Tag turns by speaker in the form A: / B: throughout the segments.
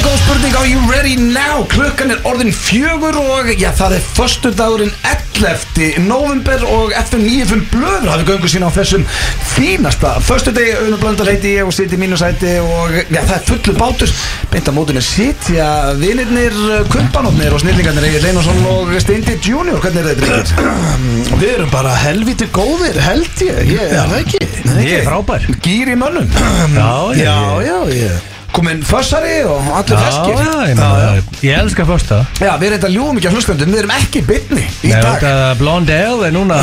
A: Are you ready now? Klukkan er orðin fjögur og já, það er förstu dagurinn 11. november og FM 95 blöður hafi göngu sína á þessum fínasta förstu degi, Unur Blöndal heiti ég og siti í mínu sæti og já, það er fullu bátur beint á mótinu sitja vinirnir, kumpanotnir og snillingarnir Egil Einarsson og Steindi Junior hvernig er þetta drengir?
B: Við erum bara helviti góðir, held ég, ég er það ekki
C: Ég er frábær
A: Gýr í mönnum
C: Já, ég-
B: Já, já, ég
A: kominn fössari og allir
C: Já,
A: feskir
C: já, ég meina, ég elska fyrsta
A: Já, við erum þetta ljúum ekki að hlustandum, við erum ekki í bytni í
C: Nei,
A: dag
C: þetta Blondale er núna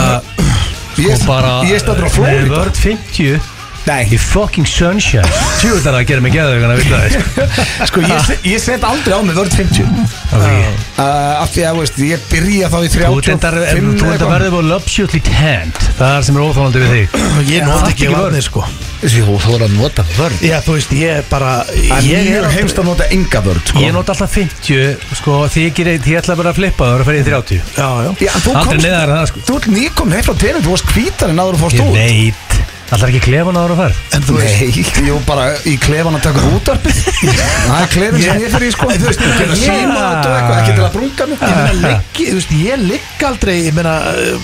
A: Ég
C: sko bara
A: ég stættur á Flóri
C: Nei, vörð 50
A: Nei,
C: í fucking sunshine Tjú, þetta er að gera mig geðaug að vita það sko.
A: sko ég, se- ég set aldrei á mig vörð 50
C: Ok.
A: uh, Af því að, veist, ég byrja þá í
C: Þú tendar,
A: 35
C: þú tendar
A: eitthvað.
C: verður búið lopsjútli tent Það er það sem er óþólandi við þig
B: Ég
C: Það
B: nota
C: er
B: ekki
C: ekki
B: varnir
C: vörn.
B: sko
D: Jú, þú voru að nota vörn
B: Já, þú veist, ég er bara
A: Það
B: Ég
A: er
B: er
A: mjög heimst að nota enga vörð sko.
C: Ég nota alltaf 50 Sko, því ég gerði, því ég ætla bara að flippa Það voru að fara í 30
B: Já, já
A: Já, þú
C: Aldrei
A: komst,
C: neðar en það sko
A: þú ert nýkom heim frá tenum, þú varst hvítar en áður og fórst
C: Ég
A: út
C: veit Það er ekki klefan ára að fara
B: En þú veist,
A: Nei, jú, bara í klefan að taka útarpið Það er klefin sem ég fyrir í sko Þú veist, ég fyrir að
C: Ég-
A: síma þetta og eitthvað, ekki til að brunga mig
B: ég meina leggi, þú veist, ég legg aldrei Ég meina,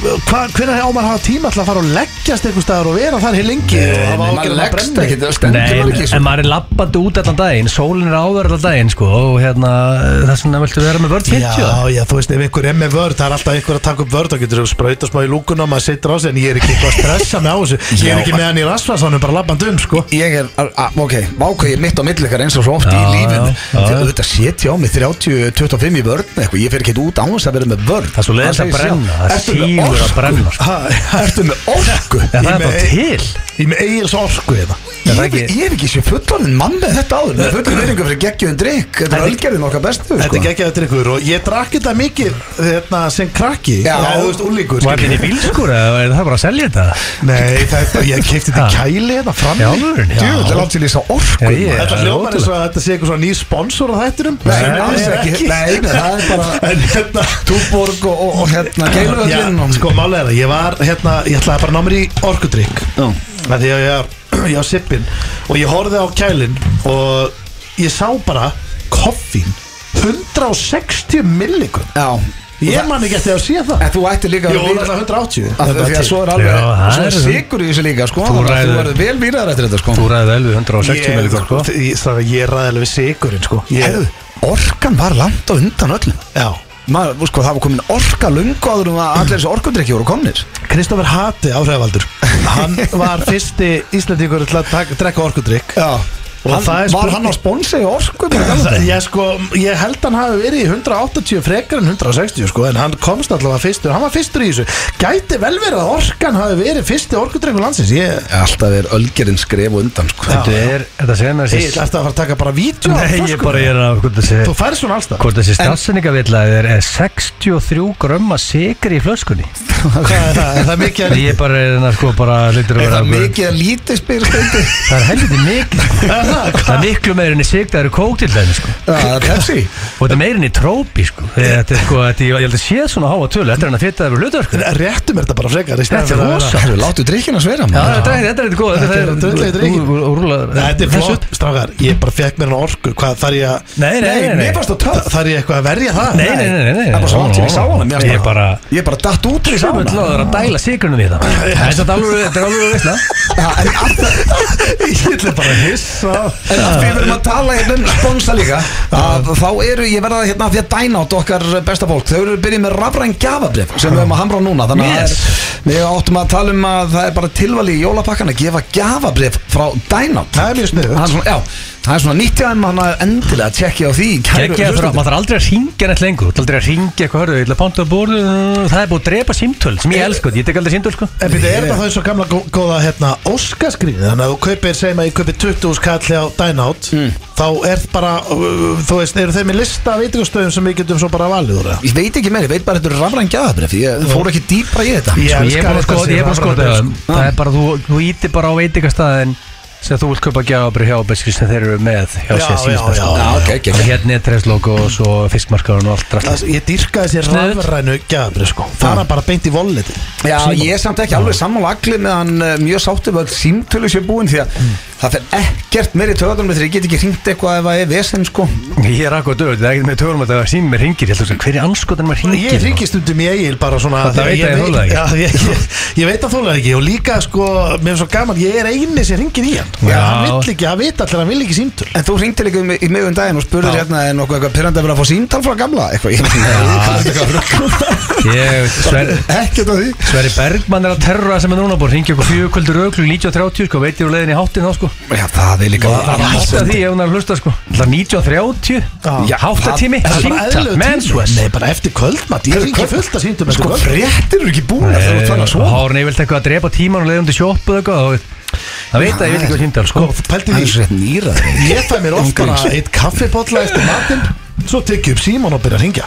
B: hvernig á maður að hafa tíma til að fara og leggjast einhver staðar og vera þar hér lengi og
A: Það
B: hafa
A: var
B: ágjörð að
A: leggst
B: brenni
A: ekki, það stendur maður ekki sko. í
C: en,
A: þessu.
C: en maður er lappandi út allan daginn Sólin er áður allan daginn sko Og hérna, þess vegna viltu vera með vörð 50
B: Já, já, þú veist, ef einhver er með vörð, það er alltaf einhver að taka upp vörð og getur þú sprauta smá í lúkuna og maður sittur á sig en ég er ekki eitthvað að stressa mig á þessu ég er ekki með hann í rassvarsanum, bara labband um, sko
A: Ég er, a- a- ok, vákvæði mitt á milli ykkar eins og svo oft í
C: Já,
A: lífinu
C: já, já.
A: Þegar þetta setja á mig 30-25 í vörn eitthvað, ég fer ekki út á þess að vera með vörn
C: Það er svo leiðist að
A: segir sjálf.
C: brenna Það
A: Ertu með
C: sígur að
A: orku? Ertu með orku?
C: brenna sko.
B: Ha,
C: Já, það
B: Ég
C: er bara
B: með-
C: til
B: Ég er með eigils orku hérna
A: Ég
C: það
A: hef
C: ekki-
A: ekki, ég hef ekki sér fullorðin mann með þetta áður með fullorðin veringu fyrir geggjöðin drikk Þetta er
B: Þetta-
A: ölgerðin okkar bestu
B: Þetta er
A: sko.
B: geggjaður drikkur og ég drakk þetta mikið hérna, sem krakki
A: Já.
B: Eða, þú veist, úlíkur
C: Var þetta í bílskur eða er það bara að selja þetta?
B: Nei, þetta, ég kefti þetta
C: Ha.
B: kæli hérna fram
C: Í alvörinni?
A: Djöfull er langt til þess að orku
C: Já, ég-
A: maður.
B: Þetta
C: Það er
B: hljómar eins
C: ótrúlegt.
B: og að þetta sé eitthvað svona ný sponsor á þættinum
A: Nei, alls ekki Nei, nei, það er bara
B: En hérna
A: Túborg og, og, og hérna
B: Já,
A: Geiluöllin og
B: sko málega það, ég var hérna, ég ætlaði bara að ná mér í orkudrykk að því að ég, ég á sippin og ég horfði á kælin og ég sá bara koffín 160 millikum
A: Já
B: ég
A: Ég
B: man ekki eftir að sé það
A: En þú ætti líka að
B: Jó,
A: vita-
B: náttúrulega 180
A: Af Því að svo er alveg
C: Já, það
A: Svo er
C: er-
A: sigur í þessu líka sko
C: Þú
A: þannig að Þú
C: ræður-
A: verður vel výraður eftir þetta sko
C: Þú ræði vel við 160
B: Ég,
C: miljónir sko
B: það, ég er ræðilega við sigurinn sko
A: Herðu, orkan var langt á undan öllum
B: Já
A: Maður, sko, það var komin orka lungu áður um að allir þessi orkudrykki voru komnir
B: Kristoffer Hati áhræðvaldur Hann var fyrsti Íslandingur til að taka- drekka orkudrykk
A: Já
B: Og
A: hann,
B: það er
A: Var
B: spurning-
A: hann á sponsi í orku
B: Það- Ég, sko, ég held hann hafi verið í 180 frekar en 160 sko, en hann komst allavega fyrstur, hann var fyrstur í þessu gæti vel verið að orkan hafi verið fyrsti orkudrengur landsins ég
A: Alltaf er ölgerinn skref og undan sko
C: Þetta er, þetta segir mér
B: ætlaði
C: þessi
B: að fara að taka bara vídeo af
C: Nei, ég
B: flöskunni.
C: bara ég er að Hérna, hvort
B: Þú
C: þessi
B: færir svona allstað
C: Hvort þessi stafsendingavilla er, er 63 grömma sigri í flöskunni
B: Hvað er það? Er það mikið að
C: Nei, Ég bara er hérna sko bara litur
A: Er
C: að vera
A: það
C: einhver-
A: mikið að lítið spyr stundi?
C: Það er helviti mikið sko. Það er miklu meirinni sig Það eru kók til þeim sko.
A: Já, það er Pepsi
C: Og þetta er meirinni trópi sko. Þetta er sko þetta, Ég held að sé svona háa tölu Þetta er hann að fyrta yfir hlutverk Já,
B: Réttum er þetta bara frekar í
C: Þetta er
B: staðinn fyrir að vera-
C: rosa.
A: Herru, láttu drikkina svera maður
C: Þetta er þetta er þetta góð
B: Þetta er drullið drykk. Þetta er flott, strákar, ég bara fekk mér hann orku Hvað þarf ég að
C: Nei, nei, nei, nei.
A: mér fannst það töff
B: Þarf ég eitthvað að verja það?
C: Nei, nei, nei, nei, nei.
A: Það er bara svo langt sem ég sá hana mér fannst
C: Ég
A: það-
C: bara
A: Ég bara datt út í
C: Sjöfum
A: sána
C: við að dæla sigrunum í það Þetta er alveg, þetta er alveg veist
B: Ég ætla bara að hissa á-
A: En að því við erum að tala hérna um sponsa líka að þá eru, ég verða hérna að því að dæna át okkar besta fólk, þau eru byrjið með rafræn gafabrif sem við erum að hamra á núna þannig að
C: Yes.
A: það er, við áttum að tala um að það er bara tilvali í jólapakkan að gefa gafabrif frá dænátt
B: Það er mjög sniðugt.
A: Það er svona, já, það er svona nýttið að mann að endilega tjekkja á því kæru
C: Gekkja það,
A: hlustendur.
C: maður þarf aldrei að ringja neitt lengur Þú þarf aldrei að ringja eitthvað, hörðu, ég ætla að panta að borðu Það er búið að drepa símtöl, sem ég elsko, ég tek aldrei símtöl sko
B: En byrja, er það þá eins og gamla gó- góða hérna, óskaskrýði, þannig að þú kaupir segjum að ég kaupir 20 skalli á Dynout
C: Mm.
B: þá er bara, uh, þú veist, eru þeir með lista af veitingastöðum sem við getum svo bara valið úr það?
A: Ég veit ekki meir, ég veit bara að þetta eru rafræn gafabrif ég fór ekki dýpra í þetta
C: Sko,
B: Ég
C: Ég er
B: elska
C: búin að
B: þetta
C: skoða,
B: sem
C: ég er búin að skoða
B: rafræna
C: það Það er bara, þú, þú ítir bara á veitingastæðin sem þú vilt kaupa gjafabri hjá Beskri sem þeir eru með hjá
B: Já,
C: sér
B: já, já.
A: Já, ok, ok,
C: Og
A: ok.
C: hérna er trefslokk og svo fiskmarkaðun og allt
B: Það-
C: drast
B: Ég dýrka þessi
C: Sniðugt.
B: rafrænu gæðabri sko Það er bara beint í volliti
A: eh, Já, ég er samt ekki alveg sammála allir meðan uh, mjög sáttum öll símtölu sér búin því að Það fer ekkert meir í töðanum þegar ég get ekki hringt eitthvað ef það er vesen sko
C: Ég er akkur döð, það er ekkert með tölum að það sími mér ringir, ég held að hverju anskotan maður ringir
B: Ég ringi stundum í eigil bara svona
C: Það
B: þegar
C: veit að ég þoli það ekki.
B: Já, ég, ég, ég veit að þóla ekki og líka sko, mér er svo gaman, ég er eini sem ringir í hann
C: Já.
B: Hann vill ekki, hann veit allir, hann vill ekki símtöl
A: En þú hringti líka um- í mig um daginn og spurðir
B: Já.
A: hérna er nokkuð eitthvað pyrrandi að vera að fá síntal frá gamla eitthvað Ég- Hvað er þetta eitthvað rugl?
C: Ég, Sver,
A: Ekkert af því
C: Sveri Bergmann er að terra sem er núna búin, ringi okkur fjögkvöldur öglu 19.30 sko, veit ég úr leiðin í háttin þá sko
A: Já það er líka
C: Það er alltaf því ef hún er að hlusta sko Það er 19.30,
B: Já.
C: háttatími,
B: Það er bara
C: símtal,
B: eðlilegur tími. sko.
C: mensvest
B: Nei, bara eftir kvöldmatt, ég ringi fullt að símtöl
A: Sko fréttir eru ekki búin að þú þannig að
C: Og
A: svona
C: hárni vilt Eh, eitthvað að drepa tíman og leiðum til sjoppu og eitthvað þá- Það veit að ég veit ekki hvað síndal sko
B: Pældi
A: Það
B: því,
A: er svo rétt nýrað
B: ég fæ mér oft bara
A: Umgangst.
B: eitt kaffipotla eftir matinn Svo tekið upp síman og byrja að ringja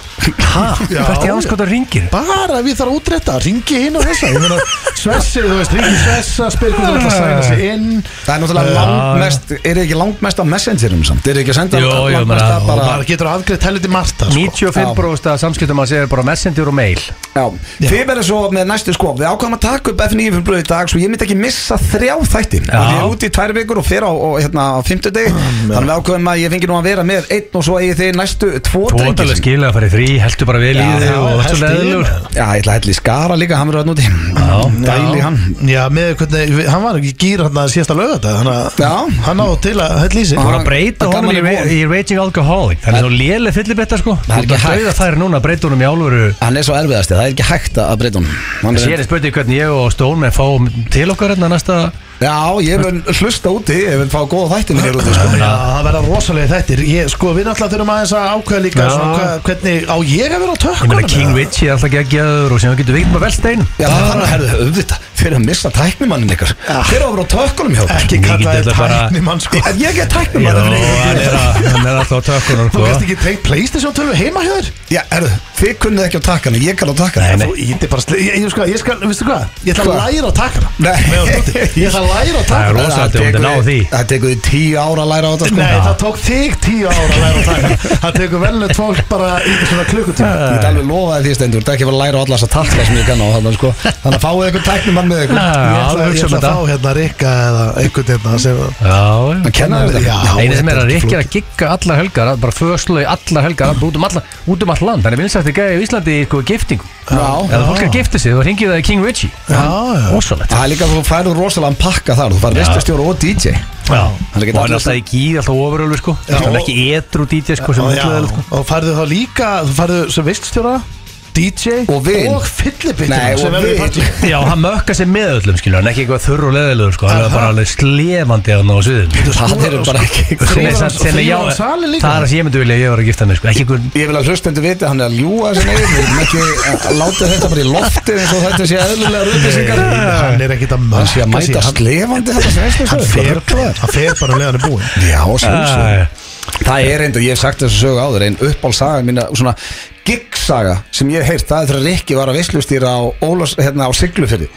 B: Já.
C: Hvert í anskotan ringir?
B: Bara ef ég þarf að útrétta, ringi hinn og þessa Ég meina, Svessi, þú veist, ringi Svessa, spyr hvernig þú ætla að sæna sig inn
A: Það er náttúrulega langmest, er þið ekki langmest á messengerum samt? Er þið ekki að senda
C: Jó, jó,
A: langmest
C: meina,
A: að
B: Og
A: bara
B: maður getur afgreitt helviti margt það, sko.
C: 95 bróðust að samskiptum að segja bara messenger og mail
A: Já, þið verður svo með næstu sko Við ákvæðum að taka upp FNÍ fyrir blöð í dag Svo ég myndi ekki missa þrjá þætti Já. Því ég er úti í tvær vikur og fer á, og, hérna, á fimmtudeg Þannig við ákvæðum að ég fengi nú að vera með einn Og svo eigi þið næstu tvo drengi
C: Tvotalega
A: sem-
C: skilja að fara í þrý, heldur bara vel í
A: Já,
C: þig
A: já,
C: og verður svo
B: helst í
C: leðilur
B: þig.
A: Já, ég ætla að hella í skara líka, hann verður að núti Dæli
B: Já.
A: hann
B: Já, með hvernig, við- hann var ekki gýr hann að síðasta lögata Þannig
A: Já.
B: að hann á til að hætt lýsi
A: Já.
C: Bara að breyta
A: Það er
C: honum
A: gaman
C: í,
A: í
C: ra-
A: von.
C: í Raging Alcoholic Hann er svo léleg fyllibetta sko
A: Það er
C: Það
A: ekki
C: er
A: hægt.
C: döða þær núna að breyta honum í álveru
A: Hann er svo erfiðasti, það er ekki hægt að breyta hún Hann
C: Sér er spurning hvernig ég og Stón með fáum til okkar hérna næsta
A: Já, ég mun hlusta úti, ég mun fá góða þætti mér úti,
B: Já,
A: sko.
B: það verða rosalega þettir ég, Sko, við náttúrulega þurfum aðeins að ákveða líka
C: Já.
B: svona, hva, Hvernig á ég að vera á
C: Ég
B: tökkunum
C: meina King Richie er alltaf geggjaður og sem hann getur veikt með velstein
A: Já, það er að herðu auðvitað Fyrir að missa tæknumannin ykkar Fyrir að vera á tökkunum hjá okkur.
B: Ekki
C: Ég
B: kalla
C: get
B: þetta
C: þetta bara-
B: tækni mann sko
A: Ég- Ég get
C: Jó,
A: tæknumann
C: hann er að- hann er alltaf á tökkunum
B: Þú
C: sko
B: gæst ekki treykt Playstation 12 heima hjá þér
A: Já, herðu, þið kunnið ekki á takkana, ég kann á takkana
B: Þú ítir bara sli- Ég, ég, sko, ég skal, veistu hvað Ég ætla
A: Hvað?
B: að læra á takkana
A: Nei.
B: Með honum Doddi. Ég ætla að læra
C: Það
B: á
C: er
B: takkana
C: rosa- Rósandi, hún er náð því.
A: Það tekur því tíu ára að læra á þetta sko
B: Nei, það tók þig tíu ára að læra á takkana Það tekur velnögt fólk bara í svona klukkutíma
A: Ég get alveg lofaði því stendur, það er ekki að læra á alla þessa takka sem ég kann á þannig sko Þannig að fáið eitthvað tæknumann með ykkur
C: Já,
B: Ég
C: alveg
B: ætla, ég
C: hugsa um
B: ætla
C: þetta
B: að fá hérna Rikka eða einhvern hérna sem
C: Já, já
A: Að kenna þér þetta?
B: Já.
C: Einu sem er
B: þetta
C: að
B: er
C: Rikki er að gigga allar helgar að bara föðslu í allar helgar bara út um allar, út um allar land hann er vinsætti gæði í Íslandi í eitthvað giftingu
A: Já,
C: eða fólk er að gifta sig þá ringið það í King Richie
B: já.
C: ósalegt
A: það er líka að þú færður rosalega pakka þar, þú færður vestastjóra og DJ
C: Já,
A: Hann er
C: og
A: ekki
C: hann er
A: allir-
C: alltaf í gíð, alltaf ofurölu sko
B: Já.
C: Hann er ekki edru DJ sko sem
B: Já,
C: er alltaf sko
B: Og farðu þá líka, þú farðu sem viststjóra DJ
A: Og vin.
B: og fyllibittur
A: Nei, og
B: sem verður í
A: vin.
B: partí
C: Já, hann mökka sig með öllum skilur, hann er ekki eitthvað þurr og leðilegur sko, hann er
B: Aha.
C: bara alveg slefandi hann á sviðinu
A: Það eru bara ekki
C: Sem er
B: Þrífur
C: samt-
B: hann-
C: sem er-
B: þrífur
C: já,
B: hann salinn líka?
C: Það er að ég myndi vilja að ég var að gifta mig sko, ekki einhver
A: Ég vil að hlustendu viti að hann er að ljúa þessum eigin Við erum ekki að láta þetta bara í lofti eins og þetta sé eðlilega röðlýsingar
B: Hann er ekkit að
A: Hann sé að
B: mörka
A: mæta
B: hann,
A: slefandi þetta sem veist
B: hann, fer, hann fer bara meðan er búinn
A: Já, sjálfsög
C: Æ,
A: Það er einnig, ég hef sagt þessu sögu áður Einn uppálsaga mín, svona gigsaga sem ég hef heyrt, það er þegar Rikki var að vislustýra á, Ólafs, hérna, á Siglufyrði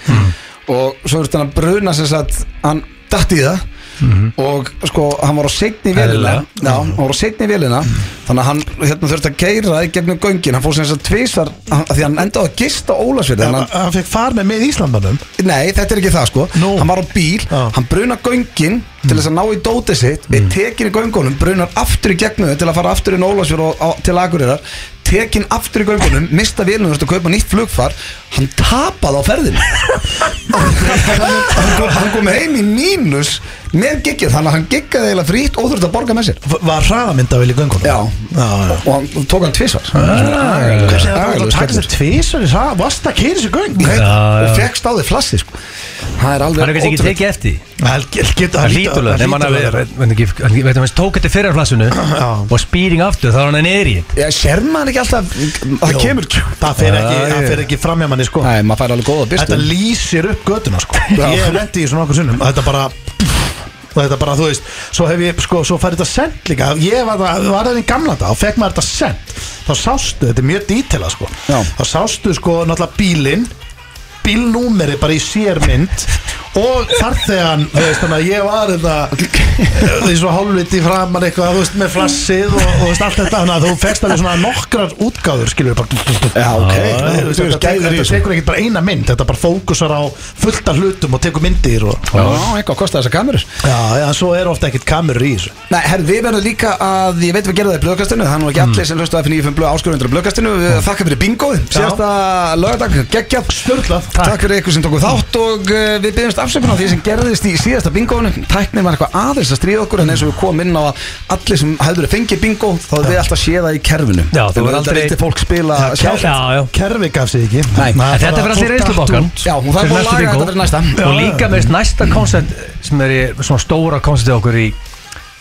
A: og svo verður hann að bruna sem sagt, hann datt í það og sko, hann var á seinni velina
C: Eðlilega.
A: já, hann var á seinni velina þannig að hann hérna, þurfti að keira í gegnum göngin hann fór sem sagt tvisvar, hann- því hann endaði að gista á Ólafsfyrði,
B: Hann,
A: þannig að
B: hann fekk far með með Íslandmannum
A: Nei, þetta er ekki það sko
B: Nú.
A: Hann var á bíl,
B: Já.
A: hann bruna göngin til þess að ná í dótið sitt mm. er tekin í göngunum, brunar aftur í gegnum þau til að fara aftur í Nólasfjör og, á, til Akureyrar tekin aftur í göngunum mista vélunum, þú veist að kaupa nýtt flugfar hann tapaði á ferðinu hann, kom, hann kom heim í mínus með giggið, þannig að hann giggaði eiginlega frýtt og þurfti að borga með sér
B: V- Var hraðamyndavel í göngunum
A: Já,
B: já, já.
A: og hann og tók hann tvisvar
C: Ah,
B: Hvernig það var að taka
A: Agalegu
B: sér tvísar í hraða Vast að kýra sér göng
A: Nei,
C: Já, já.
A: og fekkst á því flassi sko. það er alveg
C: Hann er kannski ekki
A: ótrúlegt.
C: tekið eftir því.
B: Það getur
C: Það hlýtur lög, nema hann að vera, veit ekki, hann veit að hann tók þetta fyrir flassinu og spýring aftur, þá er hann að niður í þetta.
A: Já, sér maður ekki alltaf Það kemur
B: Það fer ekki,
C: Já,
B: það
C: já.
B: fer ekki framjá manni sko
A: Nei, maður fær alveg góða
B: Þetta
A: byrstu
B: lýsir upp götuna sko
A: Já.
B: Ég hef lendi í svona okkur sinnum Þetta bara Þetta bara, þú veist, svo hef ég, sko, svo fær þetta sent líka Ég var það, var það í gamla dag, þá fekk maður þetta sent Þá sástu, þetta er mjög dítela, sko
A: Já.
B: Þá sástu, sko, náttúrulega bílinn Bílnúmeri bara í sérmynd og farþegan þú veist þannig að ég var þetta því svo hálfviti framar eitthvað þú veist með flassið og, og þú veist, allt þetta þannig að þú fegst alveg svona nokkrar útgáður skilur bara
A: Já, ok.
B: Þú veist,
A: Þú veist,
B: þetta,
A: gæðir í
B: þetta,
A: þessu.
B: tekur ekkert bara eina mynd þetta bara fókusar á fullt af hlutum og tekur myndir og
A: Já, eitthvað kosti þessar kamerur
B: já, já, svo er ofta ekkert kamerur í þessu
A: Nei, herr, við verðum líka að, ég veit við gerðum það í blöðkastinu Það er nú ekki allir sem hlusta F95 blöð áskurðundur blöðkastinu Við þakka fyrir bingoð, síðasta lögadag, geggjað
B: Sturlað,
A: Takk. fyrir ykkur sem tóku þátt og uh, við byggjumst afsökun á því sem gerðist í síðasta bingoinu Tæknin var eitthvað aðeins að stríða okkur en eins og við komum inn á að allir sem hefur fengið bingo þá hefur við alltaf séð það í kerfinu
C: Já, þú
A: En
C: er
A: auðvitað
C: aldrei-
A: vildi fólk spila
C: Já,
A: sjálf
C: já
B: kerfi gaf sig ekki
A: Nei.
B: Það
C: En Þetta
B: bara-
C: fyrir allir
B: fólk datt
C: reynslubokkan
B: út.
A: Já, hún þarf að laga þetta fyrir næsta.
C: Og líka með næsta koncert sem er í svona stóra koncerti okkur í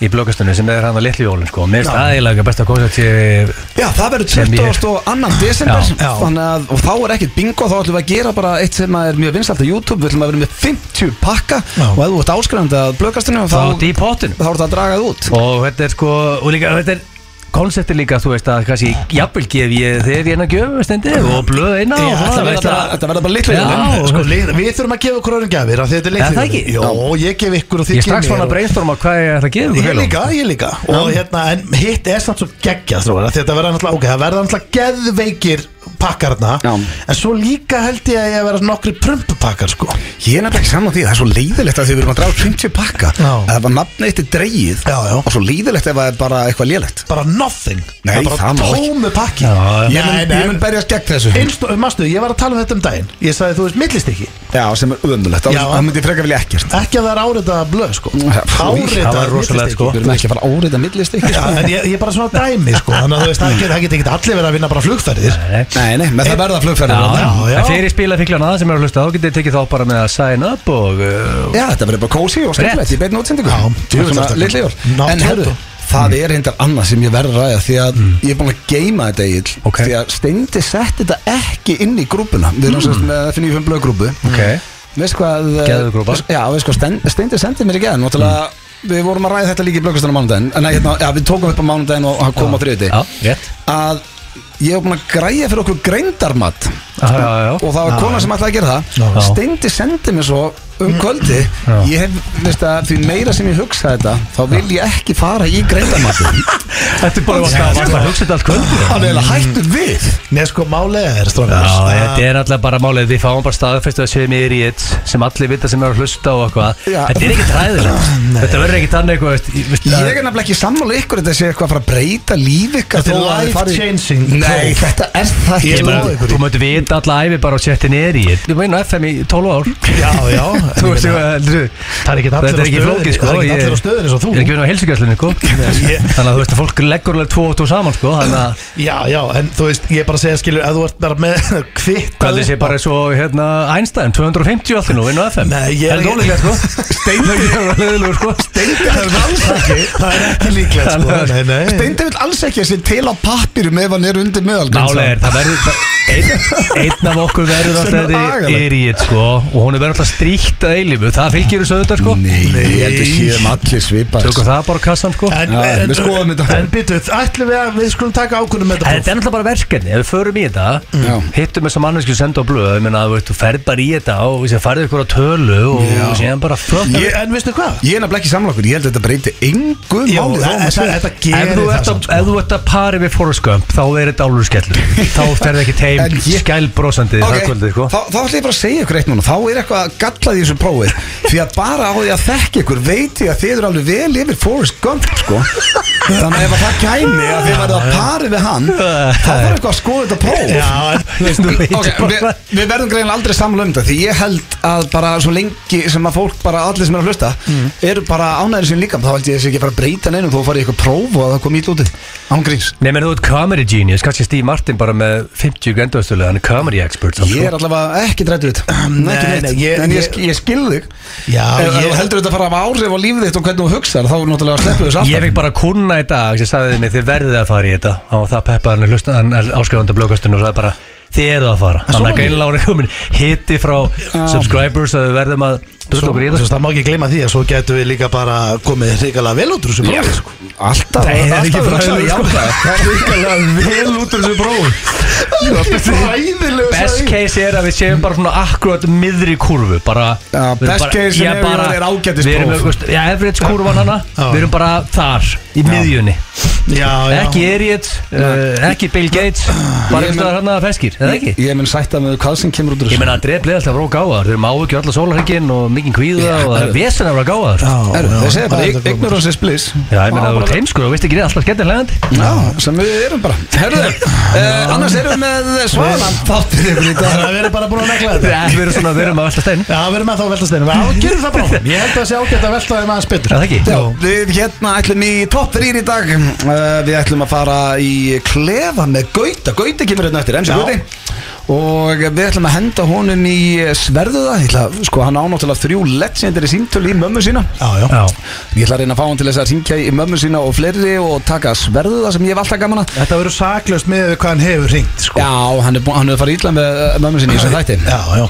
C: í blöggastunni sem er hann að litlu jólun sko. Mér finnst
B: Já.
C: aðeinslega besta koncert sem
A: Já, það verður
C: Sem ég-
A: 22. desember
C: Já,
B: já.
A: þannig að, og þá er ekkert bingo þá ætlum við að gera bara eitt sem er mjög vinsalt á YouTube, við ætlum að vera með 50 pakka
B: Já.
A: og ef þú ert áskrifandi að blökastinu þá,
C: þá átti í pottin
A: þá er það að draga það út
C: og þetta er sko og líka þetta er koncepti líka þú veist að kannski jafnvel gef ég þegar ég eina gjöf stendi og blöð eina
B: Já,
C: og
B: þetta
C: það
B: verður
C: veist
A: bara-
C: að-
A: þetta verður bara hérna. litlu
C: Já,
A: jólin.
C: og-
B: Sko, lið- við þurfum að gefa okkur öðrum gafir af því þetta er
C: Er það
B: leikþjóðin.
C: ekki?
B: Jó, ég gef ykkur og
C: Ég
B: þið
C: er
B: gefið
C: strax
B: mér
C: fann
B: og-
C: að brainstorma hvað ég ætla að gefa ykkur
B: Ég
C: félögum.
B: líka, ég líka og hérna, en hitt er samt svo geggjað þróar, af því að þetta verða náttúrulega, ok, það verða náttúrulega geðveikir pakkarna
A: Já.
B: en svo líka held ég að ég verða nokkri prumpupakkar sko
A: Ég er nefnilega ekki saman því að það er svo leiðilegt að því við erum að draga 50 pakka
B: Já.
A: að það var nafnið eitt dreigið
B: Já, já.
A: og svo leiðilegt ef það er bara eitthvað lélegt
B: bara nothing,
A: Nei,
B: er bara
A: það má ekki.
B: tómu pakki
C: Já, já.
A: Ég mun, ég mun berjast gegn þessu
B: Einstu, mastu, ég var að tala um þetta um daginn Ég sagði, þú veist, millist ekki
A: Já, sem er ömulegt
B: Já.
A: Það myndi ég frekar vilja ekkert
B: Ekki að það er árita blöð, sko
A: það
B: Árita
C: var rosalegt, sko.
A: Við erum ekki að sko. fara árið að millist ekki
B: Já, en ég, ég er bara svona dæmi, sko Þannig að þú veist, það get- það geta ekki allir verið að vinna bara flugferðir
C: Nei.
A: Nei, nei, með það verða
C: Já,
A: flugferðar
C: já,
B: já.
C: En fyrir spila fíklarna sem er að hlusta þá getið þið tekið þá bara með að sign up og uh,
A: Já, þetta verður bara kósi og skemmtilegt í beinni útsendingu
B: Já,
A: Þú veist
B: svona
A: það, litli jól
B: Ná,
A: En herru,
B: tóttu.
A: það er reyndar annað sem ég verður að ræða Því að ég er búin að geima þetta eigil
C: Mm. Ok.
A: Því að Steindi sett þetta ekki inn í grúpuna Við erum sérst með FNF blöð grúpu
C: Mm. Ok.
A: Veist hvað eh,
C: Geðugrúpa.
A: Já, veist hvað, Stein- Steindi sendi mér í geðan Náttúrulega,
C: Mm.
A: við vorum að ræða þetta líka í blöggastana mánudaginn En að, hérna, já, við tókum upp á mánudaginn og hann kom á þriðuti
C: Já, rétt
A: Að ég er búin að græja fyrir okkur greindarmat
C: Já, já, já
A: og það var kona sem ætlaði að gera það
C: Já. Mm.
A: Steindi sendi mér svo um kvöldi
C: Já.
A: ég hef, veist að því meira sem ég hugsa þetta þá vil ég ekki fara í greindarmati
C: Þetta er bara varst að varst að hugsa þetta allt kvöld
A: hann er eiginlega hættur við
B: Nei, sko, málega er, strókar
C: Já, þetta er alltaf bara málið Við fáum bara staðfestu að séum yfir í eitt sem allir vita sem eru að hlusta og eitthvað
A: Já.
C: Þetta er ekki træðilegt Þetta verður ekki þannig eitthvað veist, ég- veist,
A: Ég er nefnilega ekki sammála ykkur að þetta sé eitthvað að fara að breyta líf ykkar
B: Þetta er
A: þó að þið farið-
B: life-changing
A: Nei,
B: próf.
A: þetta er það ekki
B: Ég
C: Ég
A: Þú-
B: bara-
C: meina, Þú möttu vita alla æfi bara og setja niður í eitt Við meina FM í 12 ár
B: Já, já
C: Þú veist,
B: ég meina,
C: ég- þú-
B: Það er ekki
C: Þetta
B: allir á
C: er ekki
B: stöðinni-
C: flókið sko
B: Það er ekki allir á
C: Ég-
B: stöðinni eins og þú.
C: Ég er ekki verið á heilsugjæslunni sko
B: Ég-
C: Þannig að þú veist að fólk leggur alveg tvo og tvo saman sko Þannig að
B: Já, já, en þú veist, ég er bara að segja skilur að þú ert bara með kvitt
C: Hvað þessi bara svo, hérna, Einstein, 250 allir nú, inn á FM
B: Nei, ég er
C: ekki Heldur
B: ekki-
C: ólega, sko Steindi er alveg leðilegur, sko Steindi
B: Það er alls ekki, það er ekki líklegt sko
C: Þannig að-
B: Nei, nei
A: Steindi vil alls ekki að sé til á pappirum ef hann er undir meðalgrins
C: Málega er, það verður það- einn- Einn af okkur
A: Sem
C: verður
A: er
C: alltaf þetta
A: agalegt.
C: er í þetta, sko Og hún er verið alltaf stríkt að eilifu Það fylgir þessu auðvitað, sko
A: Nei, ég held að séum allir svipað
C: Tökum það bara á kassan, sko
B: En,
A: Já,
B: en,
A: við skoðum þetta.
B: En byttu, ætlum við að við skulum taka ákvörðum með
C: En
B: þetta
C: Þetta er náttúrulega bara verkefni, ef við förum í þetta
A: Já.
C: Hittum þess að mannesku senda á blöð Ég meina, þú veist, þú ferð bara í þetta og þú farið ykkur á tölu og síðan bara
B: próf
C: fuck
B: En, en veistu hvað?
A: Ég er nefnilega ekki sammála okkur, ég held að þetta breyti engu
B: Já,
A: máli þó að
C: e-
A: maður
B: þetta
A: sé-
B: þetta
C: Ef
B: gerir
C: þú,
B: það
C: ert að,
B: samt, sko.
C: ef þú ert að pari við Forrest Gump þá er þetta álur skellur þá ferði ekki
A: En
C: teim
A: ég-
C: skælbrósandi okay. það kvöldið sko
A: þá, þá ætlum ég bara að segja ykkur eitt núna Þá er eitthvað gallað í þessu prófi Því að bara á því að þekki ykkur veit ég að þið eru alveg vel yfir Forrest Gump sko. Þannig að ef að það kæmi að þið verða að pari við hann Þá þarf eitthvað að skoða þetta próf
B: Já, en
C: Þú veist, þú veit
A: Ok, við,
C: bara-
A: við verðum greinlega aldrei samla um þetta Því ég held að bara svo lengi sem að fólk bara allir sem er að hlusta
C: Mm.
A: Eru bara ánæður sín líka Þá held ég þessi ekki að fara að breyta neinum Þú farið eitthvað próf og að það kom ít úti Ángríns
C: Nei, menn þú ert comedy genius, kannski Steve Martin bara með 50 grendastölu, hann er comedy expert samt,
A: Ég
C: sko.
A: er allavega ekki drættur við þetta
B: Nei,
A: Ekki neitt.
B: nei, ég-
A: En ég,
B: ég-
A: sk- ég skil þig
B: Já,
A: Ef
B: ég
A: þú heldur þetta að fara að hafa áhrif á lífið þitt og hvernig þú hugsar þá er náttúrulega að sleppu þessu
C: Ég
A: alltaf
C: fekk bara kuna í dag sem sagði mig þið verðið að fara í þetta og það peppaði hann í hlusta, hann áskrifandi blókastun og sagði bara þið eruð að fara þannig að greinlega árið komin hitti frá subscribers að við verðum að
B: Svo,
C: drulla okkur í
B: svo,
C: þetta
B: það má ekki gleyma því að svo getum við líka bara komið hrikalega vel út úr þessu brófi sko.
A: Alltaf
C: Nei, það er ekki
A: alltaf
C: fræðileg,
A: hugsaði
C: sko.
A: jákvætt.
C: Það er virkilega vel út úr þessu prófi
A: Fræðilegu
C: Best
A: sagði.
C: case er að við séum bara svona akkurat miðri kúrfu bara,
A: Já,
C: við erum
A: best case
C: ég
A: scenario er ágætis
C: Við erum,
A: próf.
C: veist, já, average kúrfan hana
B: Já.
C: Við erum bara þar, í miðjunni
B: Já, já
C: Ekki Eriot, uh, ekki Bill Gates Bara einhvers staðar hana feskir, eða ekki?
A: Ég mun sætta með hvað sem kemur út úr
C: Ég meina að dreflið alltaf rók áðar Þau eru mávikið allar sólarhengin og mikið kvíða og það er vesen að vera gáðar
B: Já,
A: Herru,
B: já,
A: Þeir segja bara,
B: já, þetta er góð.
A: ignorance is bliss
C: Já, ég meina að þú ert heimskur og veist ekki reyð alltaf skemmtilegandi
A: Já, sem við erum bara Herðu, uh, annars erum við með Svalan Þáttir ykkur í dag
B: Þannig að við erum bara búin að negla
C: Við
B: þetta
C: erum svona, við erum að velta stein
B: Já, við erum ennþá að velta steinu Já, gerum það bara áfram. Ég held að það sé ágætt að velta þeim aðeins betur
C: Er það ekki?
A: Já, við hérna ætlum í topp 3 í dag uh, Við ætlum að fara í klefa með Gauta Gauta kemur hérna eftir, MC
B: Já.
A: Gauti Og við ætlum að henda honum í sverðuða Ég ætla, sko, hann ánáttúrulega þrjú legendary síntöl í mömmu sína
B: Já, já
C: Já,
A: Ég ætla að reyna að fá hann til þess að syngja í mömmu sína og fleiri og taka sverðuða sem ég hef alltaf gaman að
B: Þetta verður saklaust með við hvað hann hefur hringt sko.
A: Já, hann er, bú- hann er farið illa með eh, mömmu sinni í þessum þætti
B: já, já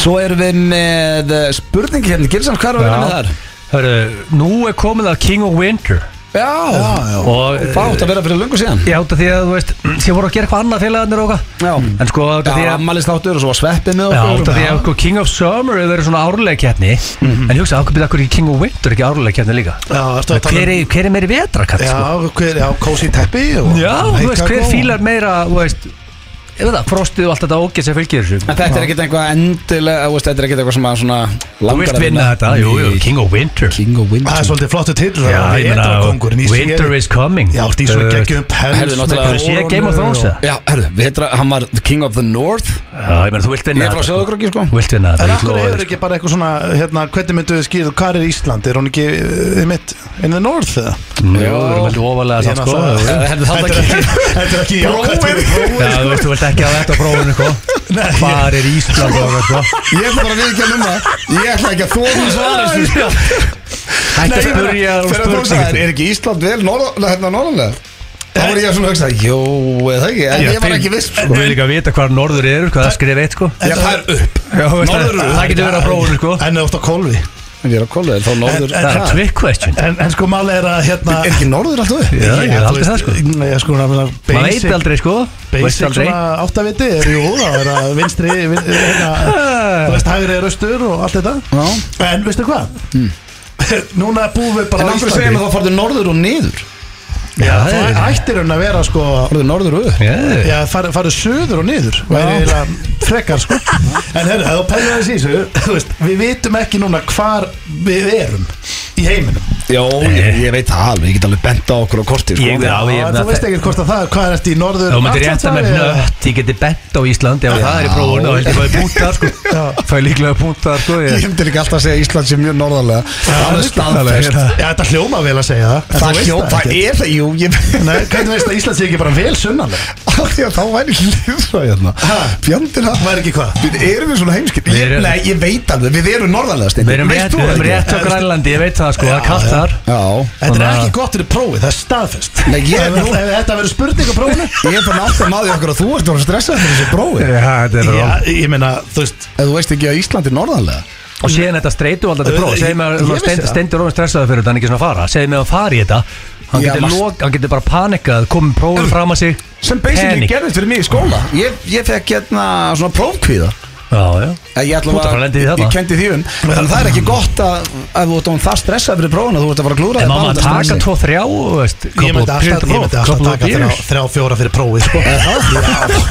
A: Svo erum við með eh, spurningu hérna, Gilsam, hvað er að vera með þar?
C: Hörru, nú er komið að King of Winter
A: Já,
B: já.
C: Og
A: það átt að vera fyrir lungu síðan
C: ég átta því að þú veist Ég voru að gera eitthvað annað félagarnir og eitthvað
A: Já,
C: En sko, út af því
A: já
C: að
A: ammælist áttur og svo var sveppið með
C: Já,
A: okkur
C: út af því að sko, King of Summer hefur verið svona árlega keppni
A: Mhm.
C: En ég hugsa, ákveðið akkur ekki King of Winter ekki árlega keppni líka
B: Já, ertu að tala um-
C: Hver er, hver er meiri vetrakall, sko?
B: Já, hver, já, kósi teppi og
C: Já, þú veist, hver
B: heitkakó.
C: fílar meira, þú veist Ég veit það, frostið og allt þetta ógeð sem fylgir þessu
A: En þetta er ekkert eitthvað endilega, þú veist, þetta er ekkert eitthvað sem að svona
C: Þú veist vinna þetta, jú, jú, King of Winter
A: King of
B: Það er
A: Winter
B: svolítið flottu titl
C: Já, ég
B: Kongurinn
C: meina,
B: í sig
C: Winter is coming
B: Já, því svo
C: Þú veist,
B: geggjum pels
A: Herðu,
B: með
A: náttúrulega-
C: Þú sé Game of Thrones
B: kórónu
C: eða?
B: og-
A: Já, herðu, vetra, hann var the King of the North
C: Já, ég meina, þú vilt
A: Ég
C: vinna
A: er frá
C: þetta
A: Söðugröki, sko
C: Þú vilt vinna
B: En
C: þetta, ég sko.
B: akkur
C: glóði
B: hefur
C: þetta
B: ekki bara eitthvað svona, hérna, hvernig myndu við skýrðu, hvað er Ísland? Er hún ekki, uh, mitt, in the north eða?
C: Nú, við erum heldur ofalega
B: Ég
C: samt, sko
B: náttúrulega-
A: Eh, Herðu, það
B: Þetta
A: er ekki
B: er ekki, þetta er ekki jákvætt fyrir
C: Já, þú veist, þú vilt ekki hafa þetta á prófunu, sko Hvar er Ísland og eitthvað,
A: Ég
C: sko
A: ætla bara að viðkja um það Ég ætla ekki að þóra því svara þessu.
C: Hætti að spurja og
A: Þegar þú
C: spurningu
A: sagðir, er ekki Ísland vel norða- hérna norðanlega? Þá var ég svona að hugsa, jó, eða ekki, en ég var ekki viss sko.
C: Þú vil ekki sko, að vita hvað norður eru, hvað það skrif eitt sko
A: Ég fær upp
C: Já, þú veist,
A: Norður
C: það
A: eru-
C: það getur verið að prófunu sko
B: En eða oft á kolvi
A: Ég er á kólu, þá norður
C: Það er trick question
B: En, en sko málið er að hérna
A: Er ekki norður alltaf upp?
C: Já, ég
B: þú
C: haldi
B: veist,
C: það, sko.
B: Ég sko, náttúrulega
C: Maður veit aldrei sko Veist
B: Basic
C: aldrei
B: svona áttaviti er jú, það er að vinstri, vin- hérna, þú veist, hægri er austur og allt þetta
A: Já.
B: En veistu hvað?
C: Hmm.
B: Núna búum við
A: En
B: bara á
A: af hverju segir
B: Íslandi
A: maður þá farðu norður og niður?
B: Já,
C: Já,
B: það
C: það er-
B: ættir hún að vera sko
A: Farðu norður og upp?
C: Já,
B: Já, farið fari söður og niður væri eiginlega frekar sko En herru, ef þú pælir aðeins í þessu þú veist, Við vitum ekki núna hvar við erum í heiminum
A: Jó, ég, ég veit það alveg, ég get alveg bent á okkur á korti sko.
C: Ég veit það. Já, ég-
B: en Þú veist ekki hvort að það, hvað er eftir í norður
C: Þú myndir rétta með
B: Atlantshafi eða-
C: nött Ég geti bent á Íslandi Ef það er í prófunu Þá held ég fæði búntar sko Fæði líklega búntar sko
A: Ég
C: ég-
A: hefndi líka alltaf að segja að Ísland sé mjög norðarlega Það er staðfest
B: Já, þetta hljóma vel að segja það en þú
A: Það
B: veist
A: hljópa
B: ekki.
A: er það, jú, ég
B: Nei, hvernig veist að Ísland sé ekki bara vel sunnaleg
A: Af því að þá væri ekki liðsvæð hérna
B: Ha?
A: Fjandina
B: Það er ekki hvað
A: Við erum við svona heimskipt
C: Við erum-
A: Nei, ég veit alveg, við erum norðarlega Steindi.
C: Við erum
A: Veist
C: rétt-
A: þú
C: við
A: það
C: erum
A: ekki?
C: rétt á Grænlandi Ég veit það sko Það er kallt
B: Já, já.
C: þar
A: Já
B: Þetta er
C: Þannig að-
B: ekki gott fyrir prófið, það er staðfest
A: Nei, ég-
B: Ef- ef Þetta verður spurning á prófinu
A: Ég er bara náttúrulega maður okkur að þú ert orðin stressað fyrir þessu brói
B: Já, ég meina, þú veist
A: Ef þú veist ekki að Ísland er norðarlega
C: Og síðan þetta streituvaldandi próf
B: Ég-
C: Segðu mig
B: ég
C: að
B: vissi
C: stend,
B: það.
C: Stendur ofin stressaði fyrir þetta hann er ekki svona að fara Segðu mig að hann fari í þetta Hann
A: Já,
C: getur,
A: mast-
C: lok, hann getur bara panikað Komið prófum fram að sig
A: Sem basically
C: Panic.
A: gerðist fyrir mig í skóla Ég, ég fekk hérna svona prófkvíða
C: Já, já
A: Ég, ég, ætla
C: Þú ert að
A: að-
C: fara að lenda í því
A: ég,
C: þarna.
A: kendi því um Þannig að það er ekki gott að ef þú ert orðin það stressað fyrir prófuna þú ert að fara að glúra
C: En
A: þér
C: má maður
A: bara
C: taka
A: þessi.
C: tvo, þrjá og veist,
B: Ég myndi alltaf, ég myndi alltaf taka þrjá, þrjá fjóra fyrir prófið sko.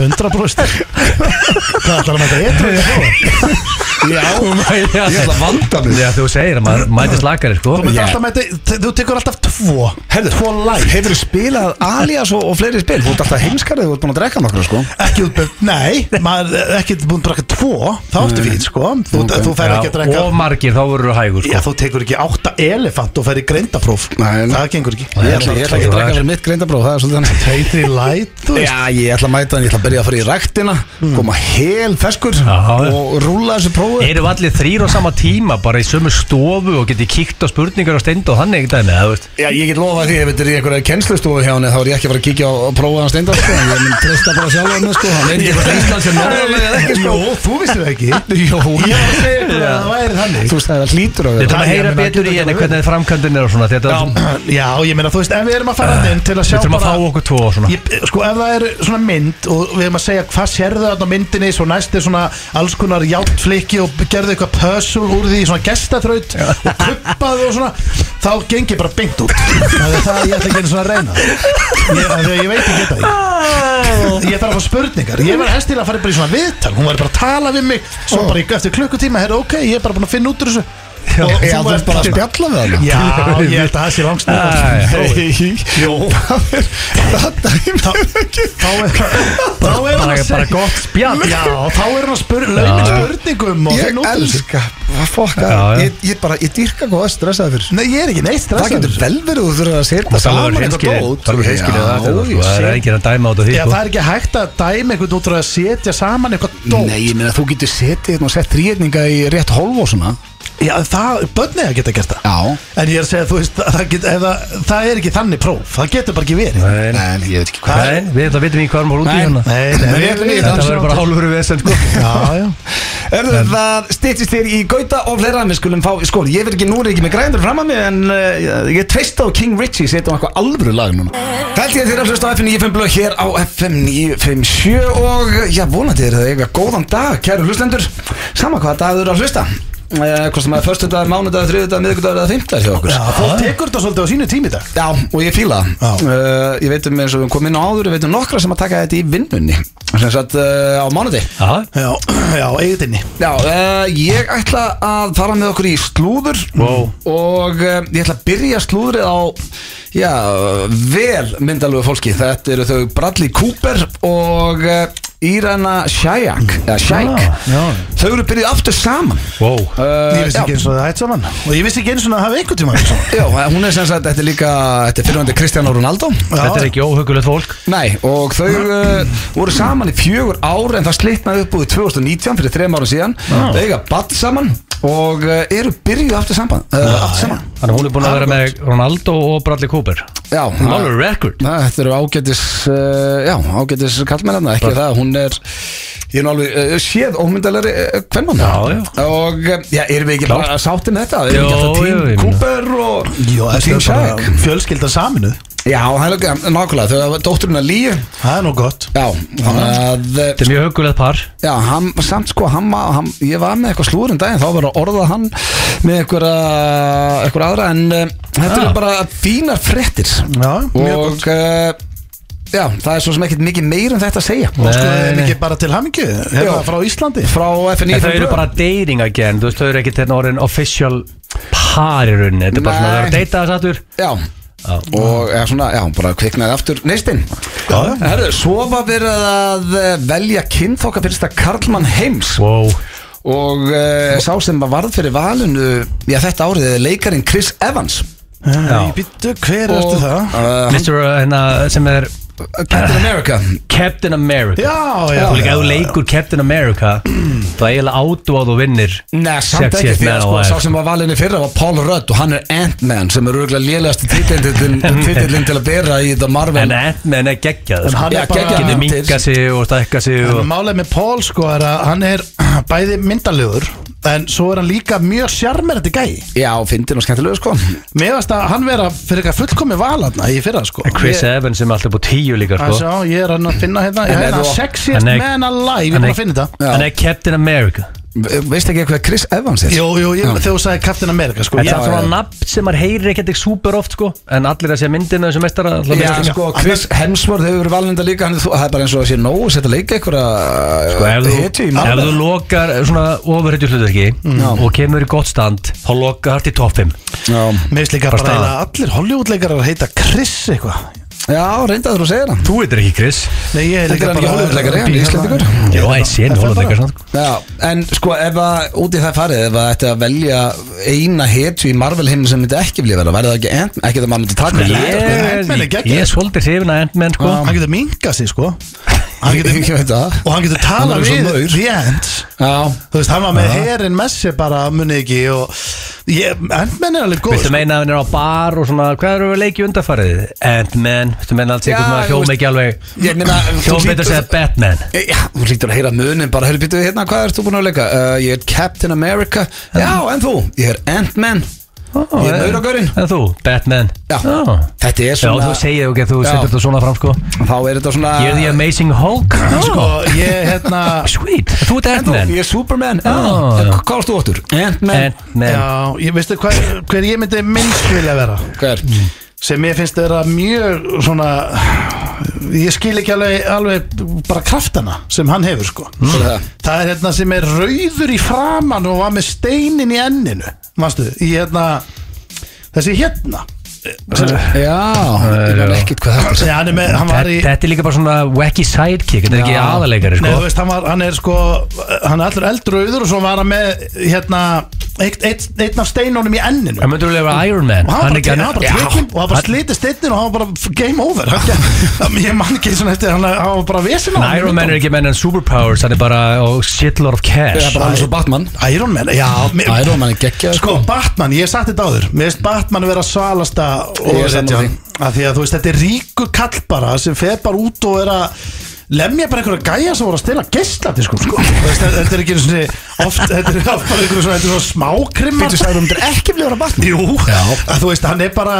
B: Hundra brúst Hvað ætlar að mæta eitthvað fyrir prófið?
A: Já,
C: Ég
A: ég ætla að vanda mig
C: Já, þú segir að maður mæti slakari, sko
B: Þú myndi alltaf mæta, þú tekur alltaf tvo
A: Herðu,
B: Tvo læg
A: Hefur spilað alias og, og fleiri spil Þú ert alltaf heimskarið, þú ert búin að drekka nokkra sko
B: Ekki útbjönd, nei, maður er ekki búin að drakka tvo Þá ertu fín, sko Þú,
A: Ok.
B: þú fær ekki að
C: Já,
B: drakka
C: Of margir, þá verður þú hægur,
B: Já,
C: sko
B: þú tekur ekki átta elefant og fær í greindapróf
A: Nei, nei.
B: Það gengur ekki
A: Ég ætla, ég ætla ekki að drekka fyrir mitt greindabróð Það er svolítið hann
B: Eitri light, þú veist
A: Já, ég ætla að mæta hann, ég ætla að byrja að fara í ræktina koma hel feskur
C: Hmm. Já, já.
A: og rúla þessu prófi
C: Eru allir þrýr á sama tíma bara í sömu stofu og getið kíkt á spurningar og steind og þannig ekki dæmi, eða þú veist
A: Já, ég get lofa því, ef þetta er í einhverja kennslustofu hjá hann þá er ég ekki að fara að kíkja á að prófa hann steindar sko. ég mun treysta bara sjálf hann sko. hann veit ekki hvort Ísland sem Norðurlega eða ekki sko.
B: Jó, þú vissir það ekki
A: Jó,
B: Ég var að segja ykkur að það væri þannig
A: þú sagði það hlýtur á
C: Við
A: þetta
C: þurfum að
B: ég
C: heyra
B: meina,
C: betur í
B: getur
C: henni
B: ekki
C: hvernig framkvæmdin er og svona þetta er-
B: Já, ég meina, þú veist, ef við erum að fara uh, inn til að sjá
C: Við þurfum að fá okkur tvo og svona
B: Ég, sko ef það er svona mynd og við erum að segja hvað sérðu þarna á myndinni svo næst er svona alls konar játfliki og gerðu eitthvað pössul úr því svona gestaþraut og kuppaðu og svona þá gengi bara beint út það er það ég ætla ekki einu svona að reyna ég, af því að ég veit ekki þetta ég, ég þarf að fá spurningar ég var hestil að fara bara í svona viðtal hún var bara að tala við mig svo
A: Oh.
B: bara í- eftir klukkutíma herra ok ég er bara búin að finna út úr þessu og
A: Ég held að Ah. bara að spjalla við hann
B: Já, ég held að það sé langst
C: Æ,
B: Jó
A: Það er, það dæmið er ekki
B: Þá er Þá er hann að
C: Bara, bara
B: segja
C: gott spjall
B: Já, þá er hann að spurra Launin
C: Já.
B: spurningum og
A: Ég
B: finna út úr þessu.
A: elska, hvað fokk
C: Já, já.
A: að Ég ég bara, ég dýrka hvað að stressaði fyrir
B: Nei, ég er ekki neitt
A: Það
B: stressaður
A: getur vel verið þú þurfir að setja
C: Það er
A: saman
C: hreinskilið Það
A: dót.
C: er hreinskilið
A: Já,
C: það eftir það, sko.
A: ég
C: Það er
A: sé.
C: enginn að dæma á þetta því
B: Já,
C: sko.
B: það er ekki hægt að dæma einhvern út frá að setja saman eitthvað dót
A: Nei, ég meina þú getur setið hérna og sett þrýðninga í rétt hólf og svona
B: Já, það, börnið að geta gert það
A: Já
B: En ég er að segja, þú veist, það, get, ef það, það er ekki þannig próf Það getur bara ekki verið
C: Nei, nei,
A: Nei, ég veit ekki hvað
C: nei, Við þetta vitum í hvað erum að rúti í
A: Nei,
C: hana
B: Nei, nei,
A: Nei,
B: við erum í
A: nei,
C: Þetta
B: dansa
C: verður bara hálfur við þessan sko
B: Já, já
A: Erðu það stýttist þér í gauta og fleira Við skulum fá, sko, ég veit ekki, nú er ég ekki með grændur fram að mig En uh, ég treysta á King Richie Setja á eitthvað alvöru lag núna Held ég þér að hlusta á FM 95 blöð hér á FM 957 Og já, vonandi er það eiga góðan dag, kæru hlustendur Sama hvað dag þú eru að hlusta uh, Hvort sem að förstu dag, mánudag, þriðudag, miðvikudag eða fimmtag hjá okkur
B: Já, fólk tekur þetta svolítið á sínu tími í dag
A: Já, og ég fíla það
B: Já.
A: uh, Ég veit um eins og við komum inn á áður Ég veit um nokkra sem að taka þetta í vinnunni Sem sagt uh, á mánuði
C: Já,
B: Já, já, eigið inni
A: Já, uh, ég ætla að fara með okkur í slúður wow. Og uh, ég ætla að byrja slúðrið á Já, uh, vel myndalögu fólki Þetta eru þau Bradley Cooper og uh, Írana Shayk Eða Shayk
B: Ah, Já, já.
A: Þau eru byrjuð aftur saman
C: wow
A: uh,
B: Ég vissi
A: já.
B: ekki eins og það hætt saman Og ég vissi ekki eins og það hafi einhvern tíma saman
A: Já, hún er sem sagt, þetta er líka, þetta er fyrirvændi Kristján Ronaldo
C: Þetta er ekki óhugulegt fólk
A: Nei, og þau uh, voru saman í fjögur ár en það slitnaði upp úr 2019 fyrir þrem árum síðan
C: Ah.
A: Þau eiga badd saman og uh, eru byrjuð aftur saman, uh, aftur saman.
C: Þannig að hún er búin að vera með Ronaldo og Bradley Cooper
A: Já,
C: Málur record
A: Na, þetta eru ágætis uh, já, ágætis kallmennarna, ekki það hún er, ég er nú alveg uh, séð ómyndalari uh, hvernmann
C: Já, já.
A: og uh, já, erum við ekki
C: Klárt.
A: bara að sátti með þetta erum við ekki alltaf
C: Jó, jú, ég
A: tím
C: meina.
A: Cooper og
B: Jó,
A: og
B: þetta
A: tím
B: er
A: Shaq
B: bara fjölskyldan saminuð
A: Já, það er ekki- nákvæmlega, þau hafa dótturinn að líu
B: Það er nú gott
A: Já, þannig að uh,
C: Þetta er mjög hugulegt par
A: Já, hann, samt sko, hann, var- hann, ég var með eitthvað slúður en daginn, þá var að orða hann með einhverja, einhverja aðra, en uh, þetta
C: Ah.
A: eru bara fínar fréttir
B: Já, mjög gott
A: og uh, já, það er svo sem ekkert mikið meir en þetta að segja
B: Og sko,
C: Nei,
B: er
C: nei.
B: ekki bara til hamingju Er
A: Já.
B: það frá Íslandi?
A: frá
C: En
A: FNI
C: þau eru bara dating again, þú veist, þau eru ekki þetta orðin official par í rauninni Þetta er bara svona, þau eru að
A: Nei.
C: deyta þess aftur
A: Já,
C: Já.
A: og eða svona, já, bara kviknaði aftur neistinn
B: Já.
A: Herðu, svo var verið að eh, velja kynþokka fyrsta Karlmann heims
C: Wow,
A: og uh, sá sem var varð fyrir valinu, já, þetta árið er leikarinn Chris Evans
B: Já Býttu, hver ertu það?
A: Uh,
C: Mr. hérna, sem er
A: Captain America
C: Captain America
B: Já, já
C: Þú líka, ef þú leikur Captain America Það er eiginlega átu að þú vinnir
A: Nei, samt
C: Sex
A: ekki
C: Years
A: því
C: Man
A: að
C: á
A: sko,
C: Ice.
A: sá sem var valinni fyrra var Paul Rudd og hann er Ant-Man sem er örgulega lélegasti titillinn titillin til að bera í The Marvel
C: En Ant-Man er geggjað
B: En
C: sko.
B: hann
A: Já,
B: er bara
A: geggjað.
C: Getur
A: hann-
C: minkað sig og stækkað sig
B: En
C: og...
B: Málið með Paul sko er að hann er bæði myndalegur En svo er hann líka mjög sjarmerandi gæi
A: Já, fyndin og skemmtilegu sko
B: Mér varst að hann vera fyrir eitthvað fullkomi valarna í fyrra sko
C: En Chris
B: Ég-
C: Evans sem er alltaf búið tíu líka
B: að
C: sko.
B: sjá, Ég er hann að finna hérna Ég
A: En er
B: er hann
A: þú-
B: sexiest
C: Hann er-
B: man alive Ég er
C: hann
B: bara
C: er-
B: að finna þetta
A: Já.
C: Hann er Captain America
A: Ve- Veistu ekki hvað Chris Evans er?
B: Jú, jú, ég, þegar þú sagði Captain America sko
C: Þetta
B: ég-
C: er
A: já.
C: svona nafn sem maður heyrir ekkert ekki super oft sko En allir að sé myndina þessu mestara
A: Já,
C: Sko,
A: sko, Chris Hemsworth hefur verið valinda líka hann, er þú- það er bara eins og að sé nóg að setja leika einhverja eh,
C: Sko, ef, þú,
A: hetju í
C: ef
A: Marvel.
C: þú lokar svona ofurhetju hlutverki og kemur í gott stand þá lokar hægt í toppim
A: Já,
B: Mér finnst líka
C: Bara
B: bara
C: staðan.
B: eiginlega allir Hollywoodleikarar heita Chris eitthvað
A: já reyndaður að segja það
C: Þú veitir ekki Chris
B: Nei, ég er
A: Þetta er
B: líka
A: hann ekki
B: bara
A: Hollywoodleikari, hann er Íslendingur.
C: Jó, ég sé henni hólandleikar svona sko.
A: Já, en sko ef að út í það farið ef að þetta að velja eina hetju í Marvel heiminn sem myndi ekki vilja vera væri það ekki Ant-Man, ekki það maður myndi taka
C: Ég,
A: Nei,
B: Ant-Man er
C: ég,
B: geggjaður.
C: ég er svolítið hrifin að Ant-Man sko
B: Hann getur minkað sig sko Hann
A: Ég- ég veit það.
B: og hann getur
A: Hann
B: talað
A: er svo
B: við
A: maur.
B: The Ends
A: Já
B: Þú veist, hann var með
A: Já.
B: herin messi bara munið ekki og ég, Endmenn er alveg sko. góð
C: Viltu meina að hann er á bar og svona Hvað eru við leikið undarfarið? Ant-Man, viltu meina alls
A: Já,
C: eitthvað svona
A: þú
C: hjóm
A: veist-
C: ekki alveg
A: Ég meina, þú
C: Hjóm betur
A: hlýtur-
C: að segja Batman
A: E, Já, þú lítur að heyra munin bara, heyrðu, býttu, hérna, hvað ert þú búin að leika? Uh, ég er Captain America Já, en þú? Ég er Ant-Man
C: Ó,
A: Ég er
C: en-
A: mauragörinn
C: En þú, Batman
A: Já,
C: Ó.
A: þetta er
C: Já,
A: svona
C: þú segir ok, þú
A: Já.
C: setur þetta svona fram sko
A: Þá er þetta svona
C: Ég er The Amazing Hulk
B: Sko,
C: Ó,
B: ég, hérna
C: Sweet, þú ert
A: En þú,
C: Ant-Man
A: ég er Superman Já,
C: Já.
A: En Hvað varst þú óttur? Ant-Man
C: Ant-Man
B: Já, ég veistu hver, hver ég myndi minnst vilja vera
A: Hver?
C: Mm.
B: sem ég finnst þeirra mjög svona ég skil ekki alveg, alveg bara kraftana sem hann hefur sko
A: Hvað er það?
B: það er hérna sem er rauður í framan og var með steinin í enninu manstu, í hérna þessi hérna
A: Eh, Já, ég
C: já.
A: veit ekkert hvað þetta er
B: Nei, hann, er með, hann var í
C: Þetta er líka bara svona wacky sidekick Þetta er ekki
A: Já.
C: aðaleikari
B: Nei,
C: sko
B: þú veist, hann, var, hann er sko hann er allur eldrauður og svo var hann með hérna, eitt, eitt, einn af steinunum í enninu
C: Það myndur við vera Iron Man
B: og hann var bara, hann var bara
C: Já.
B: tekinn og hann bara slitið steinnin og hann var bara game over Hann gekk- ég man ekki svona eftir hann hann var bara vesen á
C: En Iron Man er ekki menn en superpowers Hann er bara og shitlord of
A: Það er
C: cash
A: bara alveg svo Batman
B: Iron Man, já mér-
A: Iron Man er geggjað,
B: Sko, Batman, ég hef sagt þetta áður Mér finnst Batman vera svalasta
A: Ég er sammála
B: óverhetjan. Af því að þú veist, þetta er ríkur kall bara sem fer bara út og er að lemja bara einhverja gæja sem voru að stela geislati sko, sko. Þú veist, þetta er ekki einu sinni oft, þetta er oft bara einhverju svona, þetta er svona smákrimmar
A: Bíddu, sagðirðu, hún myndi ekki vilja vera Batman?
B: Jú,
A: Já.
B: að þú veist, hann er bara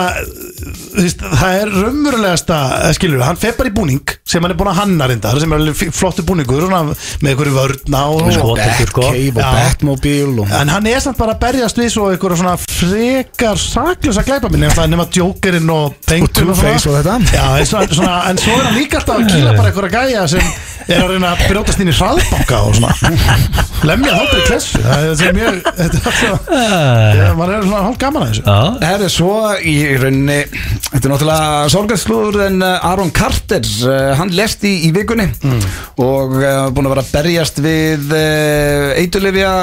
B: þú veist, það er raunverulegasta eh, skilur, hann fer bara í búning sem hann er búin að hanna reynda, sem er alveg fí- flottur búningur svona, með einhverju vörna og,
C: sko, Batman, sko.
A: Batcave og
B: Já.
A: Batmobile og
B: En hann er samt bara að berjast við svo einhverja svona frekar saklösa glæpaminni en það er nema djókerinn og pengun
A: Two-Face og þetta.
B: Já, en, svona, svona, en svo er hann líka alltaf að kýla bara einhverja gæja sem er að reyna að brjótast inn í hraðbanka og svona lemja haldri klessu Það er- þetta er mjög þetta er alltaf,
A: Ah.
B: ég, maður er svona hálf gaman að þessu
C: Já
A: Herri, svo í rauninni, þetta er náttúrulega sorgarslúður en uh, Aaron Carter, uh, hann lest í, í vikunni og uh, búin að vera að berjast við uh, eitulefja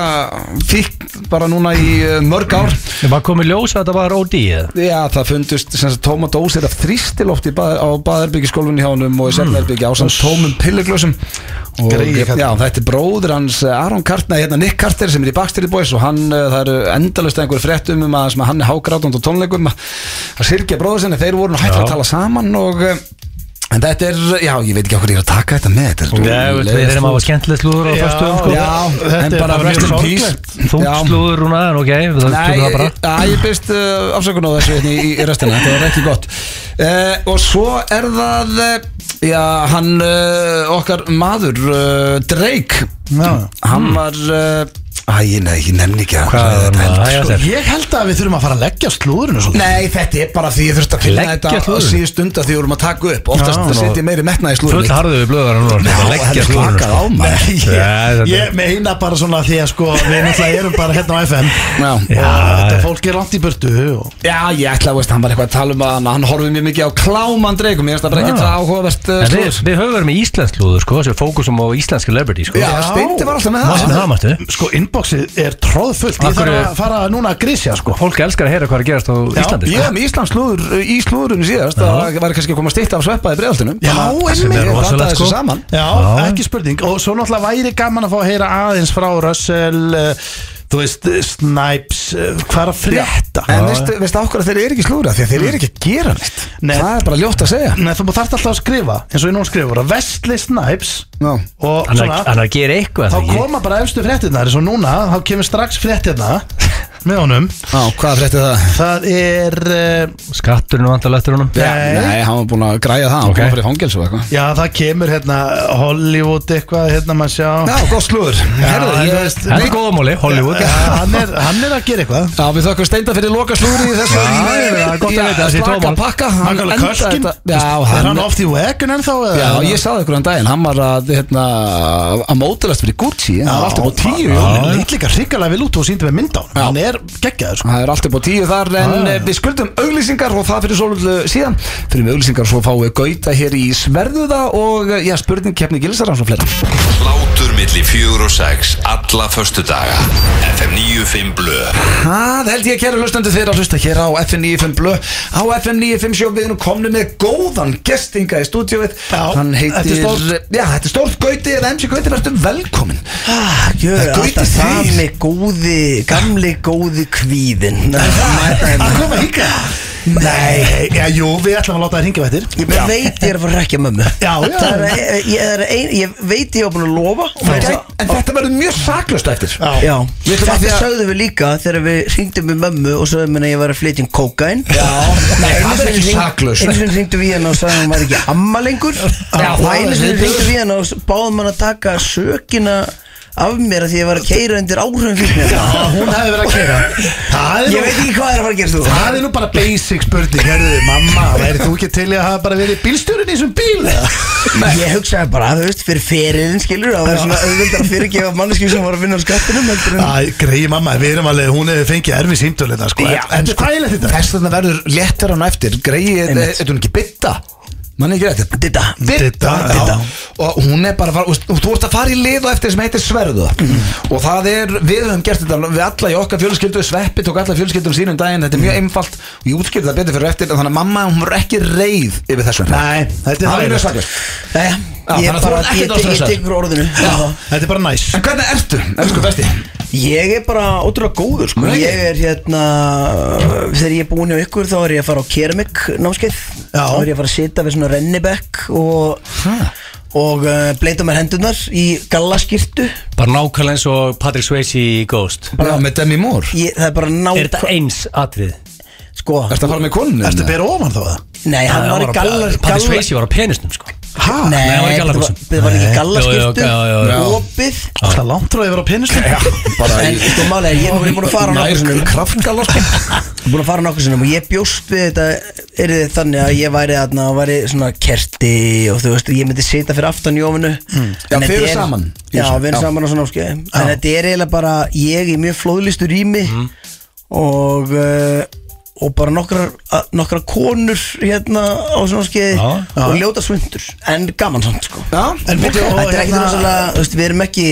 A: fíkn bara núna í uh, mörg ár.
C: Ég var komið ljós að þetta var OD eða?
A: Já, það fundust sem sagt tóma dósir af þrýstilofti bað, á baðherbyggiskólfunni hjá honum
C: Mm.
A: og í sérlerbyggi á samt tómum pilleglösum og
B: Greyið kallinn.
A: já, þetta er bróður hans eh, Aron Kartner, hérna Nick Carter sem er í Backstreet Boys og hann, eh, það eru endalust einhver fréttum um að, sem að hann er hágrátund og tónleikum að að syrkja bróður sinni, þeir voru nú hægt
C: Já.
A: að tala saman og eh, en þetta er, já, ég veit ekki okkur ég er að taka þetta með þetta
C: Já,
A: er-
C: við erum að hafa skemmtileg slúður á
B: Já.
C: föstum sko
A: Já,
B: Þetta
A: en
B: er
A: bara
B: bara
A: rest in
B: mjög
A: peace
C: Þungt
A: Já.
C: slúður rúna, en ok, við það
A: Nei,
C: tökum það bara
A: ég, ja, ég byrst uh, afsökun á þessu hérna í, í restina, þetta var ekki gott uh, Og svo er það, uh, já, hann, uh, okkar maður, uh, Drake
B: Já.
A: Hann var, uh, æ, ég, nei, ég nenni ekki að
C: Hmm. Hvað
A: ræða þetta
C: var maður?
A: heldur,
C: Æ,
A: sko.
C: já,
B: Ég held að við þurfum að fara að leggja slúðurinn og svona
A: Nei, þetta er bara því ég þurfti að finna
C: Leggja
A: þetta á
C: slúðrinu.
A: síðu stund að því við vorum að taka upp Oftast
B: Já,
A: já, setja ég meiri metna í slúðurinn
C: Full harðu við blöðar
A: Já,
C: núna sko,
A: hann
C: leggja
A: er
C: slúðurinn,
A: klakað á
C: sko.
A: maður
B: Ég,
C: Já, þetta-
B: ég meina bara svona því að sko við náttúrulega erum bara hérna á FM
A: Já.
B: og þetta fólk er langt í burtu og
A: Já, ég ætla að veist, hann var eitthvað að tala um að hann, hann horfið mjög mikið á kláman Drake og mér finnst það bara ekki
C: Já.
A: það áhugavert uh,
C: En
A: slúður
C: við, við höfum verið með íslensk slúður sko, sem við fókusum á íslensk celebrity sko
A: Já, Steindi var alltaf með það.
C: Varstu með það, Martu?
B: Sko inboxið er tróðfullt
C: Af
B: Ég
C: hverju-
B: þarf að fara núna að grísja sko
C: Fólk elskar að heyra hvað er að gerast á Íslandi sko.
A: Ég hef með Íslands slúður í slúðurinn síðast Það væri kannski að koma að stýtta af sveppa í bregðaltunum
B: Já, einmitt.
A: Ég
C: Rosalegt,
A: rataði
C: sko.
A: þessu saman
B: Já,
C: Já.
B: ekki spurning Og svo náttúrulega væri gaman að fá að heyra aðeins frá Russell uh, Þú veist, eh, Snipes uh, Hvað er að frétta?
A: En veistu, veistu ákvæmlega þeir eru ekki slúðra Því að þeir eru ekki að gera neitt
B: Nei.
A: Það er bara ljótt að segja
B: Nei, þú þarft alltaf að skrifa Eins og ég núna skrifa bara Wesley Snipes
A: Já.
C: Hann er
B: Og
C: hann er
B: svona
C: að gera eitthvað
B: Þá
C: það ekki?
B: koma bara efstu fréttirnar Eins og núna, þá kemur strax fréttirna Með honum
A: Á, hvað frétti það?
B: Það er uh,
C: Skatturinn vantar eftir honum
B: Nei.
A: Nei, hann var búin að græja það Hann
C: Ok.
A: okay. kom fyrir fangelsu og eitthvað
B: Já, það kemur hérna Hollywood eitthvað Hérna maður sjá
A: Já, gott slúður Herðu,
B: en þú
A: ég
B: veist-
A: veist
C: Það er góðamóli, Hollywood
B: Já, hann, er, hann er að gera eitthvað
A: Já, við þökkum steinda fyrir loka slúður í þessu
C: Já, já, gott að vita, það sé
A: Slaka
C: tómál.
A: pakka
B: Hann kallar
A: endaði
B: Kölkin
A: þetta- Já,
B: Er
A: hann
B: hann oft í vegun ennþá?
A: Já, ég sagði ykkur um daginn, hann var að, hérna, að mótilast fyrir Gucci, hann var alltaf á tíu í
B: já,
A: jólin.
B: Lít líka hrikalega vel út og síndi með mynd á honum.
A: Já.
B: Hann er er geggjaður sko.
A: Það er allt upp á tíu þar en eh,
B: Já, já, já.
A: við skuldum auglýsingar og það fyrir svolítið síðan fyrir með auglýsingar svo fáum við gauta hér í Sverðuða og eh, já, spurning keppni gilsarans og fleira
E: Hlátur milli fjögur og sex Alla förstu daga FM 95 Blö
A: Það held ég að kæra hlustandi þeirra að hlusta hér á FM 95 Blö á FM 95 sjó við erum komni með góðan gestinga í stúdíóið
B: Já,
A: hann heitir,
B: þetta er stórt.
A: já, þetta er stórt gauti eða MC gauti, verður velkomin
F: Ah, Gjör
A: Það er gautið
F: alltaf
A: þrír.
F: sami góði, gamli góði kvíðin
B: Að koma hingað Nei, já, jú, við ætlum að láta það hingja vættir
F: Ég bara veit ég er að fara að rekja mömmu
B: Já, já.
F: Það er, ég, ég, er ein, ég veit ég er búin að lofa og maður
A: en,
F: sá-
A: en þetta verður mjög saklust eftir
B: Já.
F: Já,
A: Ég ætlum að því
F: þetta
A: að-
F: sögðum við líka þegar við hringdum við mömmu og sögðum henni að ég var að flytja um kókain Já,
A: Nei, það er ekki saklaust.
F: Einu sinni hringdum við henni og sagðum hún var ekki amma lengur
A: Já,
F: og
A: það er
F: einu sinni
A: viðbjóður.
F: hringdum við henni og s- báðum hann að taka sökina af mér að því ég var að keira undir áhrifum fyrir
B: Já, hún hefði verið að kera Það er
F: Ég
B: nú-
F: veit ekki hvað er að fara að gerast þú
B: Það er nú bara basic spurning, herðu, mamma, væri þú ekki til í að hafa bara verið bílstjórinn í þessum bíl? eða?
F: Ég hugsaði bara, þú veist, fyrir ferilinn skilur Það var svona auðvitað að fyrirgefa manneskjum sem var að vinna á skattinum heldur en
B: Æ, greiði mamma, við erum alveg, hún hefði fengið erfi símtölina, sko,
A: Já,
B: en hvað er þetta?
A: Þess vegna verður léttir hann eftir Greið,
F: Einmitt.
A: er hún ekki bytta? Mann ekki rétt
F: Ditta
B: Didda,
A: Didda.
B: já.
A: og hún er bara að fara, og þú- þú ert að fara í lið og eftir sem heitir Sverðu
B: Mhm.
A: og það er, við höfum gert þetta við alla í okkar fjölskyldu, Sveppi tók alla fjölskyldum sínum daginn, þetta er
B: Mhm.
A: mjög einfalt og ég útskýrði það betur fyrir eftir, en þannig að mamma hún er ekki reið yfir þessu
B: Nei, þetta
A: það
B: er
A: er
B: þægilegt.
A: mjög slaglust
F: Jæja,
A: þannig
F: ég
A: að þú
F: bara,
A: ert ekkert á
F: ég tek- ég
A: stressaður.
F: tek fyrir orðinu
B: Þetta er bara næs
A: En hvernig ertu, elsku besti?
F: Ég er bara ótrúlega góður sko.
A: Nei.
F: Ég er hérna Þegar ég er búin hjá ykkur þá er ég að fara á keramik námskeið
B: Já.
F: Þá er ég að fara að sita við svona rennibekk og, og uh, bleita mér hendurnar í gallaskirtu
C: Bara nákvæmlega eins og Patrick Swayze í Ghost
A: Já, með Demi Moore
F: ég, Það er bara
C: Er þetta
F: nákvæm
C: eins atrið?
F: Sko,
A: Ertu að fara með konunni?
B: Ertu að bera ofan þá það?
F: nei, hann var í gallar
C: Patrick Swayze var á penisnum sko
B: Hæ?
F: Nei,
C: Nei, hann var í
F: þetta var-
C: gallabuxum.
F: þetta var ekki
C: Nei.
F: gallaskirtu
C: Jú, jú, já, já, já.
F: Opið
B: Það er langt frá að ég vera á penistum
A: bara
F: En
A: í
F: sko málega, ég er búin að fara á nokkur sinnum
A: kraftgalla sko.
F: Ég er búin að fara á nokkur sinnum og ég bjóst við þetta Er þið þannig að ég væri þarna og væri svona kerti og þú veist Ég myndi sita fyrir aftan í ofinu
C: Hmm.
A: Já,
F: En
A: þið
F: þetta
A: eru
F: er-
A: saman í
F: Já,
A: þessu.
F: við
A: Já.
F: erum saman á svona áskei En þetta er eiginlega bara ég í mjög flóðlistu rými
C: Hmm.
F: Og uh, og bara nokkrar, nokkrar konur hérna á svona skeið
C: Já, já.
F: og ljóta svundur en gaman samt sko
A: Já,
B: En byrju, og
F: Þetta er ekkert
B: hérna
F: rosalega, þú veist, við erum ekki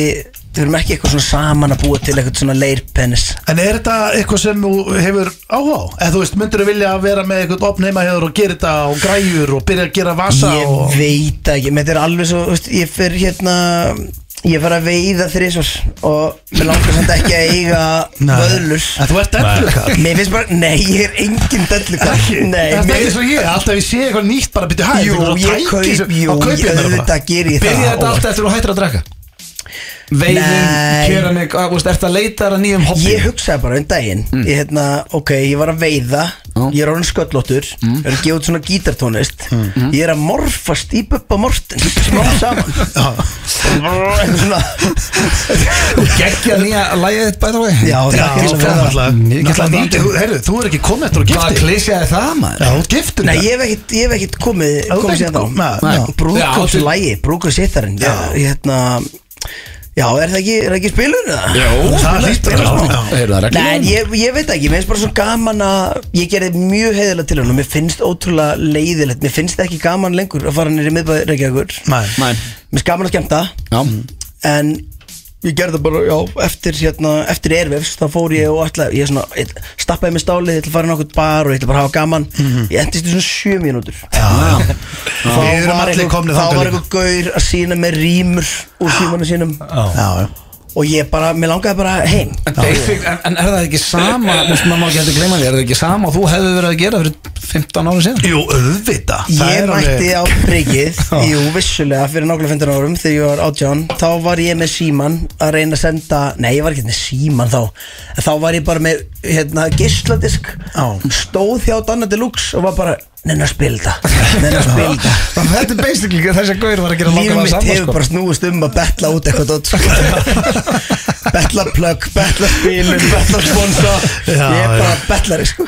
F: Við erum ekki eitthvað svona saman að búa til eitthvað svona leirpennis
B: En er þetta eitthvað sem þú hefur áhuga á? Eða þú veist, myndur þú vilja vera með eitthvað opn heima hefur og gera þetta og græjur og byrja að gera vasa
F: Ég
B: og...
F: veit ekki, menn þetta er alveg svo, þú veist, ég fer hérna Ég fer að veiða þrísvars og mér langar samt ekki að eiga vöðlur
B: En þú ert eftirlega
F: Mér finnst bara, nei, ég er engin dellukall Nei,
B: Þetta er
F: mér-
B: eins og ég, alltaf ég sé eitthvað nýtt bara byrja hæ
F: Jú,
B: þetta er
F: ég
B: eitthvað tæki
F: kaup,
B: sem-
F: jú,
B: þá kaupi ég mér
F: auðvitað
B: bara.
F: ger ég það
A: Byrja þetta
F: og-
A: allt eftir að hættir að drekka Veiðin,
F: Nei.
A: keramik, á, þú veist, ertu að leita að nýjum hobby?
F: Ég hugsaði bara um daginn ég, hérna, Ok, ég var að veiða Ég er orðin sköllóttur mm. Er að gefa út svona gítartónlist Ég er að morfast í Bubba Mortens Smá saman Eitthvað svona.
A: Gekkja nýja lagið þitt bæða vegi
F: Já,
B: Já,
F: takk
B: þú
F: fyrir
B: er
F: það.
B: alltaf
A: Mikið
B: Náttúrulega
A: landi.
B: nýtt- þú- heyrðu, Þú er ekki komið eftir og
A: Hvað
B: giftir
A: klísjaði það maður?
B: Já, þú ert giftur
F: Nei, ég hef ekkit, ég hef ekkit komið,
B: þú
F: komið hérna.
B: ert
F: síðan
B: ekki- Nei, nei.
F: þá Brúðkópslægi, brúðkópsittarinn Já, hérna Já, er það ekki, er það ekki spilun? Já,
B: Það hlýttur að
A: Já,
B: spila.
A: heyrðu, það er
F: Nei, en
A: reglan.
F: ég, ég veit ekki, mér finnst bara svo gaman að Ég gerði mjög heiðilega til hann og mér finnst ótrúlega leiðilegt Mér finnst ekki gaman lengur að fara nýri miðbæði Reykjavíkur Mér
B: Nei.
F: finnst gaman að skemmta
A: Já,
F: En ég gerði það bara, já, eftir, hérna, eftir erfis Þá fór ég og ætla, ég svona ég Stappaði með stálið, ég ætla að fara í nokkuð bar Og ég ætla bara að hafa gaman Ég endist í svona sjö mínútur Þá
B: Mhm. Við erum
F: var
B: allir
F: einhver-
B: komnir
F: Þá
B: þangað
F: var
B: líka.
F: eitthvað gaur að sína með rýmur Úr símanu sínum
B: Já, já.
F: Og ég bara, mér langaði bara heim
A: en, basic, en, en er það ekki sama þú veist, maður má ekki hægt að gleyma því, er það ekki sama og þú hefði verið að gera fyrir 15 árið síðan?
B: Jú, auðvita
F: Ég mætti á breykið Jú, vissulega, fyrir nákvæmlega 15 árum Þegar ég var átján Þá var ég með síman að reyna að senda Nei, ég var ekki með síman þá En Þá var ég bara með hérna, gisladisk
B: Já.
F: Stóð hjá Donna Deluxe Og var bara, neina að spila þetta Neina að spila þetta
A: sko. Þetta er basically ekki þess að gaur var að gera
F: sko. Líf
A: nákvæmlega
F: mitt
A: sama,
F: hefur
A: sko.
F: bara snúist um að betla út eitthvað dót, sko. Betla plögg, betla spilum, betla sponsa
B: Já,
F: Ég er bara
B: já.
F: betlari sko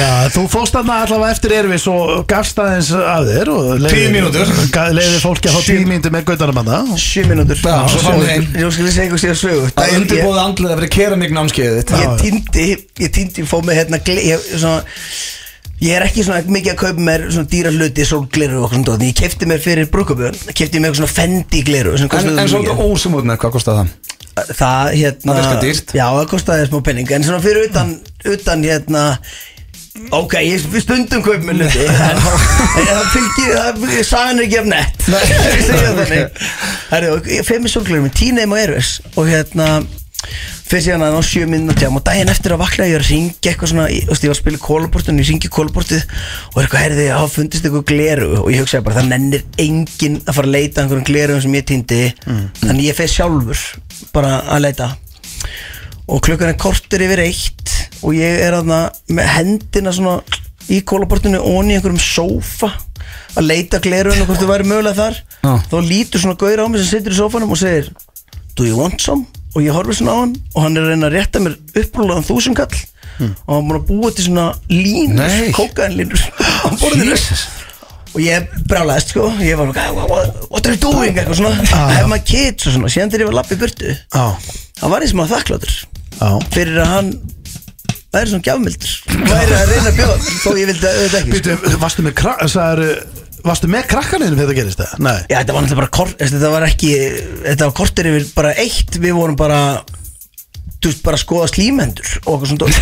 B: Já, þú fórst þarna allavega eftir Erfis og gafst aðeins að þér og leyfði-
A: Tíu mínútur.
B: ga- Leyfði fólki að fá tíu mínútur með gautanum að það
F: 7 mínútur
A: Já, svo fáum við heim.
F: Ég skal segja ykkur síðan
A: Það
F: sögu
A: er
F: Daginn- ég-
A: undirbúið andlega að vera keramík námskeiðið þitt
F: ég týndi ég týndi fóð með hérna gle- ég, svona, ég er ekki svona mikið að kaupa mér svona dýra hluti sólgleru og okkur svona dót, en ég kefti mér fyrir brúkabjörn kefti mér eitthvað svona fendi gleru sem
A: En,
F: kostaði
A: en
F: mikið.
A: svolítið ósumúð með hvað kostar það?
F: það hérna
A: Það virkar dýrt.
F: já það kostaði smá penning en svona fyrir utan, utan hérna ok, ég stundum kaup með hluti en en það fylgir það- sagan er ekki af nett ég segja þannig Herri, og ég fer með sólglerum, tíneim og erfis og hérna fyrir síðan að ná sjö minn og tjáum og daginn eftir að vakna ég er að ringja eitthvað svona í- þú veist, ég var að spila kólabortun, ég ringi kólabortið og er eitthvað herði, þá fundist eitthvað gleru og ég hugsaði bara, það nennir enginn að fara að leita að einhverjum glerum sem ég týndi þannig ég fer sjálfur bara að leita og klukkan er kortur yfir eitt og ég er aðna með hendina svona í kólabortinu onni í einhverjum sófa að leita glerun og hvort þú væri mögulega þar þá lítur svona gaur á mig sem situr í sófanum og segir do you want some? og ég horfi svona á hann og hann er að reyna að rétta mér upprúlaðan þúsumkall og hann er búin að búa til svona línur,
A: Nei.
F: kókaðanlínur á borðinu og ég brálaðist sko ég var svona, "What- what are you doing? eitthvað svona, I have my kids og svona síðan þegar ég var lappið burtu
B: Já,
F: hann var eins og maður þakkláttur
B: Já.
F: fyrir að hann væri svona gjafmildur væri að reyna að bjóða mér, þó ég vildi auðvitað ekki sko.
B: Býtu, varstu með, kra sagður, varstu með krakkaninum þegar það gerist það? Nei
F: já, þetta var náttúrulega bara kort þetta var ekki, þetta var kortir yfir bara eitt við vorum bara þú veist, bara að skoða slímendur og okkur svona dót.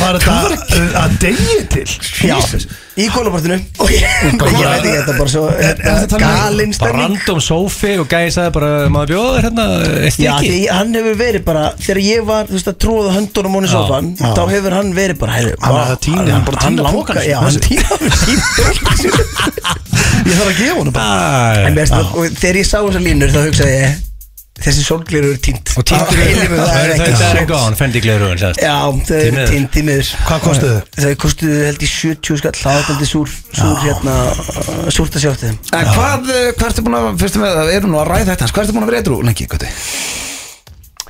B: Var þetta að degi til?
F: já,
B: Jesus.
F: í kólabortinu og ég, ég veit ekki, þetta er bara svo hérna, galinn
C: Bara
F: stemning
C: random sófi og gæði sagði bara maður bjóður hérna eitt
F: Já,
C: ekki
F: því hann hefur verið bara Þegar ég var, þú veist, að tróða höndunum hún í
C: Já,
F: sofan
B: já.
F: Þá hefur hann verið bara heyrðu,
B: Hann
F: vá,
B: er að týna, hann bara týna
F: langar-
B: pokanum
F: Já,
B: sínum,
F: hann
B: þessi.
F: týna pokanum sínum.
B: Ég þarf að gefa honum bara
F: En
C: Æ,
F: mér finnst það- og Þegar ég sá þessar línur þá hugsaði ég Þessi sólgleru eru týnt
C: Og týndur
F: Á eilífu, Það er ekki
C: Það er
F: sjón
C: gone, fendi glerugun sérst
F: Já, þau
C: Því
F: eru
C: miður.
F: týnt í miður
B: Hvað kostuðu?
F: Þau kostuðu held í 70 skall Það er aldrei súr, súr hérna uh, Súrt að sjá til þeim
A: En hvað, eh, hvað ertu búin að, fyrstu með það, erum nú að ræða þetta hans, hvað ertu búin að vera eitthvað lengi, Gutti?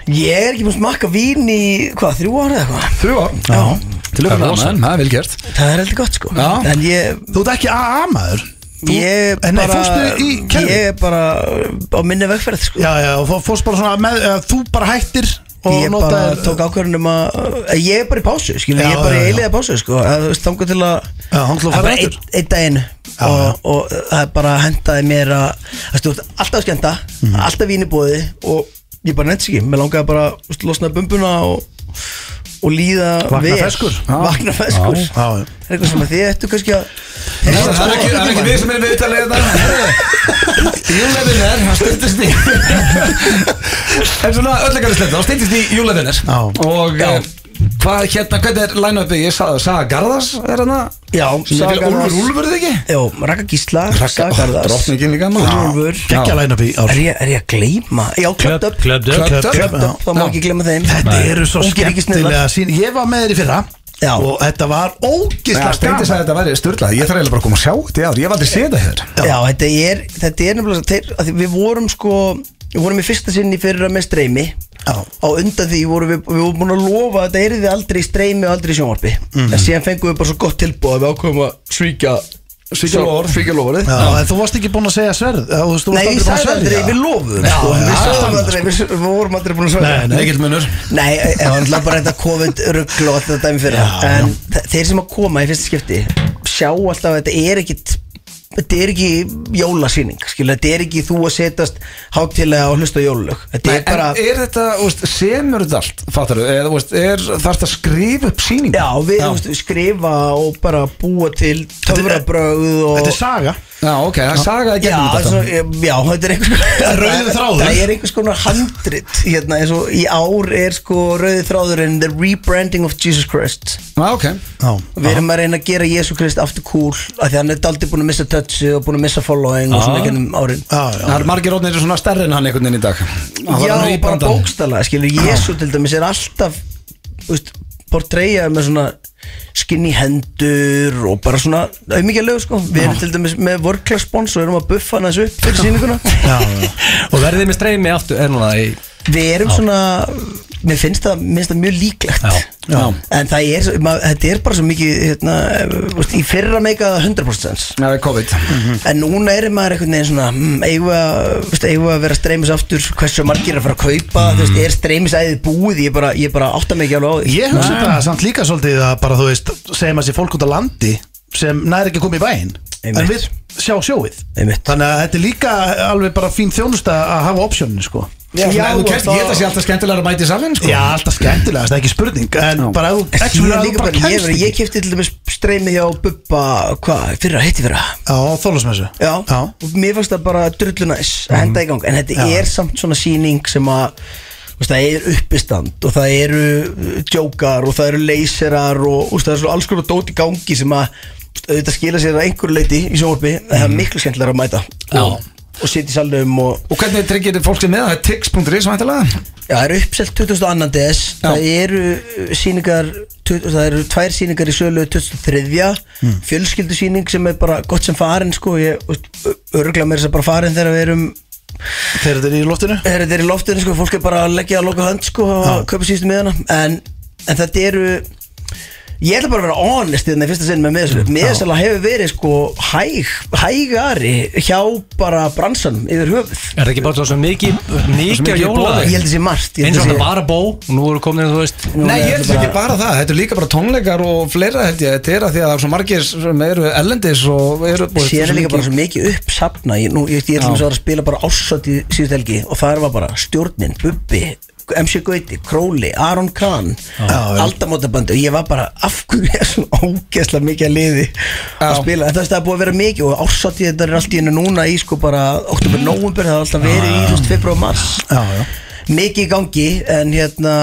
F: Ég er ekki búin að smakka vín í Hvað, þrjú ára eða hvað?
A: Þrjú ár? Já. Til
C: Það er
A: auðvitað
C: rosa.
A: maður, það er vel gert.
F: Það er heldur gott sko
A: Já.
F: En ég
B: Þú ert ekki AA maður
F: Ég
B: en nei,
F: bara
B: fórstu í kerfi?
F: Ég er bara á minni vegferð sko.
B: Já, já, og fó- fórst bara svona með eða Þú bara hættir og
F: Ég bara
B: notaðir
F: tók ákvörðunum að að Ég er bara í pásu skilur,
B: Já,
F: Ég er bara
B: já,
F: í
B: já.
F: eiliða pásu sko. að, þú veist, Þangar til að
B: Já, hann ætlaði að
F: að
B: fara
F: bara
B: aftur.
F: einn- Einn daginn
B: já.
F: og, og eh, það er bara hendaði mér að Það stúrt alltaf að skenda
B: Mhm.
F: Alltaf vínibóði Og ég bara nefnst ekki Mér langaði bara þú veist, losna bumbuna og, og líða
B: Vakna
F: vel.
B: ferskur. Já.
F: Vakna feskur
B: Já, já.
F: Það er eitthvað sem að þið ættu kannski að
A: Það er ekki, það er ekki við sem erum viðtalið þetta Júlefinir, það styrtist í En svona öllegarðislegt þá styrtist í júlefinir
B: Já.
A: Og eh, hvað hérna, hvernig er line-upið Ég sagði, Saga Garðars er hérna
F: Já,
A: Saga Garðars Úlfur, Úlfur þig ekki?
F: Jó, Raka Gísla, Raka Garðars
A: Drottningin líka maður
F: Úlfur
B: Gekkja
A: Já.
B: læna upp í ár
F: Er ég, er ég að gleyma? Já, Clubbed Up
C: Klöpt upp
A: Clubbed Up.
B: Clubbed Up.
F: Það má ekki gleyma þeim
B: Þetta eru svo
F: Ungir ekki snillar.
B: skemmtilega sín Ég var með þér í fyrra
F: Já.
B: Og þetta var ógislega
A: Já, Steindi sagði að þetta væri styrlað Ég þarf eiginlega bara að koma og sjá þetta í ár Ég hef aldrei séð þetta hér
F: Já, þetta er, þetta er nefnilega þeir, að því Við vorum sko Við vorum í fyrsta sinni fyrra með streymi
B: Já.
F: Á undan því vorum við, við vorum búin að lofa að Þetta erði aldrei í streymi og aldrei í sjónvarpi
B: Mhm.
F: En síðan fengum við bara svo gott tilbúð að Við ákveðum að svíkja Svíkja lofar Svíkja lofar
B: Já, en þú varst ekki búin að segja sverð eða þú veist, þú varst
F: Nei, ég
B: aldrei búin að
F: sagði aldrei,
B: sverja.
F: við lofum sko,
B: já,
F: Við sagðum
B: annað,
F: aldrei, við, við vorum aldrei búin að svæða
B: Nei, nei.
A: Ekkert munur
F: Nei, e, það var náttúrulega bara þetta COVID-ruggl og alltaf þetta dæmi fyrir
B: Já,
F: En þe- þeir sem að koma í fyrsta skipti sjá alltaf að þetta er ekkit þetta er ekki jólasýning skilja, þetta er ekki þú að setjast hátilega og hlusta á jólalög þetta
A: Nei,
F: er bara,
B: e-
A: En er þetta, úst, semur þetta allt, fattar þú Eða, úst, er þarft að skrifa upp síningu
F: já, við þú veist, skrifa og bara búa til töfrabröð og
B: Þetta er saga
A: Já, ok, það er saga að
F: Já,
A: gera þetta
F: svo, já, þetta er einhvers
B: Rauði þráður.
F: Það er einhvers konar handrit hérna, eins og í ár er sko rauði þráðurinn The Rebranding of Jesus Christ
A: Já, ok
B: Já,
F: Við erum að reyna að gera Jésu Krist aftur cool af því hann er aldrei búin að missa touchi og búin að missa following og svona
C: Ah.
F: ekki um árin
B: já, já
A: Það eru margir orðnir eru svona stærri en hann einhvern veginn í dag Hann var
F: Já,
A: að
F: bara
A: rebanda.
F: bókstala skilur, Jésu til dæmis er alltaf veist, portreyjað með svona skinny hendur og bara svona auðmíkjalegu sko Við erum til dæmis með work class spons og erum að buffa hann þessu upp fyrir sýninguna
B: Já, já
C: Og verðið með streymi aftur er núna í
F: Við erum svona mér finnst það, mér finnst það mjög líklegt
C: Já,
A: já.
F: En það er, svo- maður, þetta er bara svo mikið hérna, eh, veist, Í fyrra meika 100% sens
A: Það er COVID
F: En núna er maður einhvern veginn svona mm, eigum við að, veist, eigum við að vera streymis aftur Hversu margir er að fara að kaupa mm.
A: Mhm.
F: veist, Er streymisæðið búið? Ég bara, ég bara átta mig ekki alveg á því
B: Ég hugsa þetta samt líka svolítið að bara þú veist segjum að sé fólk út á landi sem næri ekki að koma í bæinn
F: Einmitt.
B: en við sjá sjóið
F: Einmitt.
B: þannig að þetta er líka alveg bara fín þjónusta að hafa optionin sko
A: Já,
F: Já,
A: þú kemst,
F: og
A: ég held að sé alltaf skemmtilega að mæti salin sko.
B: Já, alltaf skemmtilegast, það er ekki spurning en
A: Já.
B: bara þú
F: Ég,
B: actually
F: er
B: að
F: líka
B: þú bara
F: bara, ég,
B: kemst
F: var- ég
B: ekki
F: kefti til dæmis streymi hjá Bubba, hvað, fyrra, hitti fyrra
B: á þólasmessu
F: Já, Mhm. og mér fannst það bara drullu næs að henda í gang, en þetta
B: Já.
F: er samt svona síning sem að þú veist, það er uppistand og það eru uh, jókar og það eru leyserar og, og það er svona alls konar dót í gangi sem að þú veist, auðvitað skila sér að einhverju leiti í sjónvarpi, en það er miklu skemmtilega að mæta og, og sitja í salnum og
A: Og hvernig tryggir fólk sem með það? Tix.is væntalega
F: Já, það eru uppselt 22. DS Það eru uh, sýningar tu- Það eru tvær sýningar í sölu 23. Mm. Fjölskyldusýning sem er bara gott sem farin sko. Ég örgla mér þess að segja bara farin þegar við erum
B: þegar þetta er í loftinu
F: þegar þetta er í loftinu sko, fólk er bara að leggja að loka hönd sko, og köpa síðustu miðana en, en þetta eru ég ætla bara að vera honest í þarna í fyrsta sinn með miðasölu miðasöla hefur verið sko hæg, hægari hjá bara bransanum yfir höfuð
C: Er það ekki bara svo mikið mikið
A: mikið
C: að jóla
F: ég held að sé margt ég
C: eins og
F: held að
C: þetta
F: sé-
C: bara bó og nú eru komin þú veist
F: Nú
A: Nei,
F: er
A: ég
F: þetta
A: held ekki bara það, þetta er líka bara tónleikar og fleira held ég, þetta er að því að það er svo margir sem eru ellendis og eru og
F: Sér er líka
A: mikið-
F: bara svo mikið uppsapna Ég, nú, ég, ég ætlum að spila bara ársöld í síðust helgi Og það var bara stjórnin, Bubbi MC Gauti, Króli, Aron Kahn Aldamótabandi og ég var bara af hverju er svona ógeðslega mikið að liði að
A: Já.
F: spila, en það er búið að vera mikið og ársatið þetta er allt í hennu núna í sko bara oktober, november, það er alltaf verið í þú veist, februar, mars
B: Já, já.
F: mikið í gangi en hérna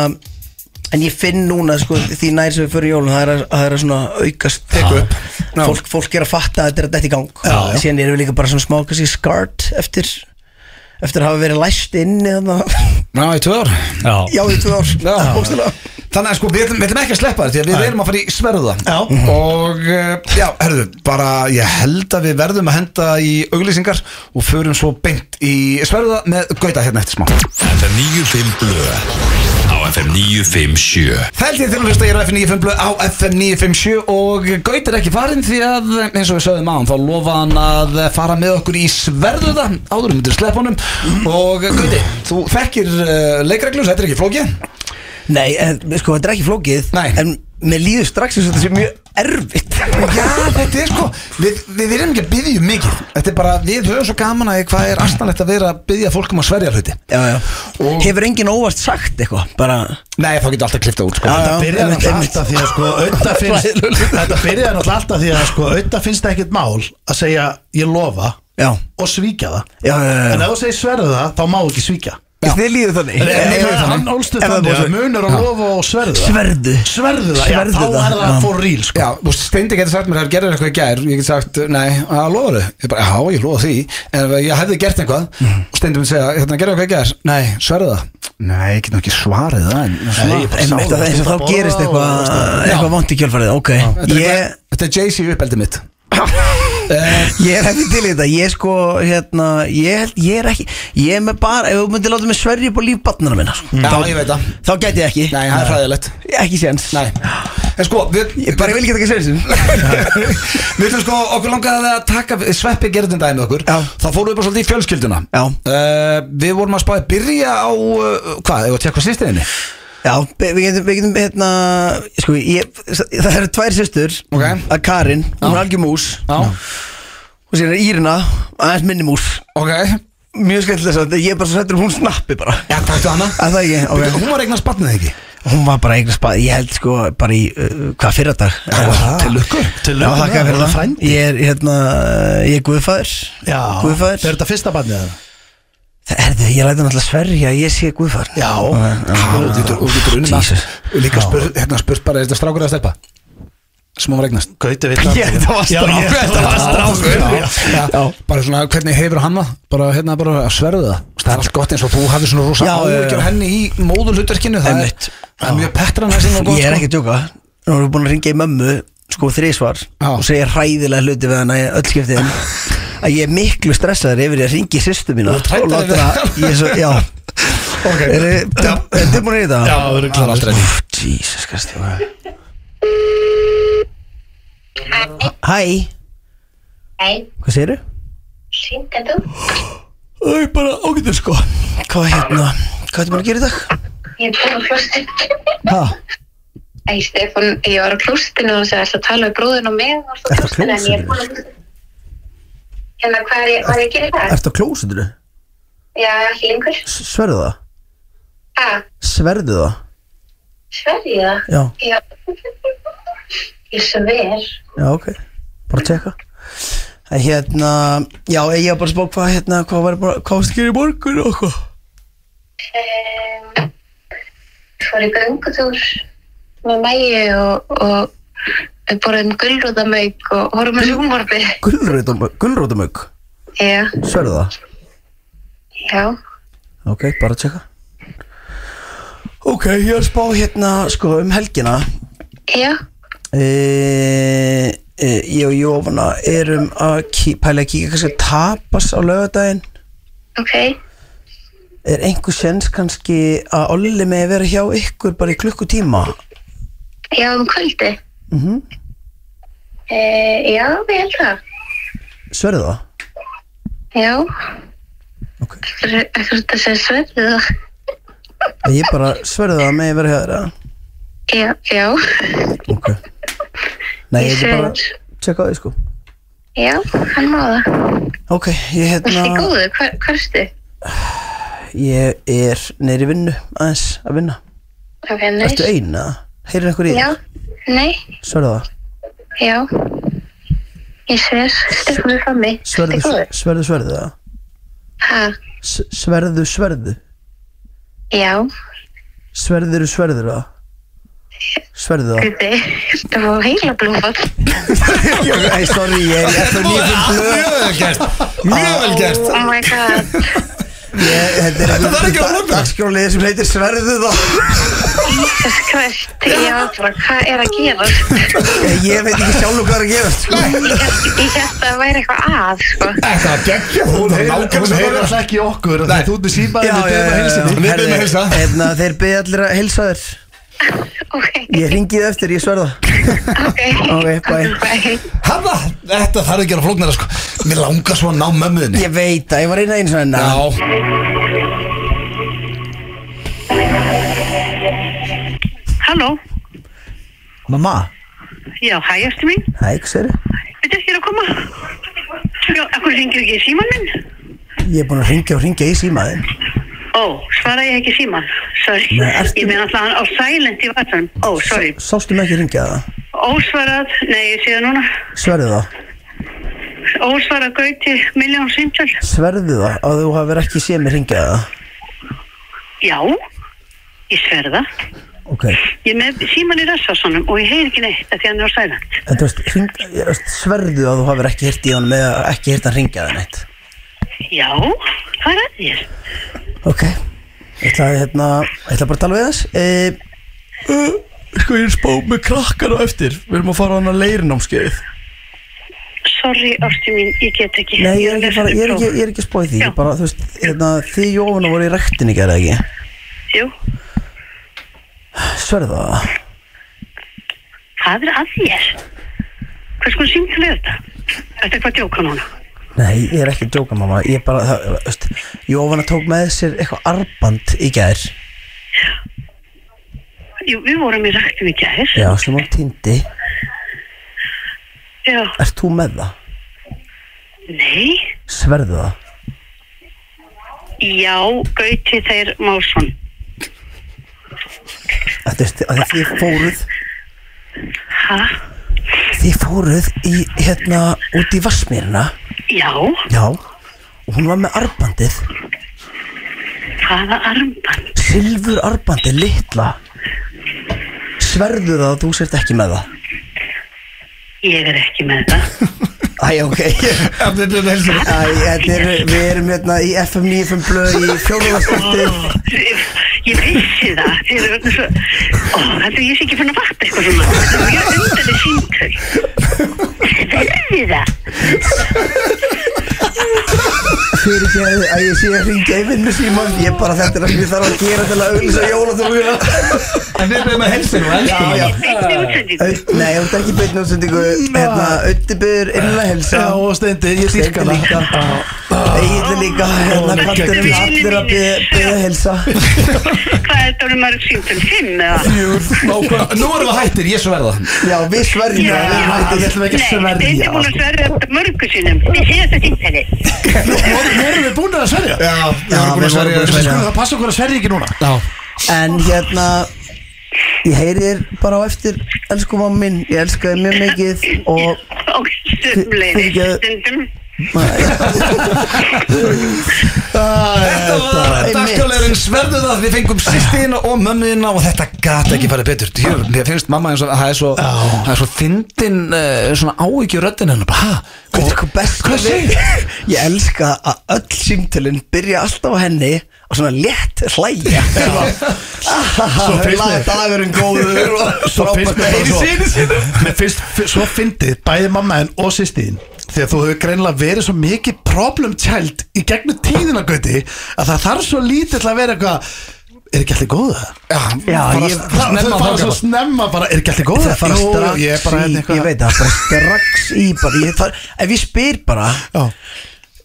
F: en ég finn núna sko því nær sem við fyrir jólun það er að, það er að svona aukast
C: Tekur upp.
F: fólk, fólk er að fatta að þetta er að þetta í gang
C: Já, já.
F: síðan erum við líka bara svona smá kannski skart eftir eftir að hafa verið læst inn eða
A: Já, í tvö ár
C: já,
F: já í tvö ár
A: Já.
F: bókstaflega.
A: Þannig að sko, við ætlum, við ætlum ekki að sleppa þetta því að við erum að fara í sverða
B: Já.
A: Og eh, já, herðu, bara ég held að við verðum að henda í auglýsingar og förum svo beint í sverða með gauta hérna eftir smá
E: FM 95 Blöð Á FM 957
A: Það held ég til að hlusta ég er á FM 95 blöð á FM 957 og Gaut er ekki farinn því að eins og við sögðum á hann þá lofa hann að fara með okkur í sverðuða áður um til sleppunum og Gauti, þú þekkir uh, leikreglur, þetta er ekki flóki
F: nei, en, sko þetta er ekki flókið
A: Nei.
F: en mér líður strax eins og þetta sé mjög erfitt
A: Já, þetta er sko, við, við erum ekki að byggja um mikið Þetta er bara, við höfum svo gaman að því hvað er astanlegt að vera að byggja fólk um að sverja hluti
F: já, já.
A: Og-
F: hefur enginn óvart sagt eitthvað bara
A: Nei, þá getur alltaf klifta út sko
F: Já, já.
B: Þetta byrjaði
F: einmitt,
B: náttúrulega
F: einmitt.
B: alltaf því að sko Ötta finnst Þetta byrjaði náttúrulega alltaf því að sko Ötta finnst það ekkert mál að segja ég lofa
F: já,
B: og svíkja það
F: já, já, já,
B: En
F: já.
B: ef þú segir sverðu það, þá má ekki svíkja
F: þið líður þannig
B: En
F: Já,
B: ef
F: já, já.
B: hann ólstu
F: Ef það
B: þannig
F: er
B: að
F: bara-
B: munur að lofa og sverðu það
F: Sverðu
B: Sverðu það, já,
F: Sverðu
B: þá
F: það,
B: er það
F: já.
B: for real sko
A: Já, þú veist, Steindi getur sagt mér að gerður eitthvað í gær Ég get sagt, nei, að lofa þau Ég bara, já, ég lofa því En ef ég hefði gert eitthvað Og Steindi mun segja, hérna, gerður eitthvað í gær Nei, sverðu það Nei, ég get nú ekki svarið það en,
B: Nei, ég bara sá
F: Einmitt,
B: það,
F: það er eins og
B: þú
F: þá
B: ert að
F: gerist
B: borða
F: eitthvað
B: og-
F: eitthvað vant í kjölfarið, ok
A: Þetta er,
F: ég,
A: eitthvað- þetta er Jay-Z uppeldið mitt Eh,
F: ég er ekki til í þetta ég sko, hérna ég, held- ég er ekki, ég er með bara ef þú myndir láta mig sverja upp á líf barnana minna sko.
A: Já,
F: þá,
A: ég veit það
F: þá gæti ég ekki
A: Nei, það er fræðilegt
F: ekki séns
A: Nei, en sko, við,
F: ég bara vil geta ekki séns
A: Við ætlum sko, okkur langaði að taka sveppi gerðin dæmi með okkur
F: Já.
A: Þá fórum við bara svolítið í fjölskylduna
F: Já.
A: Eh, Við vorum að spáði byrja á uh, Hvað, ég var að tjekka sýstiðinni
F: já, við getum, við getum hérna, sko, ég, það eru tvær systur
A: Ok.
F: að Karin, hún er algjör mús og sér er Írina, aðeins minni mús
A: Ok,
F: mjög skemmtilega samt, ég er bara svo hættur hún snappi bara
A: já, takk hana
F: að það ekki, ok
A: Bíddu, Hún var eignast barnið ekki
F: Hún var bara eignast bara, ég held sko bara í, uh, hvað fyrir dag
A: Já, Til lukku
B: Til
F: Já,
B: lögum
F: þakka
B: það, hún
F: fyrir
B: er
F: það
B: frændi
F: Ég er hérna, ég er guðfæður
B: Já,
F: Guðfæður
B: er þetta fyrsta barnið það?
F: Það er þið, ég læti hann alltaf sverja, að ég sé guðfæður Ah,
B: Já,
A: Þú getur- þú getur unnið með
F: Jesus.
A: allt. Líka spurt, hérna spurt bara, er þetta strákur eða stelpa? Sem hún var eignast
B: Gauti veit það.
F: Ég, þetta var
B: Já,
F: strákur,
B: ég-
F: þetta var strákur.
B: Já,
A: Já, já, bara svona, hvernig hefur hann það? Bara, hérna, bara að sverðu það Það er allt gott eins og þú hafið svona rosa
F: Já, já, já.
A: áhyggjur af henni í móðulhuturkinu Það er,
F: Einmitt.
A: það er mjög petran að sinna og gott
F: Ég er
A: sko.
F: ekki að djóka Nú erum við búin að ringja í mömmu, sko þrísvar
A: Já.
F: Og segja hræðilega hluti við hana í öll skiptiðin Að ég er miklu stressaður yfir ég að ringi sýstu mína
A: Þú ert hræddur
F: og láta
A: við-
F: hana- ég er svo- Já
B: Ok.
F: Er þið búin í þetta?
B: Já,
A: sko.
B: við erum klárir.
F: Úff, Oh, Jesus Kristi maður. Hæ,
G: Nei,
F: hvað segirðu?
G: syngda þú?
F: Það er bara ágættur sko Hvað hérna, hvað ertu búin að gera í dag?
G: Ég er búin á klústinu.
F: Ha,
G: Æ, Stefán, ég var á klústinu og sagði alltaf að tala við bróðin og mig og svo
F: Ertu á
G: klústinu, en ég er búin að... Hérna, hvað er ég, hvað er ég að gera í dag?
F: ertu á klósitinu?
G: Já, ekki lengur.
F: Sverðu það?
G: Ha,
F: Sverðu það?
G: sverði ég það?
F: Já,
G: Já. Ég sver.
F: já ok, bara að tjekka En Hérna, já ég var bara að spá hvað hérna, hvað var bara, hvað varstu að gera í morgun og hvað?
G: Um, fór í göngutúr með mæju og, og við borðum gulrúðamauk og horfum að sjúmvarpi.
F: Gulrótamögg, gulrótamögg,
G: Já,
F: sverðu það?
G: já.
F: Ok, bara að tjekka Ok, ég er að spá hérna, sko, um helgina
G: Já,
F: e, e, Ég og Jófana erum að kí, pæla að kíka kannski að tapas á laugardaginn
G: ok.
F: Er einhver sens kannski að Olli með vera hjá ykkur bara í klukkutíma?
G: Já, um kvöldi.
F: Mm
G: Uh, já, ég held það.
F: Sverðu það?
G: Já.
F: Ok.
G: Ekkert þetta sem sverðið það.
F: En Ég bara sverðu það með vera hjá þér eða?
G: Já, já.
F: Ok Nei,
G: Ég
F: ég er bara að
G: sver.
F: tjekka á því sko
G: Já, hann má það.
F: Ok, ég
G: Allt í
F: hérna
G: góðu, hvar, hvarstu?
F: Ég er neyri vinnu, aðeins að vinna
G: Ok, neis.
F: Ertu eina? Heyrir einhver í
G: Já,
F: þér?
G: nei,
F: Sverðu það?
G: já. Ég sver, stefnum við frammi. Allt
F: Sverðu,
G: í góðu.
F: sverðu, sverðu það?
G: Ha,
F: S- Sverðu, sverðu
G: já,
F: Sverður, sverður það? Sverðu það?
G: þetta þetta var heila blófall.
F: Nei, sorry, ég er eftir nýjum blöð
A: Mjög vel gert Mjög vel gert
G: Oh my god.
F: Ég- Þetta er
A: þarf ekki að vera opið.
F: Dagskjólið sem heitir Sverðu það
G: Jesus Christ, já, bara, hvað er að gera?
F: Ég ég veit ekki sjálf hvað er að gefast sko.
G: Ég hélt- ég hélt að það væri eitthvað að, sko.
A: Þetta var geggja Hún
B: heyrir-
A: nákvæmst
B: hún
A: að
B: heyrir
A: vera
B: alltaf ekki í okkur af því
A: Nei.
B: að Þú ert með símaðið Við beðum að hilsa
A: já.
B: þér
A: Við biðjum að heilsa.
F: Herði, hérna, Þeir beðið allir að hilsa þér
G: Ok,
F: Ég ringið eftir, ég sverða
G: ok.
F: Ok, bye.
G: Bye.
A: Hanna Þetta þarf ekki að flóknara sko Mér langar svo að ná mömmuðinni
F: Ég veit að ég var eina eins og hennar
A: Já
H: Halló,
F: Mamma,
H: já, hæ, ertu mín?
F: hæ, hvað sér
H: Veitu, ég er að koma. Já, akkur ringir ekki í síman minn?
F: Ég er búin að ringja og ringja í símaðin
H: Ó, svara ég ekki í síman. Sorry,
F: Nei, ertu-
H: ég meina alltaf á silent í vatnum. Ó, sorry.
F: Sástu mig ekki ringja það?
H: Ósvarað, nei, ég sé það núna.
F: Sverðu það?
H: Ósvarað gauti, miljón símtöl.
F: Sverðu það að þú hafur ekki séð mig ringja það?
H: Já, ég sverða.
F: Ok,
H: Ég er með síman í rassvarsanum og ég heyr ekki neitt af því hann er á silent.
F: en þú veist, hring, ég veist, sverðu að þú hafur ekki hirt í honum eða ekki hirt hann ringja það neitt
H: Já, hvað er að þér?
F: Ok, ég ætla, að, hérna, ég ætla bara að tala við þess e,
B: Sko ég er spá með krakkar og eftir Við erum að fara á hana leirinámskeið
H: Sorry, ástu mín, ég get ekki.
F: Nei, ég er ekki, bara, ég er ekki,
H: lesa
F: ég er ekki spóið því
H: Já.
F: Ég bara, þú veist, hérna, Þið Jófana voru í rektinni gerði ekki
H: próf. Jú,
F: Sverðu það?
H: Hvað er að þér? Hvers konar símtölu er þetta? Þetta er eitthvað að djóka núna.
F: Nei, ég er ekki að djóka mamma Ég bara, það, þú veist, Jófana tók með sér eitthvað arband í gær
H: Jú, við vorum í rættum í gæðir.
F: Já, sem hún týndi
H: Já.
F: Ert þú með það?
H: Nei.
F: Sverðu það?
H: Já, Gauti þeir Másson.
F: Þetta, þú veist, að Þið fóruð
H: Hæ?
F: Þið fóruð í, hérna, út í Vassmýrina
H: Já,
F: Já Og hún var með arbandið
H: hvaða armband?
F: Silfur arbandi, litla Sverðu það að þú sért ekki með það
H: Ég er ekki með þetta.
F: Æ, ok Æ, þetta er, við erum hérna í FM 95 blöð í fjórðarskvöldi
H: Ég- Ég vissi það. Þið eru svo... Ó, heldur ég sé ekki fann að fatta eitthvað svona. Þetta er mjög undanir símtöl. Þið það.
F: fyrir ekki að, að ég sé að ringja í vinnu síman Ég bara þetta er það sem ég þarf að gera til að auðvisa jólatónleika
A: En við byrjum að helsa þér og elskum
F: Já,
A: þig.
F: já
H: Beinni útsendingu
F: Au- Nei, þú ert ekki beinn útsendingu Hérna, Ötti byrður innlega helsa
B: Já, og steindi, ég dýrka
F: Steindi
B: það
F: líka Egil líka Hérna,
B: Ó,
F: hvað er
B: geggjað.
F: allir að byrða helsa
H: Hvað er þetta orðum maður síntum fimm eða?
A: Nákvæm- Nú erum við hættir, ég svo verða
F: Já, við sverjum
H: Já,
F: það, við
B: ætlum
F: hættum
B: ekki að sverja,
H: Nei, þetta er búin að sverja þetta mörgu sinnum Við séum þetta tímtæli
B: Nú erum við búin að sverja
A: Já, við
F: Já,
A: vorum búin að
F: við vorum búin
A: sverja
F: að
A: þessu.
F: sverja.
B: Skulum það passa okkur að sverja ekki núna
F: En hérna Ég heyri þér bara á eftir Elsku mamma minn, ég elska þér mjög mikið Og
G: Oh,
H: Og stumleiri
F: Fyrirgefðu.
H: Stundum
A: Þetta var
F: einmitt.
A: dagskjálegurinn sverðuð að við fengum sýstina og mömmuðina og þetta gat ekki farið betur Jö, Mér finnst mamma eins og það er svo það er svo fyndin uh, svona áhyggju röddin hennar bara, hæ,
F: Og hvað best
A: hvað segir
F: Ég elska að öll símtölinn byrja alltaf á henni og svona létt hlæja Svo
B: finnst
F: finnst
B: mér-
F: mér Dagurinn Ah, góður og
B: Svo finnst mér bara
F: degi.
B: svo Mér finnst f- svo fyndið bæði mamma en og sýstiðin Þegar þú hefur greinilega verið svo mikið problem child í gegnum tíðina gauti að það þarf svo lítið til að vera eitthvað Er ekki allir góða?
A: já,
F: Já,
A: fara
F: ég-
A: snemma
B: Það þau fara
A: þangað
B: svo
A: bara.
B: snemma bara, er ekki allir góða?
F: Það fara
B: Jú,
F: strax
B: ég er bara
F: í,
B: hérna eitthvað-
F: ég veit það, bara strax í bara, ég far, Ef ég spyr bara
B: Já.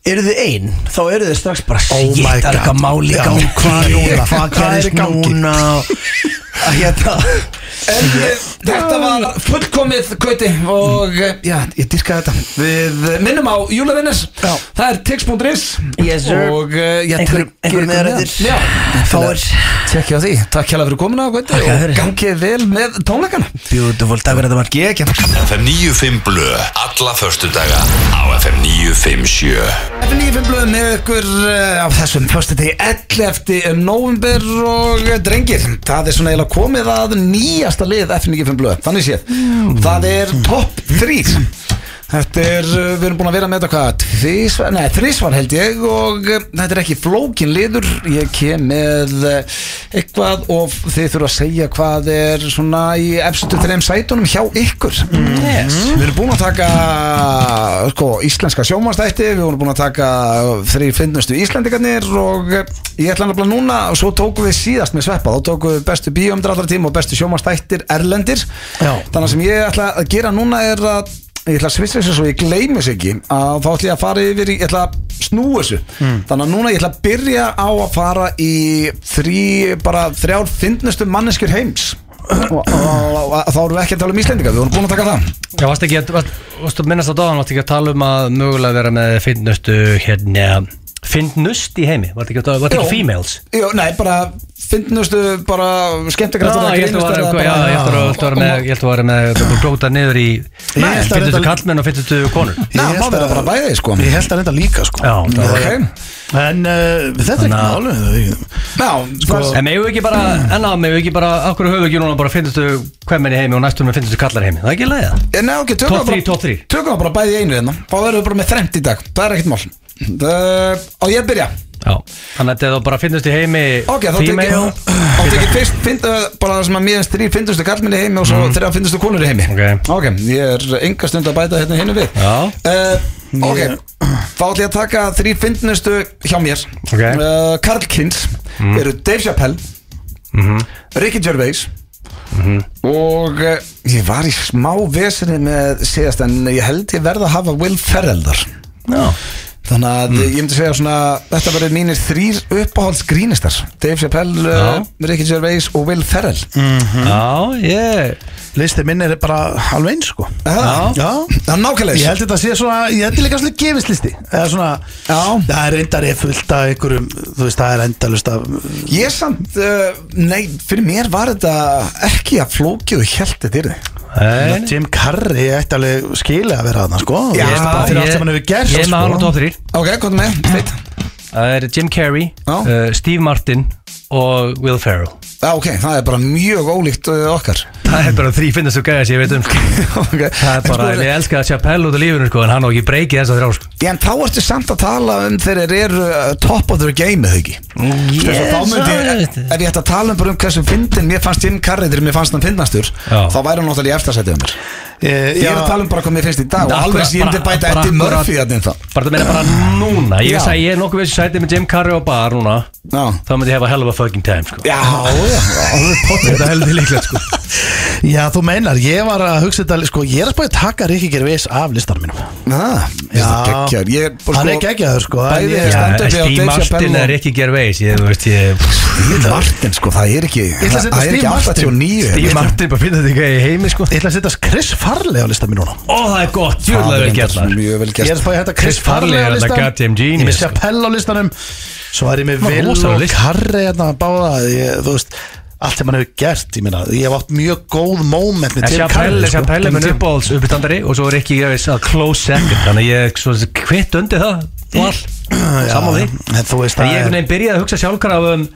F: Eru þið ein, þá eru þið strax bara
B: Oh
F: Shit,
B: my
F: það er
B: God.
F: eitthvað máli
B: Já.
F: gang Hvað
B: Hvað
F: núna, hvað
B: er í
F: gerist
B: gangi?
F: núna og- Að Hérna
A: En eh, þetta var fullkomið kvöti og eh, já, ég dyrka þetta Við eh, minnum á júlavinnis
F: Já.
A: Það er tix.is
F: Yes, sir.
A: og eh, ég
F: Einhver-
A: tryggi
F: einhver
A: ykkur
F: meðrættir.
A: meðan. Já,
F: Fáir.
A: Tjekkja á því, takk hjá fyrir komuna kvöti
F: Takk
A: og
F: fyrir.
A: gangið vel með tónleikana
F: Beautiful, takk fyrir þetta var
A: Gekja
E: FM 95 Blö Alla föstudaga á FM 957
A: Þetta nýjum blöð með ykkur eh, á þessum fyrstu degi 11. november eh, og eh, drengir, það er svona eiginlega komið að nýjasta lið F95 blöð, þannig séð, það er topp 3 Þetta er, eh, við erum búin að vera með þetta hvað, tvísvar, nei þrísvar held ég og eh, þetta er ekki flókin liður, ég kem með eh, eitthvað og þið þurfa að segja hvað er svona í efstu þreim sætunum hjá ykkur yes. Við erum búin að taka sko, íslenska sjómanstætti, við vorum búin að taka þrý finnustu íslendikarnir og eh, ég ætla nefnilega núna og svo tókum við síðast með sveppa, þá tókum við bestu bíómdrallartíma og bestu sjómanstættir erlendir
B: Já.
A: þannig að sem ég ætla að gera núna er að ég ætla að svissa þessu svo ég gleymi þessu ekki að þá ætla ég að fara yfir í, ég ætla að snúa þessu þannig að núna ég ætla að byrja á að fara í þrý, bara þrjár finnustu manneskjur heims og, og, og, og þá erum við ekki að tala um Íslendinga við vorum búin að taka það
C: Já, varst ekki að, varst, varst að minnast á dóðan, varst ekki að tala um að mögulega vera með finnustu, hérna, finnust í heimi, varst ekki að tala, varst
A: Jú.
C: ekki females?
A: Jó, nei, bara finnustu bara skemmtikraftur
C: Já, ég held að vera- já, ég held að vera með, ég held að vera með, að glóta niður í
B: Ég held að
C: finnustu
B: þetta-
C: kallmenn og finnustu konur.
A: Ná, má vera bara bæði, sko
B: Ég held að reynda líka sko
C: Já, það var-
A: Ok.
B: En uh, þetta er
C: Þannig
B: ekki málum
A: Já, sko
C: En megum við ekki bara, en á megum við ekki bara, okkur höfum við ekki núna bara finnustu hvemmin í heimi og næstum við finnustu kallar í heimi, það er ekki leiða.
A: Nei, Eh, ok, tökum
C: Topp
A: það bara-
C: þrír, topp þrír.
A: Tökum það bara bæði í einu hérna Þá verðum við bara með þremt í dag Það er ekkert mál Það- Á ég að byrja
C: Já, þannig að þetta er þá bara finnustu í heimi
A: Ok, þá tekið
C: female.
A: Þá tekið fyrst find, uh, bara það sem að mér finnst þrý finnustu kallminni heimi og svo mm. þrjá finnustu konur í heimi
C: Mhm. Ok.
A: Ok, ég er enga stund að bæta hérna hinu við
C: Já.
A: uh, Ok, þá ætlum ég að taka þrý finnustu hjá mér
C: Ok. Mhm.
A: uh, Karl Kins eru Dave Chappelle Ricky Gervais og uh, ég var í smá vesinni með síðast en ég held ég verða að hafa Will Ferrell þar
C: Já. Mm.
A: Þannig að eh, ég myndi segja svona Þetta verður mínir þrýr uppáhalds grínistar Dave Chappelle, uh, Ricky Gervais og Will Ferrell
C: Mm. Mhm. Já, ég,
B: Listi minn er bara alveg eins sko
A: Það
B: Já
A: það er nákvæmlega
B: Ég
A: þessu.
B: held þetta að sé svona, ég held þetta líka svona gefislisti Eða svona,
A: Já.
B: það er reyndar ég fullt af einhverjum, þú veist, það er endalust af
A: Ég samt, uh, nei, fyrir mér var þetta ekki að flókið og hjælt þetta yrði
C: Nei, nei.
B: Jim Carrey ætti alveg skilið að vera þarna, sko
A: Já,
B: Þú veist, bara fyrir allt sem hann hefur gert sko.
C: Ég er með hann sko. á top 3
A: Ok, hvað er með? Feitt
C: Það er Jim Carrey,
A: Já.
C: uh, Steve Martin og Will Ferrell
A: Já, ok, það er bara mjög ólíkt uh, okkar
C: Það er bara þrý finnast og gæða sem ég veit um sko.
A: Ok.
C: Það er
A: En
C: bara,
A: sko,
C: ég elska að Chappelle út af lífinu sko, en hann á ekki breykið þess að þrjá sko.
A: En þá ertu samt að tala um þegar þeir eru uh, top of their game eða ekki yes, þá myndi, ef ef ég ætti að tala um bara um hversu fyndin mér fannst Jim Carrey þegar mér fannst hann fyndnastur
C: Já.
A: þá væri hann náttúrulega í eftarsætið um mér
B: Ég
A: Ég er að tala um bara hvað mér finnst í dag og alveg sem ég myndi bæta Eddie Murphy þannig þá
C: Bara það meina bara núna Ég,
A: Já.
C: sagði, ég er nokkuð veist sætið með Jim Carrey og bar núna
A: Já,
C: Þá myndi ég hefa hell of a fucking time sko.
A: já, já, alveg potið
C: Þetta er heldur líklegt sko.
B: Já, þú meinar, ég var að hugsa þetta Sko, ég er að spáði taka Rikki Gervais af listanum mínum
A: Ah, Já, ég er bara
B: Hann er geggjaður, sko, en
A: Bæði
B: ég-
A: er
C: Já,
A: standup og
C: Steve
A: Dave
C: Martin
A: Chappelle
C: er ekki gerveis Ég veist ég
A: Steve Martin sko, það er ekki
B: ætla að
A: Það
B: setja
A: það er
B: Steve
A: ekki
B: Martin.
A: 89
C: Steve Martin bara finna þetta ekki í heimi sko.
B: Ég ætla að setja Chris Farley á listanum mínum
C: Ó það er gott,
A: Það
C: djúðlega
A: er
C: vel
A: reyndar
C: gert maður.
A: mjög vel
B: Ég er að
A: gert
B: spáði þetta Chris
C: Chris
B: Farley
C: Farley
B: á
C: er þetta
B: listanum
C: goddamn genius,
B: Ég er með
C: sko.
B: Chappelle á listanum Svo er ég með
C: Ná,
B: Will
C: rosalega
B: og
C: list.
B: Carrey hérna báða ég, Þú veist, allt sem hann hefur gert Ég meina, ég hef átt mjög góð moment með
C: En
B: Jim
C: Chappelle
B: Carrey, sko.
C: Chappelle er minn
B: Jim-
C: uppáhalds uppstandari og svo er ekki ég að close second þannig að ég svo hvitt undir það og all
B: Já,
C: saman því
B: en þú veist
C: En
B: að-
C: ég einhvern veginn byrjaði að hugsa sjálfkar af um,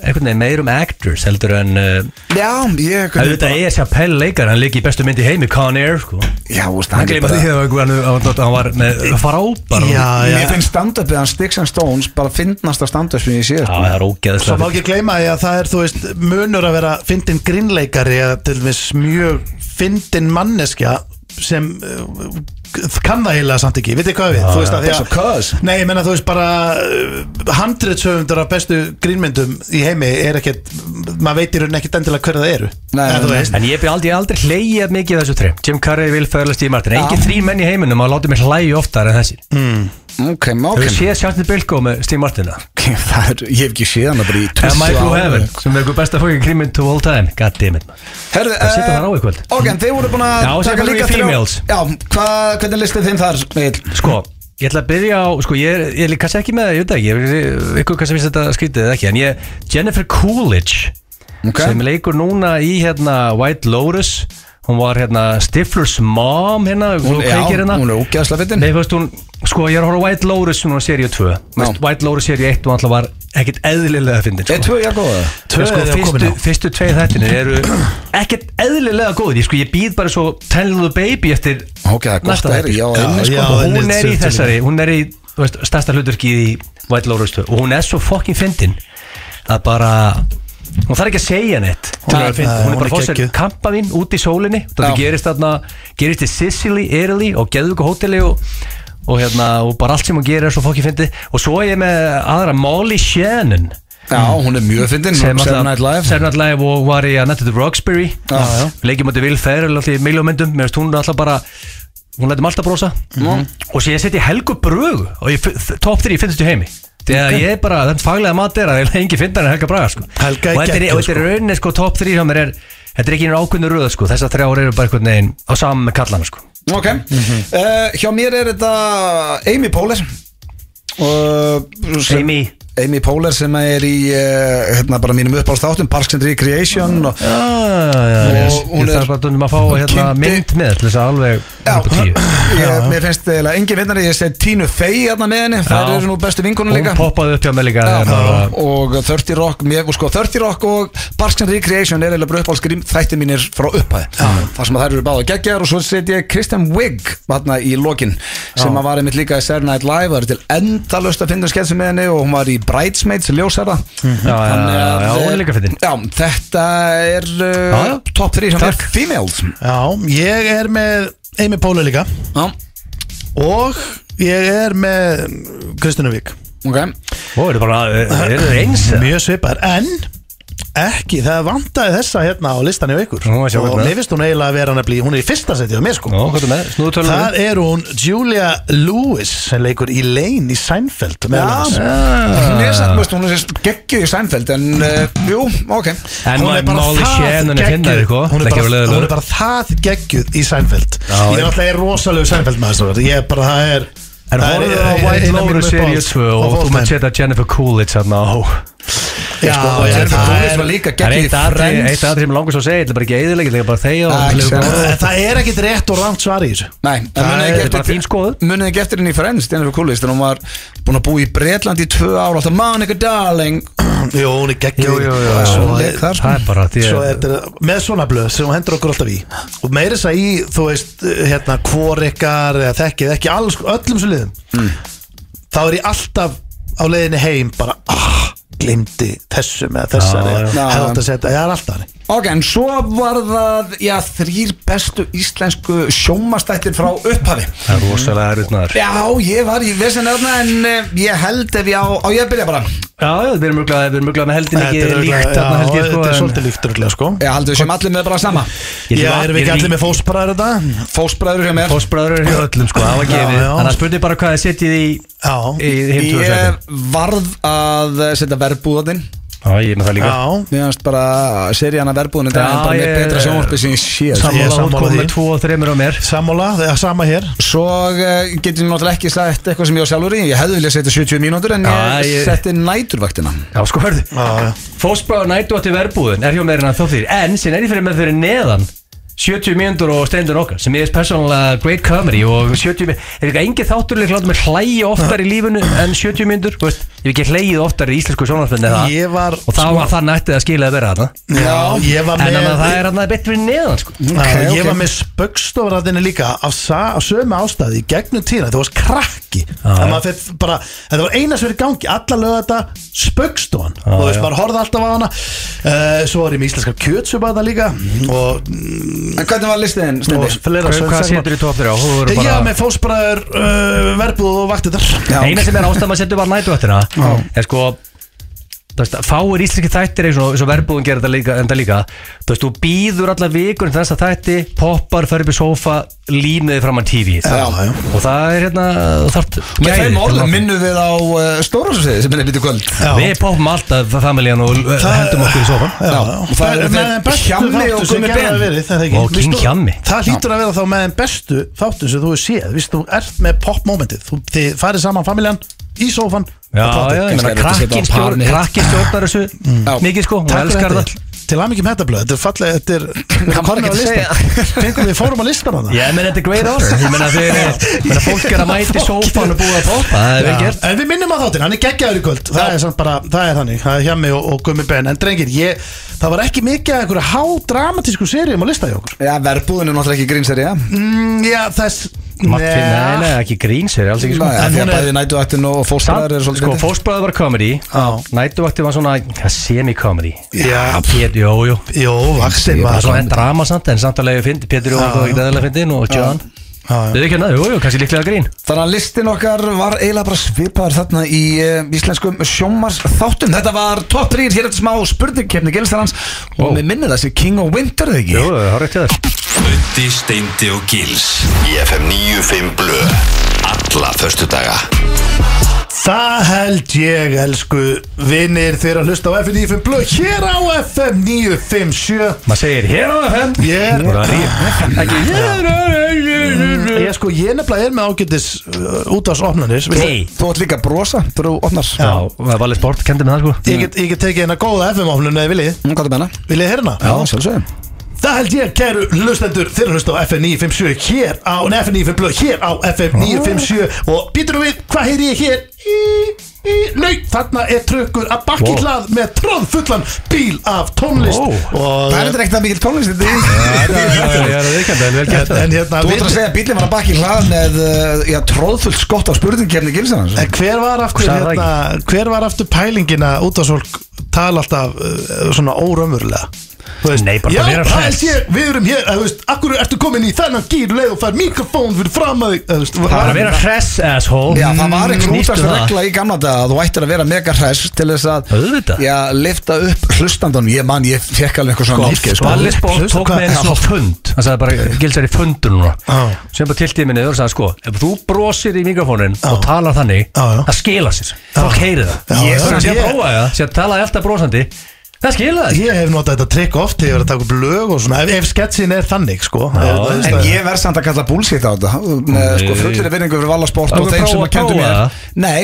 C: einhvern veginn meir um actors heldur en uh,
A: Já, ég
C: auðvitað er Chappelle leikar hann leik í bestu myndi heimi Con Air sko
A: Já, veist,
C: hann
A: hann er
C: gleyma því
A: bara
C: að hann, hann, hann var með frábær
B: Já, já
A: Mér finnst standupið hans Sticks and Stones bara fyndnasta standup sem ég sé
C: Já,
A: sko.
C: það er
B: Svo má
C: ógeðslega
B: ekki gleyma því að það er, þú veist, munur að vera fyndin grinnleikari eða til dæmis mjög fyndin manneskja sem uh, kann það heila samt ekki, veit þið hvað við
C: Ah,
B: þú veist að því
A: That's a cause.
B: Nei, ég menna þú veist bara handriðsöfundur af bestu grínmyndum í heimi er ekkert maður veitir hún ekkert endilega hverja það eru
A: Nei,
B: En
A: nei,
B: þú
A: nei.
B: veist,
C: En ég hef aldrei, aldrei hleyjað mikið af þessu trefn Jim Carrey, Will Ferrell, Steve Martin Engin þrý menn í heiminum að láta mig hlæja oftar en þessi Ah,
A: Ok, má
C: Hefur
A: ok.
C: séð Sjartin Bilko með Steve Martina?
A: Það er- Ég hef ekki séð hana bara í 20
C: Eða Michael
A: ár.
C: Heaven sem er einhver besta fókin krimmin to all time God damn it man.
A: Herðu, eh,
C: Það situr þar á í kvöld.
A: Ok, en þeir voru búin að
C: Já, og
A: taka
C: sérstaklega
A: líka
C: í females.
A: Já, hvað, hvernig listið þeim þar? Egill?
C: Sko, ég ætla að byrja á Sko, ég er, ég er kannski ekki með það, ég veit það ekki ég- Ykkur kannski finnst þetta skrítið eða ekki En ég, Jennifer Coolidge
A: Ok.
C: Sem leikur núna í hérna White Lotus Hún var hérna Stifler's mom hérna Hún
A: Já,
C: kveikir hérna
A: hún er ógæðslega fyndin
C: Nei, fyrst hún, sko, ég er að horfa á White Lotus núna seríu 2 Vist, White Lotus seríu 1 og alltaf var ekkit eðlilega fyndin sko.
A: Er tvö ég góða?
C: Tvö sko,
B: eða
C: fyrstu,
B: komin á?
C: fyrstu tveið þættinir eru ekkert eðlilega góðir Ég sko, ég býð bara svo Tiny Little Baby eftir
A: Ok, það er gott
C: næsta
A: að heyra,
C: þætti
A: já,
C: sko.
A: einnig
B: já,
A: sko
C: Og hún
B: einmitt,
C: er í
B: sem
C: þessari, hún er í þú veist, stærsta hluturki í White Lotus 2 og hún er svo fucking fyndin að bara hún þarf ekki að segja neitt hún
B: Nei,
C: er, fyndin,
B: nei,
C: hún er
B: hún er
C: bara fórsett
B: geggjuð.
C: kampa þín út í sólinni þetta gerist þarna, gerist í Sicily, Italy og Geðvik og Hóteli og og hérna, og bara allt sem hún gerir er svo fokkið fyndið og svo er ég með aðra Molly Shannon
A: Já,
C: Mm.
A: hún er mjög fyndin Seven Night Live
C: Saturday Night Live og var í að netta til Roxbury
A: Já, já.
C: leikjum átti Will Ferrell alltaf í miljómyndum mér finnst hún alltaf bara hún lætum alltaf brosa Mm-hmm. og svo ég setji Helgu Brögu og ég f- top 3 finnst þú heimi þegar ég er bara, þann faglega mat er að ég lengi finna henni Helga Braga sko.
B: Helga er
C: og þetta er,
B: geggjuð,
C: og þetta er rauninni sko, top 3 hjá mér er þetta er ekki einhver ákveðnu röð sko. þessar þrjár eru bara einhvern veginn á saman með kallana sko.
A: Ok, Eh, hjá mér er þetta Amy Poehler Og- sem-
C: Amy
A: Amy Poehler sem er í eh, hérna bara mínum uppáðstáttum Parks and Recreation og
C: ah,
A: Og
C: yes.
A: hún
C: ég
A: er-
C: þarf bara stundum að fá hérna,
A: kynnti-
C: mynd með til þess að alveg upp á tíu.
A: ég, mér finnst eiginlega engin vinnari ég segi Tínu Fey hérna með henni þær
C: Já.
A: eru nú bestu vinkunum
C: hún hérna
A: líka
C: poppaði upp hjá mig líka
A: Já,
C: þegar það var-
A: og 30 Rock mér, og sko, 30 Rock og Parks and Recreation er eiginlega bara uppáhaldsgrím þætti mínir frá upphæði þar sem að þær eru báða geggjar og svo set ég Kristen Wiig vatna í lokin sem að var einmitt líka í Saturday Night Live það er til endalust að finna sketsum með henni og hún var í Bridesmaids ljósara
C: Mhm. Já, já,
A: Þannig
C: já,
A: að-
C: já, hún er líka fyndin
A: já, þetta er
C: Já,
A: uh,
C: já.
A: top 3 sem
C: Takk.
A: er females
B: Já, ég er með Amy Póla líka
A: já,
B: og ég er með Kristinu Vík
A: ok
C: Ó, eru bara, eru þeir eins? eða?
B: Mjög svipar, en ekki, það vantaði þessa hérna á listan hjá ykkur
C: Nú, að sjá
B: og
C: hvernig.
B: mér finnst hún eiginlega að vera hann að bli hún er í fyrsta setið á mér sko
C: Já, hvað er með? Snúðu tölum
B: Það er hún Julia Lewis sem leikur Elaine í Seinfeld meðal annars.
C: Ah.
A: Hún er satt, veist, hún er geggjuð í Sænfeld En, uh, jú, ok
C: En
B: Hún er bara
C: Máli
B: það
C: Shannon er finnar,
B: geggjuð.
C: sko
B: Hún er
C: Ekki
B: bara-
C: verið
B: hún er
C: leðilegur
B: bara það geggjuð í Seinfeld Ég er
C: ég-
B: alltaf rosalegu Seinfeld maður strákar. Ég er bara, það er
C: En
B: það er-
C: horfðu á
B: er- er-
C: White
B: einn af mínum
C: Lotus seríu
B: uppáhalds-
C: 2 og
B: of all
C: þú maður
B: time.
C: setja Jennifer Coolidge þarna á
B: Já,
A: Og
B: ég-
A: Jennifer
B: það
A: Coolidge
B: er
A: var líka
C: Það er
A: geggjuð í
C: eitt aðri, eitt
A: Friends
C: aðri sem langar svo að segja, þetta er bara ekki eðilegir, þetta er bara þegja
A: Ah,
C: og
A: ekki
B: En Það er ekkit rétt og rámt svar í þessu
A: Nei, en
C: Það
A: munið
C: er
A: ekki
C: bara
A: eftir-
C: þín skoðun.
A: Munið ekki eftir henni í Friends, Jennifer Coolidge Þegar hún var búin að búa í Bretland í tvö ára Alltaf Monica Darling
B: Jú, hún er geggjuð
C: Jú, jú, jú,
B: Og
C: jú.
B: svo
A: Hún
B: er-
A: leik þar, sko.
C: Það er bara, því að-
B: Svo er þetta með svona blöð sem hún hendur okkur alltaf í og meira þess að í, þú veist, hérna hvor ykkar eða þekkið ekki Mm. alls, öllum svo liðum þá er ég alltaf á leiðinni heim bara, ah, glimti þessu með þessari
C: Já, já.
B: hefði átt að setja, já, það er alltaf þannig
A: Ok, en svo var það, já, þrýr bestu íslensku sjómastættir frá upphafi
C: Það er rosalega erfitt maður Já,
A: Já, ég var í vissin öfna en eh, ég held ef ég á, á ég að byrja bara
C: já, við erum mjöglega, við erum mjöglega með heldin
B: Þetta
C: ekki
B: er örugglega-
C: líkt þarna
B: já,
C: held ég sko
B: Þetta er
C: en-
B: svolítið líkt röglega sko
A: Já, haldið við sem allir með bara sama
C: Ég ætla
B: Já,
C: að-
B: erum við
C: ég
B: ekki
C: er í-
B: allir með fósbræður þetta?
A: Fósbræður hjá mér
C: Fósbræður eru hjá öllum sko, það var
B: Já,
C: gefið
B: já.
C: Þannig að spurði bara hvað þið setjið í
B: Já,
C: í heimtúðarsæti
A: Ég varð að eh, setja verbúðatinn
C: Já, ég er með það líka
B: já,
A: Mér finnst bara seríana verbúðin
C: Já,
A: Þetta er bara með
C: ég-
A: betra sjónvarpi sem ég sé sko.
B: Ég er
C: Sammála
B: sammála
C: útkomið
B: því.
C: með tvo og þreymur á mér
B: sammála, það er sama hér
A: Svo eh, getur ég náttúrulega ekki sagt eitthvað sem ég á sjálfur í Ég hefði viljað setja 70 mínútur en ég
C: Já, ég-
A: setti næturvaktina
C: Já, sko, hörðu
B: Já, já.
C: Fósbráður nættu átti verðbúðin er hjá meira en þá þýr En sín er ég fyrir með fyrir neðan 70 mínútur og steindur okkar sem ég er persónulega great comedy og 70 mínútur er eitthvað engin þátturleik látum við hlæja oftar í lífinu en 70 mínútur þú veist, ég hef ekki hlægið oftar í íslensku sjónarfinni það
B: Ég var
C: og þá var það nættið að skila að vera þarna
B: Já, ég var
C: en
B: með
C: annað það er hann að betri neðan sko.
B: Já, Eh, ég var með spöggstofræðinni líka af, sa, af sömu ástæði í gegnum tína það varst krakki
C: já.
B: ah, bara, þetta var eina sem er í gangi alla lögða þetta spöggstofan ah, og þú veist,
C: já.
B: maður horfði alltaf á hana uh, svo var ég með íslenska kjötsubaða líka og,
A: En hvernig var listiðin?
B: og
A: Steindi?
B: fleira
C: Hvað- hvað setur í topp þér á?
B: Bara... Já, með fósbræður, uh, verbúð og vaktitar
A: Já,
C: eina sem er ástæðum að setja bara nætu eftir það er sko þú veist, fáir íslenski þættir eins og, eins og verðbúðin gerir þetta líka, enda líka þú veist, þú býður alla vikur þess að þætti poppar, fer upp í sófa límiði fram að tífi
B: Já, já.
C: og það er hérna þart,
A: Með þeim orðum minnum við á uh, Stórásfriði sem er býtið kvöld
B: Já.
C: við poppum alltaf familjan og eh,
B: Það-
C: hendum okkur í sófan
B: Já,
A: Já,
B: og
A: það
B: það
A: eru
B: er
A: þeir
B: með þeim bestu
A: Hjammi og
B: þáttu sem
A: Gummi
B: gerða
A: Ben.
B: verið það er ekki
C: Og
B: Víst
C: King
B: þú-
C: Hjammi.
B: Það hlýtur að vera þá með þeim bestu þáttu sem þú hefur séð Vist, þú ert með popmomentið þú, Þið farið saman familjan í sófan
C: já,
B: og platið.
C: já, ég meina
A: Kannski er þetta að setja á
C: krakkin stjórn
A: parnet.
C: krakkin stjórnar þessu mikið sko, hún
B: Mm. Takk
C: elskar
B: fyrir
C: það
B: þetta. Til aðmyggjum hættablöð, þetta er fallega Þetta er, við
A: Hann var
B: komum
A: ekki
B: á
A: að
B: listan Fengum við fórum á listan hana
C: ég meina þetta er great honor ég meina þeir ég meina, fólk er að mæti sófan og búið að poppa það er vel
B: Já,
C: gert
B: En við minnum á þáttinn, hann er geggjaður í kvöld Það er samt bara, það er þannig, það er hjá mig og, og gummi ben En drengir, ég, það var ekki mikið að einhverju hádramatísku seriðum á lista hjá okkur
A: Já, verbúðin er náttúrulega ekki grínseri, já
B: mm, Já, þess
C: Matti, nei, nei, ekki gríns er alls ekki sko
A: Nei, af
B: En
A: því
B: hún
A: að
B: er-
A: bæði nætuvættin og fólkstæðar er svolítið
C: sko,
A: skrítið.
C: fósbræður var comedy
B: Já.
C: nætuvakti var svona ja, semi-comedy
B: Já,
C: Pétur, jú, jú
B: Jó, vaksinn
C: það var
B: var
C: svona enn drama samt en samt alveg fyndi Pétur Jóhann og ekki aðeins fyndin og John
B: Já, já.
C: við ekki hérna, jú, jú, kannski líklega grín
A: Þannig að listin okkar var eiginlega bara svipaður þarna í uh, íslenskum sjómars þáttum Þetta var top 3 hér eftir smá spurningkefni Gilsarans og mér minnir það sé King of Winter eða ekki
C: það er rétt hjá þér
E: Ötti, Steindi og Gils Í FM 95 Blö Alla föstudaga
B: Það held ég, elsku vinnir þeirra að hlusta á FM 95 blöð hér á FM 957
C: maður segir, hér á FM
B: Ég-
C: Og það er ekki hér á FM
B: Ég sko, ég nefnilega er með ágætis uh, útafsopnanir
C: Nei.
A: Þú átt líka að brosa þegar þú opnar
C: já, það var alveg sport, kendi með það sko
B: Ég get, ég get tekið hérna góða FM-opnun eða viljið,
A: Hún gott að menna
B: viljið hérna
A: Já, sjálfsögum
B: Það held ég, kæru hlustendur, þeirra hlusta á FM 957 hér á, nei FM 95 blöð, hér á FM 957 og býtur við, hvað heyri ég hér? Í, í, nei, þarna er trökkur að bakki
C: Wow.
B: hlað með tróðfullan bíl af tónlist
C: Wow.
B: og,
A: Það er þetta ekkert að mikil tónlist þetta í
C: ég er að viðkjönda, en vel gert
B: en
C: það
B: hérna,
A: Þú ætlar að
B: við,
A: segja að bílinn var að bakki hlað með eh, já, tróðfullt skott á spurningkefni Gilsarans
B: en hver var aftur
C: Sagði það
B: hérna, hver var aftur pælingina út af svolg tala alltaf uh, svona órömmurlega
C: Nei, bara
B: Já,
C: það vera
B: það held
C: hress
B: ég, við erum hér, að þú veist, akkur ertu komin í þennan gýr leið og fær mikrofón fyrir fram að þig, að þú veist,
C: Bara vera hress, asshole
A: Já, það var einhver
C: Mm, Nýttu
A: útast
C: það.
A: regla í gamla dag að þú ættir að vera mega hress til þess að
C: Auðvitað.
A: Já, lifta upp hlustandunum Ég man, ég fekk alveg eitthvað svona námskeið, sko.
C: Valli Sport
B: Hlusta
C: tók
B: hvað-
C: með eins og fund hann sagði bara, Gils er í fundur núna
B: Já.
C: sem bara tiltið minni og sagði sko ef þú brosir í mikrofónin og talar þannig
B: Já, já.
C: það skila sér, fólk heyri það
B: Já, já.
C: ég sem sé að
B: Ég-
C: prófa það, sé að tala alltaf brosandi það skila það
B: Ég hef notað þetta trikk oft þegar ég var að taka upp lög og svona Ef, ef sketsin er þannig sko
C: Já,
B: Ef-
C: en
B: þú veist
A: En
B: það-
A: ég verð samt að kalla búlsitt á þetta með sko fullir vinningu fyrir valasport
C: Það
A: og
C: er
A: þeim sem
C: prófa-
A: að kendu
C: prófa
A: mér
C: það.
A: Nei,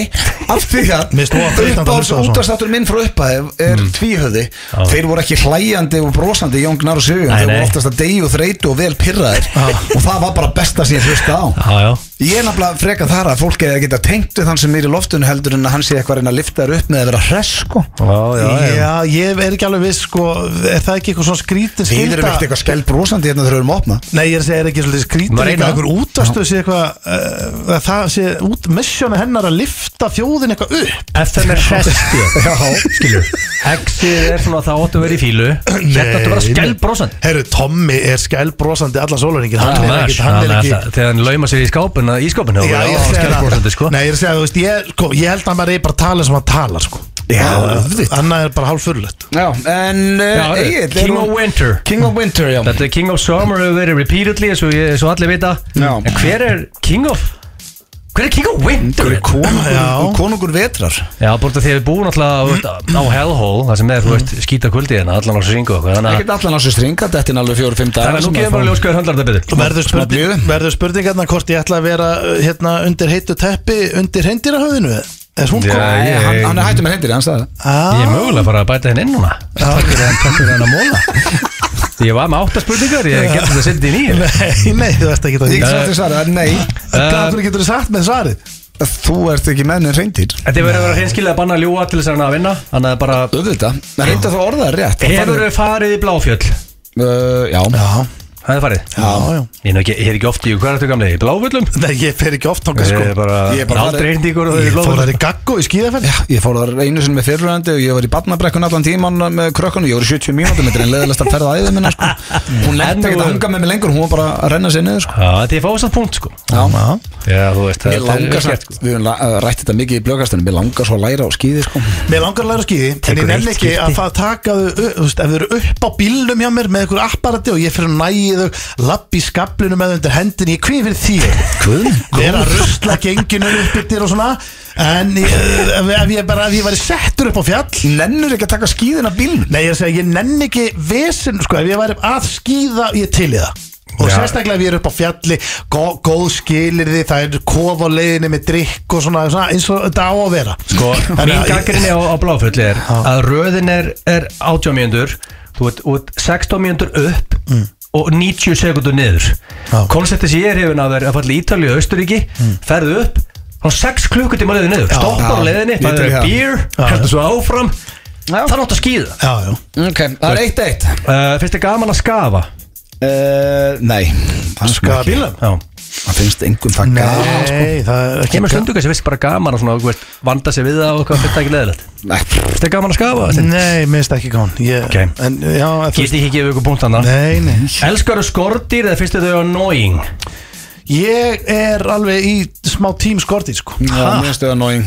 A: af því að
B: Mér finnst þú að þreytandi að
A: uppáðs
B: hlusta á svona. Mm.
A: útastáttur minn frá upphæð er tvíhöði Þeir voru ekki hlæjandi og brosandi Jón Gnar og Sigur
C: Nei,
A: Þeir voru
C: nei.
A: oftast að deyju og þreytu og vel pirraðir og það var bara besta sem ég hlusta á
C: já, já
A: Ég er nefnilega freka þar að fólk eða geta tengt við þann sem er í loftun heldur en að hann sé eitthvað að reyna að lifta þær upp með að vera hress sko
C: Já, já, já
B: Já, ég er ekki alveg viss sko, er það ekki eitthvað svona skrítin
A: Við erum
B: skylda?
A: ekkert eitthvað skell brosandi hérna þegar við erum að opna
B: Nei, ég er að segja, er ekki svolítið skrítin
C: Maður reyna.
B: eitthvað einhver útastöð sé eitthvað uh, að það sé út, missjónu hennar að lifta þjóðin eitthvað upp
C: FM er hestið Skilur Exið er svona að það óttu að vera í fílu Þetta áttu að vera skælbrósand
B: Herru, Tommy er skælbrósandi allan sólaringin Hann er ekkit, hann er ekkit
C: Þegar hann lauma sér í skápun Í skápun
B: Já, ég er að segja það.
C: Skælbrósandi sko
B: Nei, ég er að segja það, þú veist, ég, sko, ég held að hann er bara að tala sem hann talar, sko
A: Já,
B: Annað er bara hálf fyrirlegt
A: Já, en
C: Já,
A: uh, Egil
C: King of Winter
A: King of Winter, já
C: Þetta er King of Summer hefur verið repeatedly eins og, ég, eins og allir vita
A: Já.
C: En hver er King of Hver er King of Winter?
B: Já.
A: Konungur, konungur vetrar
C: Já, bara því að við búum alltaf veist, á Hellhole Það sem er, þú veist, skýta kuldi hérna Allan á svo syngu okkur Þannig að
A: Ekkert allan á svo stringa, þetta er alveg fjóru-fimm dagar
C: Þannig að nú
A: sem
C: kemur bara
A: fá-
C: ljóskaður höndlar þetta betur
B: Verður spurning, verður spurning hérna hvort ég ætla að vera uh, hérna undir heitu teppi undir hendýrahöfðinu Er hún góð?
A: Nei,
C: Ég-
A: Eh, hann, hann er hættur með hendir, hann sagði það
C: Ég er
B: Ah,
C: mögulega bara að bæta henni inn núna Takk fyrir hann, takk fyrir hann að móla Ég var með átta spurningar, ég getur þetta sendið í nýju
B: Nei, nei, þú veist ekki það
A: Ég sagði þess að, nei,
B: Hvað getur þú sagt með svarið?
A: þú ert ekki menn en reyndir
C: Þetta er verið að vera hreinskilega að banna ljúa til þess að hann að vinna Þannig að bara
A: Öðvitað, en reynda þá orðað rétt Það
C: Hefur
A: farið-
C: þau farið í bláfjöll?
A: Uh, Já,
C: Það er farið
B: Já, já
C: Ég er nú ekki, ég er ekki oft í, hvað er þetta gamlega, í bláfjöllum?
B: Nei, ég fer ekki oft þangað,
C: Ég
B: sko
C: er bara,
A: Ég er bara
C: aldrei
A: farið-
C: einn díkur og þau
B: Ég
C: eru í
B: fór þær
C: bláfjöllum
B: í gaggo í skíðafell
A: Ég fór þar einu sinni með fyrirrandi og ég var í badnabrekkun allan tíman með krökkunum, ég voru í 70 mínútum, þetta er einn leðilegst að ferða æðið minna sko. Hún lefði ekkert að hanga með mig lengur, hún var bara að renna sér niður sko.
C: Já, þetta er fásamt punkt sko
A: Já,
C: Já, þú veist,
A: Mér langar
C: er
A: samt, við höfum la- uh, rætt þetta mikið í blögastunum, mér langar svo að læra á skýði sko.
B: Mér langar að læra að skýði En ég
C: Tekur eitt
B: nefn ekki að það taka þau ö- Þú veist, ef þau eru upp á bílnum hjá mér Með einhver apparati og ég fyrir að næja þau Lapp í skablinu með þau undir hendin Ég kvið fyrir því Hvað? Vera að rusla genginu upp yttir og svona En ég, ef, ef ég bara Ef ég væri settur upp á fjall
A: Nennur ekki að taka skýðin af bílnum?
B: Nei, ég er að segja, ég nenn ekki vesen Sko, ef ég væri að skýða, ég til í það Og
C: Já.
B: sérstaklega ef ég er upp á fjalli gó, Góð skilirði, það er kof á leiðinni Með drikk og svona, svona eins og þetta á að vera
C: Sko,
B: Þannig að
C: mín
B: ég-
C: gaggrinni á, á bláfjöll er að röðin er, er 80 mínútur þú ert, ert 16 mínútur upp
A: Mm.
C: og 90 sekundur niður
B: Já.
C: konceptið sem ég er hefur að vera að falla í Ítalíu og Austuríki, ferðu upp þá 6 klukkutíma á leiðinni niður stoppar á
A: Mm. Já.
C: leiðinni,
A: Ég
C: það
A: tek
C: er
A: það.
C: beer
B: Já.
C: heldur svo áfram
A: Já.
C: það er átt að skýða
B: Já, já
A: Ok, það er eitt eitt
C: uh, finnst þið gaman að skafa
A: uh, Nei, það
B: Skaða bílum
C: Já.
A: það finnst engum það gaman sko.
B: Nei, það er ekki
C: kemur stundu sem finnst bara gaman að svona, þú veist, vanda sig við það og hvað finnst það ekki leiðilegt
A: Nei,
C: finnst þið gaman að skafa? Steinn?
B: Nei, minnst ekki gán ég,
C: Ok.
B: En já, en þú
C: Ég get ekki gefið ykkur punkt andan
B: Nei, nei
C: Elskar þú skortýr eða finnst þið þau annoying?
B: Ég er alveg í smá tím skortið sko
A: já, mér finnst það annoying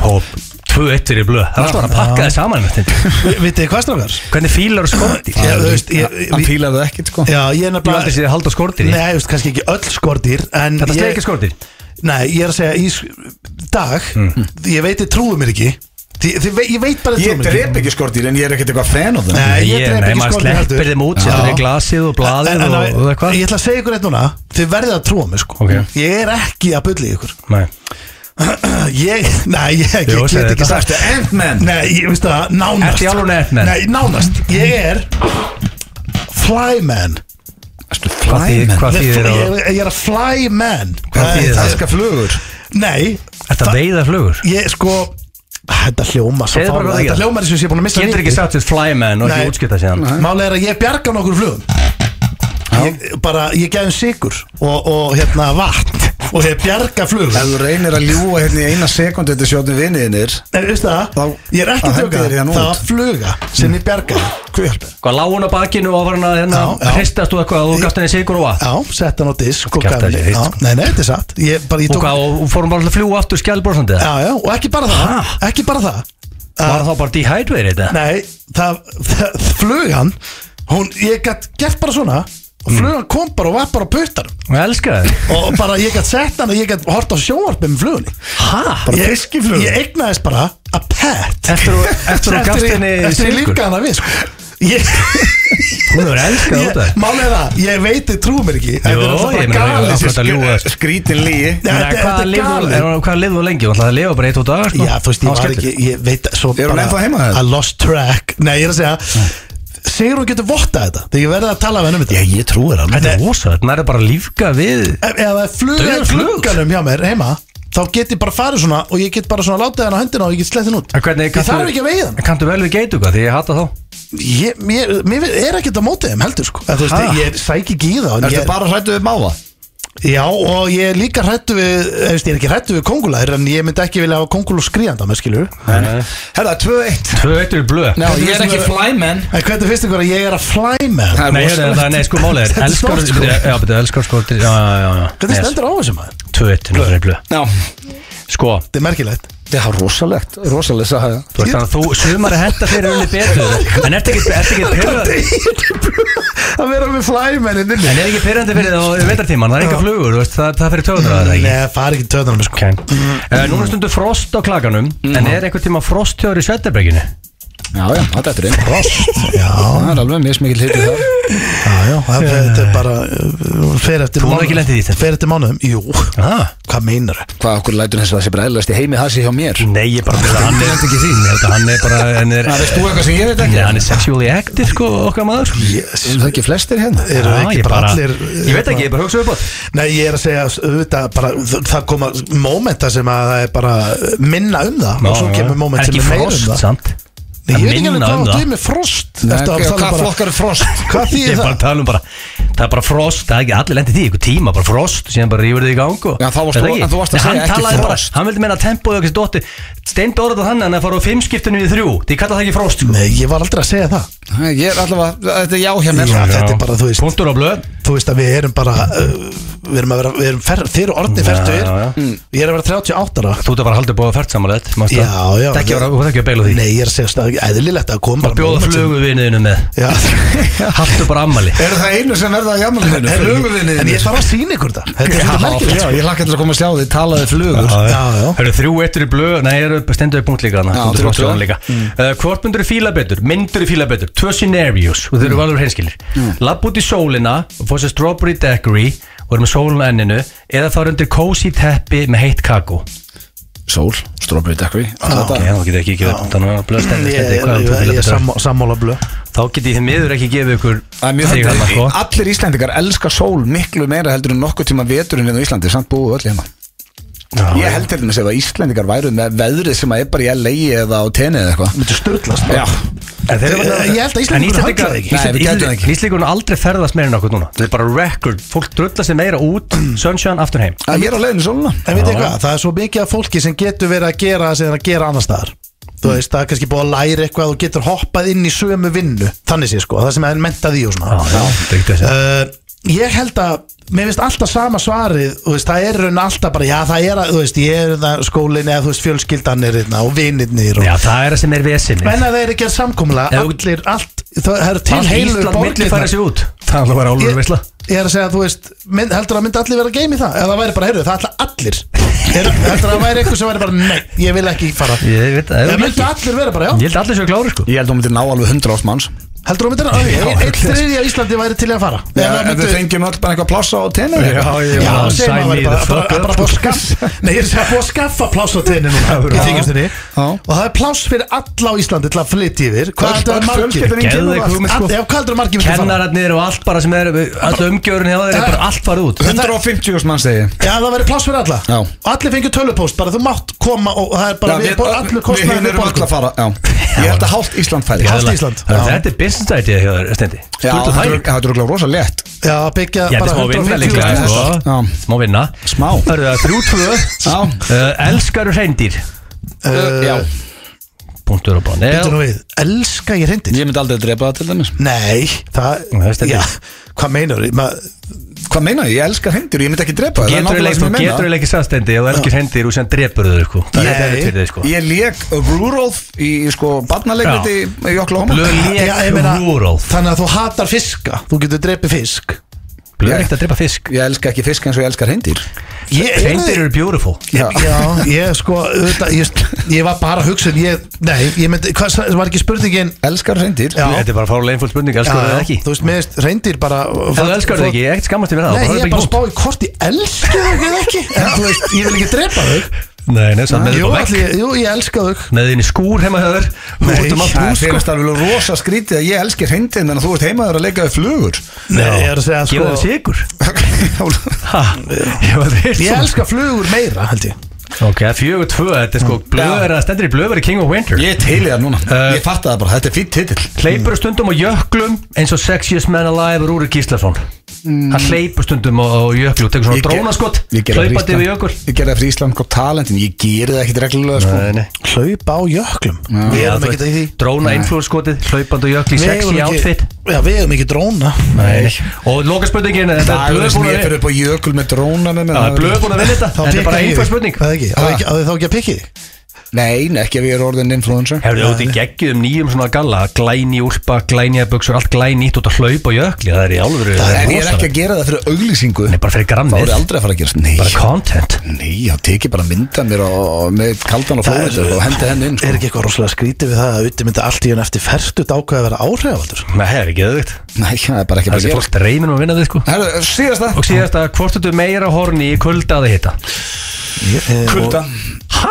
C: Hóp 2-1 fyrir blöð Það er alltaf að pakka þið saman þetta.
B: Vitið þið hvað strafgar?
C: Hvernig fílar og skortir?
B: Já, þú veist ég,
A: Hann
B: við-
A: fílaði ekkert sko
B: Já, ég er
C: Ég aldrei
B: nefnilega
C: séð að halda skortir í
B: Nei, þú veist, kannski ekki öll skortir en
C: Þetta
B: ég-
C: sleikir
A: sko.
C: skortir
B: Nei, ég er að segja í sk- dag
A: Mm.
B: Ég veit þið trúið mér ekki Þi, þið, vei- Ég veit bara þið
A: Ég
B: trúið mér
A: drep ekki skortýr en ég er ekkert eitthvað fenn á þeim
B: Nei, ég drep
C: nei,
B: ekki
C: maður
B: skortýr heldur.
C: sleppir þeim út
B: Já.
C: Setur þið glasið og blaðið
B: En- en-
C: og, og eitthvað
B: Ég ætla að segja ykkur eitt núna Þið verðið að trúa mér sko
C: Ok.
B: Ég er ekki að bulli ykkur
C: Nei,
B: Ég, nei, ég, ég
C: Jú,
B: get
C: segðu
B: ekki
C: þetta.
B: sagt
A: Ant-Man
B: Nei, ég veist það, nánast
C: Ertu í alvöru Ant-Man?
B: Nei, nánast Ég er Flyman
A: Erstu
C: hvað
A: flæmið?
C: þýðir- hvað
B: Ég
C: þýðir
B: ég-
C: að
B: ég er að flyman Eh,
C: Hvað þýðir það?
A: Elskar flugur
B: Nei
C: Þetta veiða flugur
B: Ég sko Þetta hljóma svo
C: Segðu bara
B: fárlega.
C: hvað það
B: Þetta
C: gerir.
B: hljóma eins og ég er búin að missa
C: Getur ekki
B: vitið.
C: sagt þitt flyman og
B: Nei.
C: ekki útskipta síðan
B: Málið er að ég bjarga nokkur flugum ég, Bara, ég gæði um sigur og, og hérna vatn Og ég bjarga flugum
A: Ef þú reynir að ljúa hérna í eina sekundu Þetta sjóðum vinniðinir
B: En veistu það,
A: Þá-
B: ég er
A: þá
B: ekki að
A: hendir þér
B: tjóka
A: hérna
B: Það
A: út.
B: var fluga sem ég bjargaði Kvjálpur
C: Hvað lá hún á bakinu og var hann að hérna
B: Já, já.
C: Hristast þú eitthvað og þú gafst henni sigur og vatn
B: Já, sett hann á disk og
C: Kjaftaði
B: gaf henni-
C: þér,
B: Já, Nei, nei, þetta er satt Ég bara, ég
C: Og
B: tók
C: hvað, og og fórum bara alltaf fljú aftur skjálbórsandi
B: Já, já, og ekki bara það
C: Ha?
B: Ekki bara það
C: Var þá bara dehydrated eða?
B: Nei, það, það flugan Hún, ég gætt gert bara svona Og flugan kom bara og var bara á puttar
C: Hún elskaði þig.
B: Og bara, ég gætt sett hann og ég gætt hort á sjónvarpið með flugunni
C: Ha?
B: Bara fiskiflug Ég eignaðist bara a pet
C: Eftir og- eftir og gafst
B: ég-
C: henni
B: Eftir ég
C: silkur.
B: líka hana við sko Ég,
C: Hún hefur elskað út af
B: ég
C: þér.
B: málið er það, ég veit þið trúum mér ekki Þetta er
C: Jó,
B: náttúrulega bara
C: ég meina,
B: galið
C: ég
B: sem
C: er að ljúga sko.
A: Skrítin líi
B: Nei,
C: Nei,
B: þetta-
C: Hvað
B: þetta er galið.
C: lifðu hvað lifðu lengi? Það lifa bara eitt og dag sko?
B: Já, þú veist,
C: Það
B: ég
C: var
B: var
C: skellur.
B: ekki, ég veit svo
A: Er hún ennþá heima þér?
B: I lost track Nei, ég er að segja segir hún getur vottað þetta þegar ég verði að tala við henni um þetta ég, ég trúir hann
C: Þetta
B: ef
C: er rosa, þetta er bara að lífga við
B: ef það er flug
C: Dauður
B: er
C: flug.
B: klukkanum hjá mér heima þá get ég bara farið svona og ég get bara svona látið henni á höndina og ég get slett henni út
C: En hvernig
B: ég þarf ekki að veiða henni
C: En kanntu vel við geituga því ég hata þá
B: ég, mér, mér er ekkert að móti þeim heldur sko en, þú veist,
C: Ha?
B: ég sæk ekki í það en
A: Ertu
B: ég,
A: bara hrættu við máva?
B: já og ég er líka hrættu við þú veist, ég er ekki hrættu við kongulær en ég myndi ekki vilja hafa kongul og skríðanda með skilur
A: Herða, 2-1
C: Tvö eittur í blöð
A: Já, ég er ekki flyman
B: en hvernig finnst ykkur að ég er að fly með
C: Nei, hérna, það- nei, sko málið er
B: Þetta er
C: Elskar,
B: stórt, sko.
C: já, betur, elskar sko Já, já, já, já
B: hvernig stendur á þessu maður
C: Tvö eittur í blöð
A: Já,
C: Sko,
B: þetta er merkilegt
A: það er rosalegt, rosalegt sagði það
C: þú veist þannig að þú sumar að henda fyrir unni betur En ertu ekki, ertu ekki pyrrað
B: að vera með fly með henni
C: En er ekki pyrrandi fyrir það á vetartíman, það er enga flugur, þú veist, það, það fyrir töðunar að það ekki
B: Nei, fara ekki töðanum sko.
C: okay. uh, Núna stundu frost á klaganum En
B: Mhm.
C: er einhvern tíma frost hjá þér í Svetabrekinu?
A: Já, já, þetta er einn Rost Það er alveg mjög smikil hitið það
B: Já, já, það þetta er bara uh, fer eftir
C: Þú hefur ekki lent í því, Steinn?
B: Fer eftir mánuðum, jú
C: Ah.
B: Hvað meinar þau?
A: Hvað okkur lætur þess að það sé bara eðlast í heimi það sé hjá mér
C: Nei, ég bara meina, hann er ekki því Ég held að hann er bara hann er,
A: Það veist þú eitthvað sem ég veit
C: Nei,
A: ekki
C: hann er sexually active, sko, okkar maður sko.
A: Eru það ekki flestir hérna?
B: Eru
C: Já, Ah,
B: ekki
C: ég
B: bara
C: bara-
B: allir uh,
C: Ég veit ekki, ég bara hugsa um upp á
B: Nei, ég er að segja, auðvitað bara þ- Það koma mómenta sem að það er bara uh, minna um það Og svo kemur móment sem
C: Ekki
B: er meira um
C: frost,
B: það
C: samt
B: Nei, Ég
C: Það
B: veit ekki alveg
C: minna um
B: hvað
C: það.
B: þú er með frost
A: Nei,
B: Ertu að
A: ok,
B: tala
A: Hvað
B: bara-
A: flokkar er frost?
B: Hvað
C: Ég
B: þýðir
C: er bara að
B: það?
C: tala um bara Það er bara frost, það er ekki allir lendið því Ykkur tíma, bara frost, síðan bara rífur þið í gang og,
A: Já, þá varst
C: Er það
A: þú-
C: ekki?
A: en þú varst að
C: Nei,
A: segja
C: hann
A: ekki
C: talaði
A: frost.
C: Hann vildi meina tempóið okkur sér dótti Steind orða þannig að hann fara á fimm skiptunum í þrjú Því kalla það ekki frost, sko
B: Nei, ég var aldrei að segja það
A: Nei, Ég er allavega, þetta er já hjá mér
B: Já, þetta er bara, þú veist-
C: Punktur á blöð
B: Þú veist að við erum bara uh, Við erum að vera, við erum fer, þeir og orðni
C: Já,
B: færtur
C: já, já.
B: Ég er að vera 38 ára
C: Þú ert að bara haldið búið að fært saman þetta manstu
B: Já,
C: það?
B: já.
C: Þetta ekki að vera- Þú ert ekki að beila því
B: Nei, ég er að segja að það er eðlilegt að koma
C: Bara bjóða
B: moment sem-
C: fluguviniðinu með
B: Já,
C: Haltu bara ammali
A: Eru það einu sem verða að jamla hennu?
B: Herru,
A: Fluguvinni
B: En ég þarf að sína ykkur það Þetta er svolítið merkilegt
A: Já,
B: sko.
A: ég hlakka til að koma að sjá því, talaði flugur
B: Já, já.
C: Hörru, þrjú eittur í blöð Nei, eru stendu upp punkt líka hana
A: Já, þrjú Mm.
C: Stendur flott
A: tvö.
C: hana líka. Uh, Hvort myndur þú fíla betur? Myndur þú fíla betur? Tvö scenarios Og
A: Mm.
C: þau eru valður hreinskilir Lapp út í sólina Og fór sér strawberry daiquiri Og eru með sólina á enninu Eða fara undir cozy teppi Með heitt kakó
A: Sól, strawberry daiquiri
C: Já, þú getur ekki gefið Þannig að blöð stendur
B: Ég-
C: stendur, hvað þú
B: ég-
C: fílar
B: Ég er
C: betur?
B: sammá- sammála blöð
C: Þá getur ég þið miður ekki gefið ykkur
A: Það er mjög
C: þig hana, sko.
A: hægt Allir Íslendingar elska sól miklu meira heldur en nokkuð tíma veturinn við á Íslandi samt búið öll hérna Ég held til þess að Íslendingar væru með veðrið sem að er bara í LA eða á tenni eða eitthvað
B: Þetta er störtlast
A: Já,
C: En þeir eru bara-
B: Ég held að Íslendingar
C: En Íslendingar-
B: höndla það ekki.
A: Nei, við gætum það
C: Íslendingar
A: ekki.
C: Íslendingar er aldrei ferðast meira en okkur núna Það er bara record Fólk drullar sig meira út Sunshine aftur heim
A: að ég er á leiðinu sóluna
B: En veit ég hvað, það er svo mikið af fólki sem getur verið að gera það sem það er að gera annars staðar
C: Mm.
B: Þú veist, það er kannski búið að læra eitthvað og getur hoppað inn í sömu vinnu Þannig sé sko, það sem er mentað í og svona
C: Ah, Já, já, þetta er ekki þessi.
B: uh, Ég held að, mér finnst alltaf sama svarið Þú veist, það er raun alltaf bara, já það er að, þú veist, ég er það skólinni eða þú veist, fjölskyldan er hérna og vinnirnir og
C: Já, það er það sem er vesinni
B: En að það er ekki að samkomla,
C: Já, þú-
B: allir, allt, það er til heilu
C: Ísland milli færa sig út Það er alveg að vera álur veisla
B: Ég er að segja, þú veist, mynd, heldur að myndi allir vera game í það? Eða það væri bara, heyrðu, það ætla allir er, Heldur að það væri eitthvað sem væri bara, nei, ég vil ekki fara
C: Ég veit það
B: Það
C: er
B: myndi
C: ekki.
B: allir vera bara,
C: Ég
B: já
C: held að allir séu klári sko
A: Ég held að hún myndi ná alveg 100 ást manns
B: Heldur að myndi, að-
C: Já,
B: Einn- einn
C: allir.
B: þriðja á Íslandi væri til í að fara Ef
A: Já,
B: það
A: ef við
B: myndi-
A: fengjum öll bara eitthvað plássa á tenni eða eitthvað.
C: ég-
B: Já,
C: Já,
B: segir
C: sign me
B: maður bara,
C: the
B: bara,
C: fuck
B: bara,
C: up,
B: bara búið að skaffa Nei, ég er að segja, búið að skaffa pláss á teginni núna
C: Það verður
B: Í
C: að-
B: þykjastinni
A: Já.
B: Og það er pláss fyrir alla á Íslandi til að flytja yfir
A: Öll-
B: Hvað heldur
A: öll
B: að margir?
A: fjölskyldan mín kemur
C: Geðveik
A: á það.
C: hugmynd, sko.
B: All- Já, hvað heldur að margir myndi fara?
C: Kennararnir og allt bara sem er Allt umgjörun hjá þeir er bara allt farið út
A: 150 ást manns segi ég.
B: Já, það verður pláss fyrir alla
A: Já.
B: Allir fengur tölupóst, bara þú mátt koma og það er bara,
A: Já,
B: við,
A: við-
B: við,
A: Við
B: allur kostnaður
A: hinn erum öll að fara já. Ég held að hálft Ísland fæði
B: Hálft Ísland.
C: Þannig að Þetta er business idea hjá þeir Stendi
A: Já,
C: Sturlu
A: það
C: þægilegt.
A: er- það er örugglega rosa létt
B: Já, byggja
C: Já, þetta er smá vinna
B: 150
C: líka
B: þúsund
C: sko.
B: hestar.
A: Já.
C: Smá vinna
A: Smá.
C: Það eru það þrjú tvö
A: Já.
C: uh, Elskaru hreindir sko.
B: Uh,
A: Já,
C: Punktur og bán
B: Býttu nú við, elska ég reyndir
A: ég myndi aldrei drepa það til dæmis
B: Nei, það,
C: Það er stendur.
B: já, hvað meinar þið?
A: Hvað meina ég? Ég elska hendur, ég myndi ekki drepa það, það er
C: Getur
A: nákvæmlega
C: eiginlega-
A: sem
C: Þú
A: ég meina.
C: getur eiginlega ekki sannstendi Ef þú elskir hreindir og sem drepur þau sko. Það er
B: Nei.
C: þetta fyrir þau sko.
A: Ég leik Rudolf í sko barnalegriti í Oklahoma
C: Blöð
B: Já, ég
C: lék
B: meina,
C: rúróð
B: Þannig að þú hatar fiska, þú getur dreipið fisk
C: Blöð er ekkert að drepa fisk
A: Ég elska ekki fisk eins og ég elskar hendur
B: Ég-
C: Hreindir eru beautiful
B: Já, já, ég sko, auðvitað, ég, ég var bara að hugsa um- ég, Nei, ég myndi, hvað sa- var ekki spurningin
A: Elskar hendur
B: Já.
C: Þetta er bara fárlega einföld spurning Elskar þau ekki
B: Þú veist, meðist, reyndir bara
C: Ef þú elskar þau ekki Ekkert skammast yfir það bara
B: Nei, ég
C: hlaupið
B: er
C: í
B: bara að
C: bút.
B: spá í hvort ég elska þau ekki En þú veist, ég vil ekki drepa þau
C: Nei, nei, samt með
B: Jú,
C: þetta á
B: ætli,
C: vekk
B: jú, ég elska þau
C: Með þín í skúr heima hjá þér Út um allt
A: Það
C: hús, sko
A: finnst alveg rosa skrítið að ég elski hreindin en þú ert heimaður að leikaði flugur
B: Nei, ég er að segja
C: Gera það
B: sko
C: sigur Ha, ég var reynd
B: Ég elska flugur meira, held ég
C: Ok, fjögur tvö, þetta er sko Blöður, það stendur í blöður King of Winter
A: Ég er til í það núna,
C: Eh.
A: ég fatta það bara, þetta er fýtt titill
C: Hleypur stundum á jöklum eins og Sexiest Man Alive Rúri Gíslason Hann hleypur stundum á, á jöklu og tekur svona
A: Ég ger-
C: drónaskott
A: Ég gerði það fyrir
C: Hlaupandi við
A: Ísland.
C: jökul
A: Ég gerði það fyrir Ísland og talentin, ég gerði það ekkit reglulega sko
C: Nei, nei.
B: Hlaupa á jöklum Við
C: Já,
B: erum
C: þú
B: ekkert í því
C: veist, Dróna influenskotið, hlaupandi á jökli
B: Við eigum
C: Sexy
B: ekki-
C: outfit
B: Já, við erum ekki dróna
C: Nei. Og loka spurningin Þetta er
A: Dagurinn
C: blöð
A: sem
C: búin
A: ég
C: að
A: fyrir upp á jökul með dróna með mér
C: Það er
A: það-
C: blöð búin að vinna þetta
B: Þá
C: Þetta er bara
B: pikka ég
C: einhver
B: þig.
C: spurning
B: Það er ekki, á ekki, á ekki þá ekki að pikki þig
A: Nei, nei, ekki ef ég er orðin influencer
C: Hefur þið út í geggjum nýjum svona galla Glæni úlpa, glæni buksur, allt glæni út að hlaupa á jökli Það er í alvöru
A: En ég er ekki að gera það fyrir auglýsingu
C: Nei, bara fyrir
A: Það voru
C: grammið
A: aldrei að fara að gerast Nei,
C: Bara content
A: nei, ég teki bara mynda mér á, með kaldan og flóður og hendi henni inn
B: Er
A: sko.
B: ekki eitthvað rosalega skrítið við það að Utti myndi allt í henn eftir ferstut ákveða að vera áhrifavaldur
C: Nei, það er ekki öðvitt
A: Nei, það er bara ekki bara að
C: Það er sem
A: gerast
C: fólk reyminum að vinna þið sko
A: Herru, síðast það
C: Og síðast að hvort þetta meira horni í kulda að hitta
A: Kulda
C: Hæ?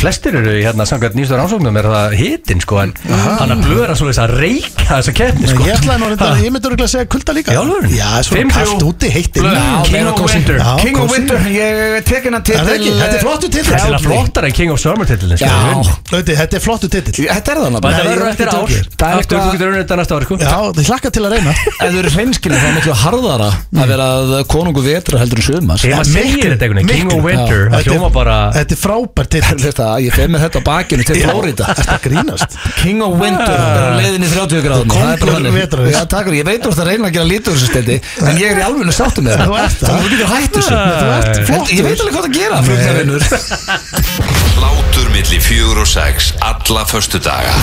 C: Flestir eru í hérna samkvæmt nýstu rannsóknum er það hitin sko En hann að blöra svo þess að reyka þessa keppni sko
B: Ég ætlaði nú reyndar,
C: Ha.
B: ég myndi örugglega að segja kulda líka
C: Í alvöru?
B: Já, svo
C: Fimm,
B: kallt
C: þrjú.
B: úti, heitt inn
C: Blöð.
B: Já,
C: King
A: meira
C: of
A: kósí.
C: Winter.
A: Já, Tek
B: King
A: hennar
B: of
A: til
B: Winter Er það ekki? Þetta er flottur titill.
C: Þetta er flottar en King of Summer titillin sko í rauninni.
B: Utti, þetta er flottu titill
A: Þetta er það
C: Og
A: nafnir
C: Þetta verður eftir ár
A: Það er
C: Aftur þú
A: eitthvað
C: getur unnið þetta næsta ár sko
B: Já, þið hlakka til að reyna
A: Ef þú eru hreinskilin þá er miklu harðara að vera að konungu vetra heldur en sömars
C: Þegar maður segir
B: miklu,
C: þetta einhvern veginn King
B: miklu.
C: of Winter
B: Já.
C: Það
B: Þetta er-
C: hljóma bara
B: Þetta er frábær titill
A: Þetta, ég fer með þetta á bakinu til Florida
B: Þetta grínast
A: King of Winter er á leiðin í 30 gráðum Það er bara
B: Kóngur
A: þannig
B: Ah. vetrarins.
A: Já, takk fyrir, Ég veit úr það að reyna að gera lítur þessu stendi En ég er í alveg sáttum með það
B: Þú ert það.
A: Þannig að þú getur hætt þessu
C: Nei, þú ert
A: Þetta- Ég veit alveg hvað það gera flugnarinur
E: Hlátur milli fjögur og sex Alla förstu daga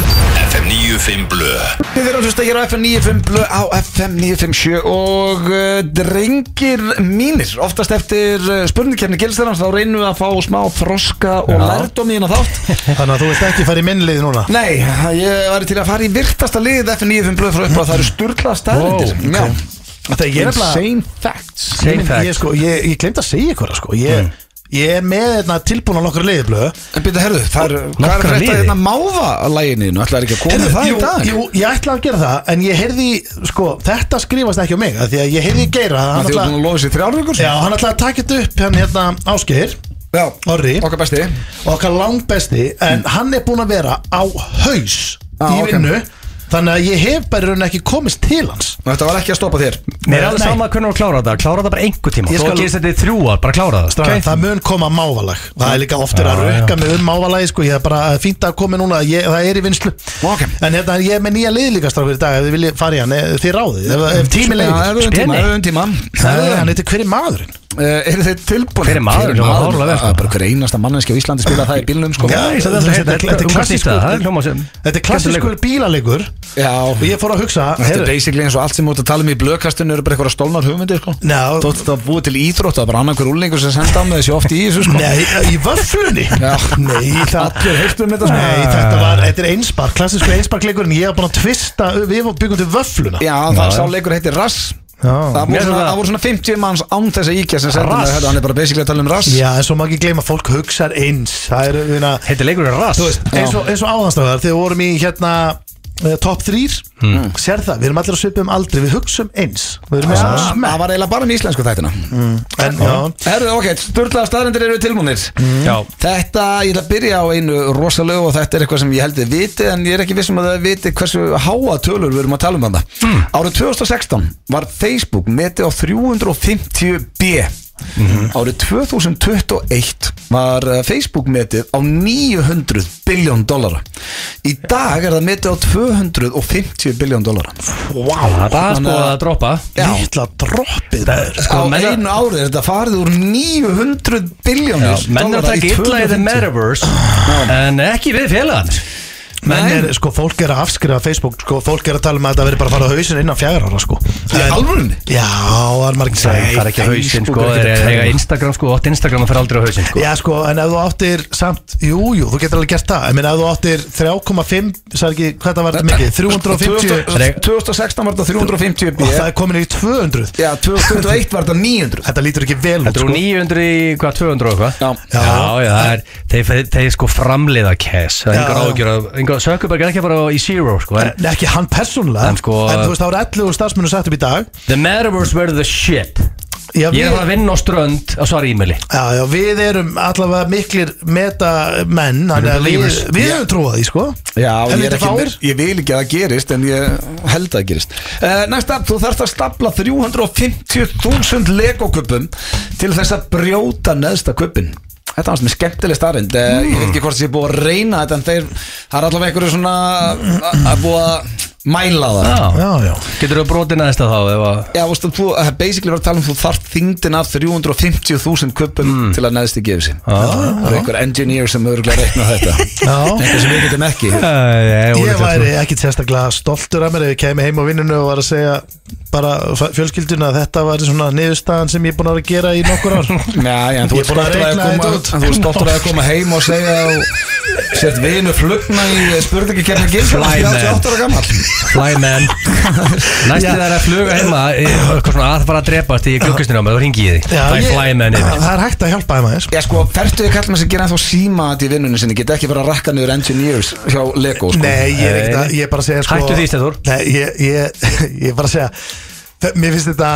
E: FM 95 Blö
A: Þið erum að hlusta hér á FM 95 blö á FM 957 og uh, drengir mínir oftast eftir uh, spurningkefni gilstarans þá reynum við að fá smá froska og lærdom í hérna þátt
B: Þannig að þú vilt ekki fara í minnlið núna
A: Nei, ég var til að fara í virtasta lið FM 95 blö frá upp og það eru sturgla staðrindir
C: Wow,
A: wow,
B: Þetta er ég nefnilega
A: Insane facts
C: Same
B: Ég- Ég,
C: fact
B: sko, ég, ég glemt að segja ykkur sko. ég,
A: Mm.
B: ég er með hérna, tilbúin á nokkru liðblöðu
A: En byrja, herðu, það er, hvað er að
C: Nokkra
A: frétta
C: liði.
A: hérna mávalæginni nú? Ætlaði ekki að koma með það
B: jú,
A: í dag?
B: jú, ég ætla að gera það En ég heyrði, í- sko, þetta skrifast ekki á mig af Því að ég heyrði í geira að hann
A: Það er búin
B: ætla,
A: að lofa sér þrjárvíkur?
B: já, hann ætla að taka þetta upp Hann hérna Ásgeir,
A: Já,
B: Orri og
A: okkar besti
B: okkar langbesti En hann er búin að vera á
A: Já,
B: haus Í
A: Mm. Ah, ok.
B: vinnu Þannig að ég hef bara í raun ekki komist til hans
A: Og Þetta var ekki að stoppa þér
C: Mér er alveg
B: Nei.
C: sama hvernig þú klára það Klára það bara einhver tíma
B: Ég
C: Þú
B: skal-
C: gerist þetta í þrjú ár, bara klára það
B: Stráðan,
C: Ok?
B: það mun koma mávalag Það er líka oftir að rökka mig um mávalagi sko. Ég er bara fínt að komi núna ég, Það er í vinslu
A: Ok.
B: En hérna, ég er með nýja lið líka strákur í dag Ef þið viljið fara í hann, eh, þið ráðið Ef, ef tími
A: Já,
B: leiðir
A: höfum tíma,
C: Speni.
A: höfum tíma
B: Það er hann eitthvað hver er maðurinn
A: Uh, eru þeir tilbúin?
C: Hver er maðurinn?
A: Hver er
C: Hljómar
A: maðurinn?
C: fáránlega vel,
A: Það
C: sko.
A: er bara hver einasta manneski á Íslandi spila það í bílnum sko
B: Já,
C: Nei,
B: ég-
C: þetta er- þetta
B: þetta-
C: er-
B: þetta- þetta er
C: um hvað snýst
B: klassískur-
C: það? Það er hljóma sem-
B: Þetta er klassískur
C: Skemmtilegur.
B: bílaleikur
A: Já.
B: Og ég fór að hugsa
A: Þetta er
B: heyrðu,
A: basically eins og allt sem út að tala um í blöðkastinu eru bara eitthvað stólnar hugmyndir sko
B: Ná,
A: Þótt þetta búið til íþrótt það er bara annan hver úlingur sem senda á með þessi oft í þessu sko
B: Nei, í vöflunni
A: Já.
B: Nei, það
A: Allir heyrtu um þetta, sko.
B: Nei, þetta var, þetta er einspark Klassísku einsparkleikurinn, ég var búin að tvista Við byggum til vöfluna
A: Já, það sá leikur heitir Rass
B: Já.
A: Það voru
C: Mér
A: svona,
C: það-
A: það voru svona 50 manns án þess að íkja sem senda
C: Rass?
A: með þetta Hann er bara basically að tala um Rass
B: Já, en svo má ekki gleyma að fólk hugsar eins Það er, við
C: Heitir leikur er rass
B: Þú veist, eins og, eins og áðanstafðar þegar við vorum í hérna uh, top 3 mm. sér það, við erum allir að svipa um aldri við hugsum eins, við erum með
A: Það
B: svona
A: það
B: smekk
A: var eiginlega bara um íslensku þættina
B: en já,
A: Herðu, ok, störlaða staðrendir eru tilmúnir
C: Já.
A: Þetta, ég ætla að byrja á einu rosalögu og þetta er eitthvað sem ég held þið viti en ég er ekki vissum að þið viti hversu háa tölur við erum að tala um þetta Árið 2016 var Facebook metið á 350b Árið 2021 var eh, Facebook metið á 900 biljón dollara Í dag er það metið á 250 biljón dollara
C: Það er bara sko
A: Þannig að-
C: að droppa Sko,
A: Já.
B: litla droppið maður
A: Á
C: menn að-
A: einu árið er þetta farið úr 900 biljónir
C: Menn er að taka illa í the metaverse En ekki við félagarnir
B: menn er, sko, fólk er að afskrifa Facebook, sko, fólk er að tala um að þetta veri bara að fara á hausin innan fjagra ára, sko
A: Í
B: En-
A: alvörunni?
B: Já, það er margir sem
C: Það er ekki hausinn sko,
B: Facebook er
C: það
B: ekki
C: er eiga
B: trend.
C: Instagram sko, átt Instagram og fer aldrei á hausinn sko
B: Já, sko, en ef þú áttir samt, jú, jú, þú getur alveg gert það En ef þú áttir 3,5, sagði ekki, hvað það var þetta mikið, 350
A: 2016 var þetta 350
B: Og það
A: BF
B: er komin í 200
A: Já, 2021 var þetta 900
B: Þetta lítur ekki vel út,
C: Þetta eru
B: sko
C: 900 í hvað, 200 og hvað?
A: Já.
C: Já, já, það er, þeir, þeir, þeir sko framleiða cash Það er
B: Já,
C: engar
B: já.
C: ágjör að, engar, Sökubæk er ekki bara í zero sko en,
B: En ekki hann persónulega,
C: En
B: en,
C: sko-
B: þú veist, það voru 11 starfsmennu sagt upp í dag
C: The metaverse were the shit Ég
B: Já,
C: er
B: við-
C: að fara að vinna á strönd á svara e-maili
B: Já, já, við erum allavega miklir metamenn, þannig að við,
C: believers.
B: við erum trúað í sko
A: Já, og ég, er
B: Helviti
A: ekki,
B: fáir.
A: ég vil ekki að það gerist en ég held að það gerist uh, Næsta, þú þarft að stapla 350.000 legokuppum til þess að brjóta neðsta kuppin Þetta var svona skemmtileg starrend uh, Ég veit ekki hvort þessi búið að reyna þetta en þeir, það er allavega einhverju svona að- að búið að mæla það
C: Já,
B: Já, já,
C: getur þú brotin aðeins það þá ef að
A: Já, þú veist, þú, það er basically verið að tala um þú þarf þyngdin af 350.000 kuppum
B: Mm.
A: til að neðsti gefi sig
B: Ah.
A: Það er einhver engineer sem örgulega reikna þetta
B: já
A: Eitthvað sem við getum ekki
B: Ég væri ekkit sérstaklega stoltur af mér ef ég kemi heim á vinninu og var að segja bara f- fjölskyldunni að þetta var svona niðurstaðan sem ég er búin að vera að gera í nokkur ár
A: Já, já, en þú
B: Ég
A: ert
B: er búin
A: stoltur að
B: að reikna
A: koma
B: þetta
A: út
B: út.
A: Þú ert stoltur að koma heim og segja og sett vinu flugna í spurningi kemna gilsala
C: Fly, man.
A: 38 ára gammal
C: Fly man Næstu það er að fluga heima eh, Eitthvað svona að fara að drepast í glukkustinu á mig Þá ringi ég því
B: Já,
C: Það er
B: ég-
C: fly man yfir
B: Það er hægt að hjálpa þeim aðeins
A: Já, sko, ferdu þið kallum sem gera þá síma þetta í vinnunni sinni Geta ekki verið að rakka niður engineers hjá Lego, sko
B: Nei, ég er ekkert
C: Nei,
B: að,
C: nei.
B: ég er bara að segja sko
C: Hættu því, Steinþór.
B: Nei, ég, ég, ég er bara að segja þe- Mér finnst þetta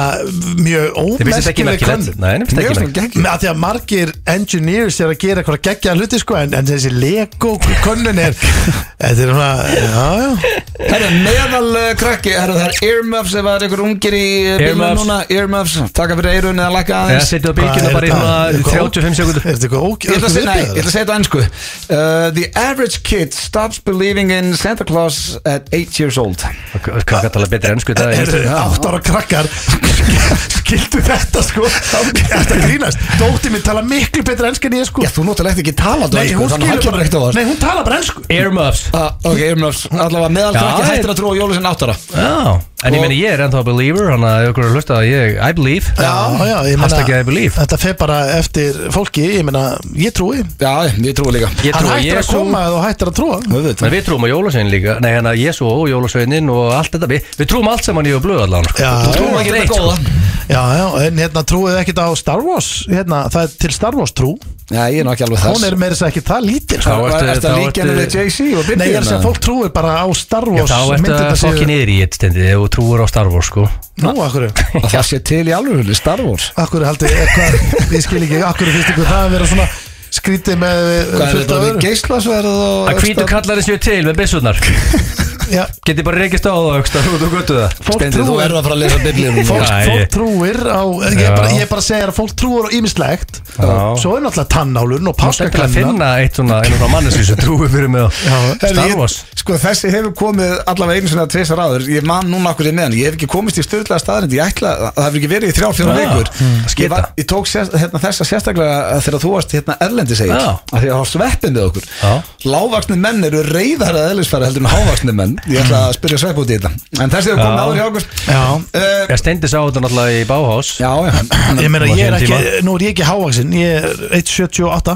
B: mjög
C: Þið finnst þetta ekki
B: ómerkileg
C: merkilegt
B: könnun
C: Nei, mér finnst
A: Mjög
C: þetta
A: svona
C: ekki
A: geggjum
B: Með að því að margir engineers er að gera eitthvað geggja hluti sko en, en þessi Lego könnun er Þetta er svona, já, já
A: Herra, meðal uh, krakki, herra, það er earmuffs Ef það er einhver ungir í uh, bílum
C: Earmuffs.
A: núna Earmuffs, taka fyrir eirun eða lakka
C: Eða
A: aðeins
C: setja á bylgjuna
B: Hvað
C: bara í
B: er
C: svona
B: þetta?
C: 35 sekundur
B: Er þetta eitthvað
A: Ég ætla að segja, nei, ég ætla
B: ókjöld?
A: að segja þetta á ennsku uh, The average kid stops believing in Santa Claus at 8 years old
C: Hvað hvað er talað betri ennsku þetta er-
B: Átt ára krakkar Skildu þetta sko Þetta er grínast Dóttir minn tala miklu betur ensk en ég sko
A: Já, þú notalegt ekki talað
B: Nei,
C: sko,
B: hún
A: þannig að hann
B: skilur
A: kemur
B: bara
A: ekkert á það
B: Nei, hún tala bara ensk
C: Earmuffs
A: Ah, ok, Irmnars, allavega meðal
C: Já,
A: krakki
C: ég-
A: hættir að trúa jólusinn áttara
C: Já, en ég
A: Og-
C: meni ég er ennþá a believer Þannig að ykkur er að hlusta að ég, I believe
B: Já, já, ég meina
C: Hashtag I believe
B: Þetta fer bara eftir fólki Ég meina, ég trúi
A: Já, ég trúi líka
C: Ég
B: Hann
C: trúi að
B: hættir að
C: Jesú
B: koma eða þú hættir að trúa
C: En við trúum á Jólasvein líka Nei, hérna Jesú og Jólasveinin og allt þetta Við, við trúum allt saman í og blöð allan sko.
B: Já,
C: Þú trúum
A: Trúa
C: ekki
A: ekki
C: neitt
A: þetta
C: sko.
A: góða
B: já, já, en hérna trúið ekkert á Star Wars hérna, Það er til Star Wars trú
A: Já, ég er nú ekki alveg þess
B: Hún er meira þess að ekki það lítil
C: Já,
B: sko.
C: ertu-
A: Er
C: þá
A: þetta líkjana
C: ertu-
A: við Jay-Z og Bibi?
B: Nei, ég er að segja, fólk trúir bara á Star
C: Já,
B: Wars
C: Þá ertu að
B: myndirnar séu-
C: fokkin yfir í eitt stendi Ef þú trúur á Star Wars sko
B: Nú, akkur
A: Að Það sé til í alveg hulli, Star Wars
B: Akkur haldið, eh, hvað, ég skil ekki Akkur finnst ykkur það að vera svona skrítið með eh,
A: Hvað er
B: fullt
A: þetta
B: af
A: við
B: öðru
A: geislasverð og
C: Að hvítu kallarinn séu til með byssurnar
B: Já,
C: Geti bara rekist á það Öxta út og götu það
B: fólk
A: Stendi, þú
B: trúir
A: eru að fara að lesa biblíum
B: Fólk,
C: Já,
B: fólk
C: ég-
B: trúir á ég er,
C: Já.
B: bara, ég er bara að segja að fólk trúir á ýmislegt
C: Já.
B: Svo er náttúrulega tannálun og
C: Páska til að
B: páskaklenna
C: finna eitt svona Einu frá manneski sem trúi fyrir mig á Star Wars
A: Sko þessi hefur komið allavega einu svona tvisar áður Ég man núna okkur í meðan Ég hef ekki komist í styrlaða staðrind Ég ætla, það hefur ekki verið í þrjár, fjóra
C: Já,
A: vikur
C: mm,
A: Ég, var,
C: skita.
A: ég tók sérst, hérna, þessa sérstaklega þegar þú varst hérna erlendi segir
C: Já.
A: Af Því að það var sveppin við okkur
C: Já.
A: Lávaksni menn eru reyðar að eðlisfæra heldur en hávaksni menn Ég ætla að spyrja svepp út í þetta En þessi hefur komið
C: Já.
A: áður hjá okkur
B: Já.
A: uh,
C: Ég stendi sá þetta náttúrulega í Bauhaus
A: Já, já
B: Ég meina,
C: Á
B: ég er
C: sínum
B: ekki, nú er ég ekki hávaxinn Ég er 1,78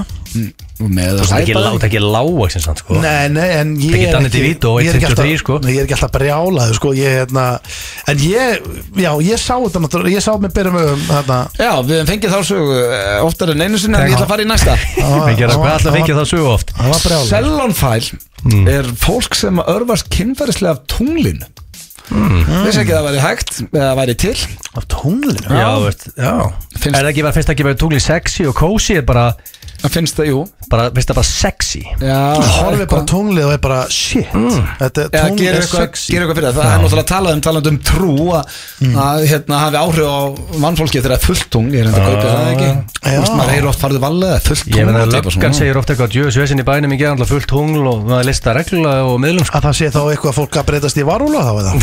A: Og Með
C: Þú
A: að
C: ert ekki lá-
A: hæpa
C: þú ert ekki lág sko.
B: Nei, nei, en ég
C: Ekki
B: er
C: Danny DeVito,
B: ég er ekki
C: 1,53,
B: alltaf-
C: sko.
B: Nei, Ég er ekki alltaf brjálaður, sko Ég, hérna En ég, já, ég sá þetta náttúrulega Ég sá þetta með byrjum um þarna
A: Já, við hefum fengið þá sögu eh, oftar en einu sinni en ég ætla að fara í næsta
C: Fengir það-
B: það
C: Hvað
B: var-
C: ætla að fengja það sögu oft
B: Það var brjálaður
A: Selonfæl
C: Mm.
A: er fólk sem örfast kynfærislega af tunglin
C: Mm.
A: Vissi ekki að það væri hægt eða það væri til
B: Af tónlinu
C: Já, veist, já
A: Finnst-
C: Er það ekki bara, finnst það ekki bara tunglið sexy og cozy er bara,
A: Það finnst það, jú
C: bara, finnst það bara sexy
A: Já,
B: Horfið bara
A: eitthvað.
B: á tónlið og er bara, shit
C: Mm.
B: Þetta
A: Eða
B: tónlið
A: gera
B: er
A: eitthvað,
B: sexy
A: gera eitthvað fyrir það Það er náttúrulega talað um talandi um
C: Mm.
A: trú að, að hérna, hafi áhrif á mannfólki þegar það er fullt tungl Ég er enda að kaupa það ekki
B: Já.
A: Þú veist, maður hefur oft farið vallega fullt
C: Ah. Ég meina
A: og
C: að
A: eitthvað svona.
C: löggan segir ofta eitthvað djöðsvesin í bænum í gerðan fullt tungl og maður listar reglulega og miðlum sko.
B: Að það sé þá eitthvað fólk að breytast í varúla þá eða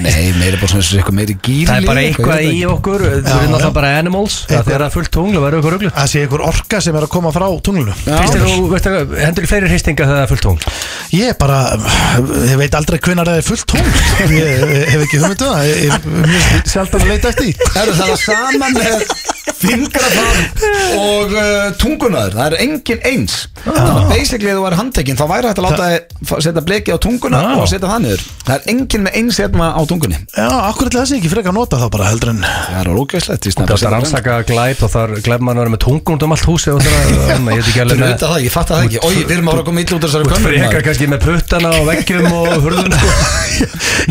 A: Nei, meira bara svona eins og eitthvað meiri gýrli
C: Það er bara eitthvað í okkur, þú
B: Já,
C: erum
B: já.
C: alltaf bara animals
B: Eitthvað.
C: Það er að fullt tungl og verður eitthvað ruglu
B: Að sé einhver orka sem er að koma frá tunglunu
C: Hristir þú, veistu, hvað, hendur í fleiri hristinga þegar það er fullt tungl
B: Ég bara, ég veit aldrei hvenar það er fullt tungl Ég hef ekki hugmyndu það Ég- Ég mjög sjaldan að leita eftir því.
A: Það er það sama með fingrafar og uh, tungunar Það er engin eins Þannig
B: Ah.
A: að basically ef þú væri handtekinn þá væri hægt að láta þið setja bleki á tunguna
C: Já.
B: Ah.
A: og setja það niður Það er engin með eins hérna á tungunni
B: Já, akkur ætli það sé ekki frekar nota þá bara heldur en
A: Það er ógæslegt
C: Það er að rannsaka glæp og þar glæp mann verður með tungun út um allt húsi og það er að, ég veit ekki alveg með
A: Þetta það, ég fatt það ekki Ói, við erum ára að koma illa út úr þessari
C: Þú ert
A: könnun
C: frekar
A: maður.
C: kannski með puttana og veggjum og hurðun sko.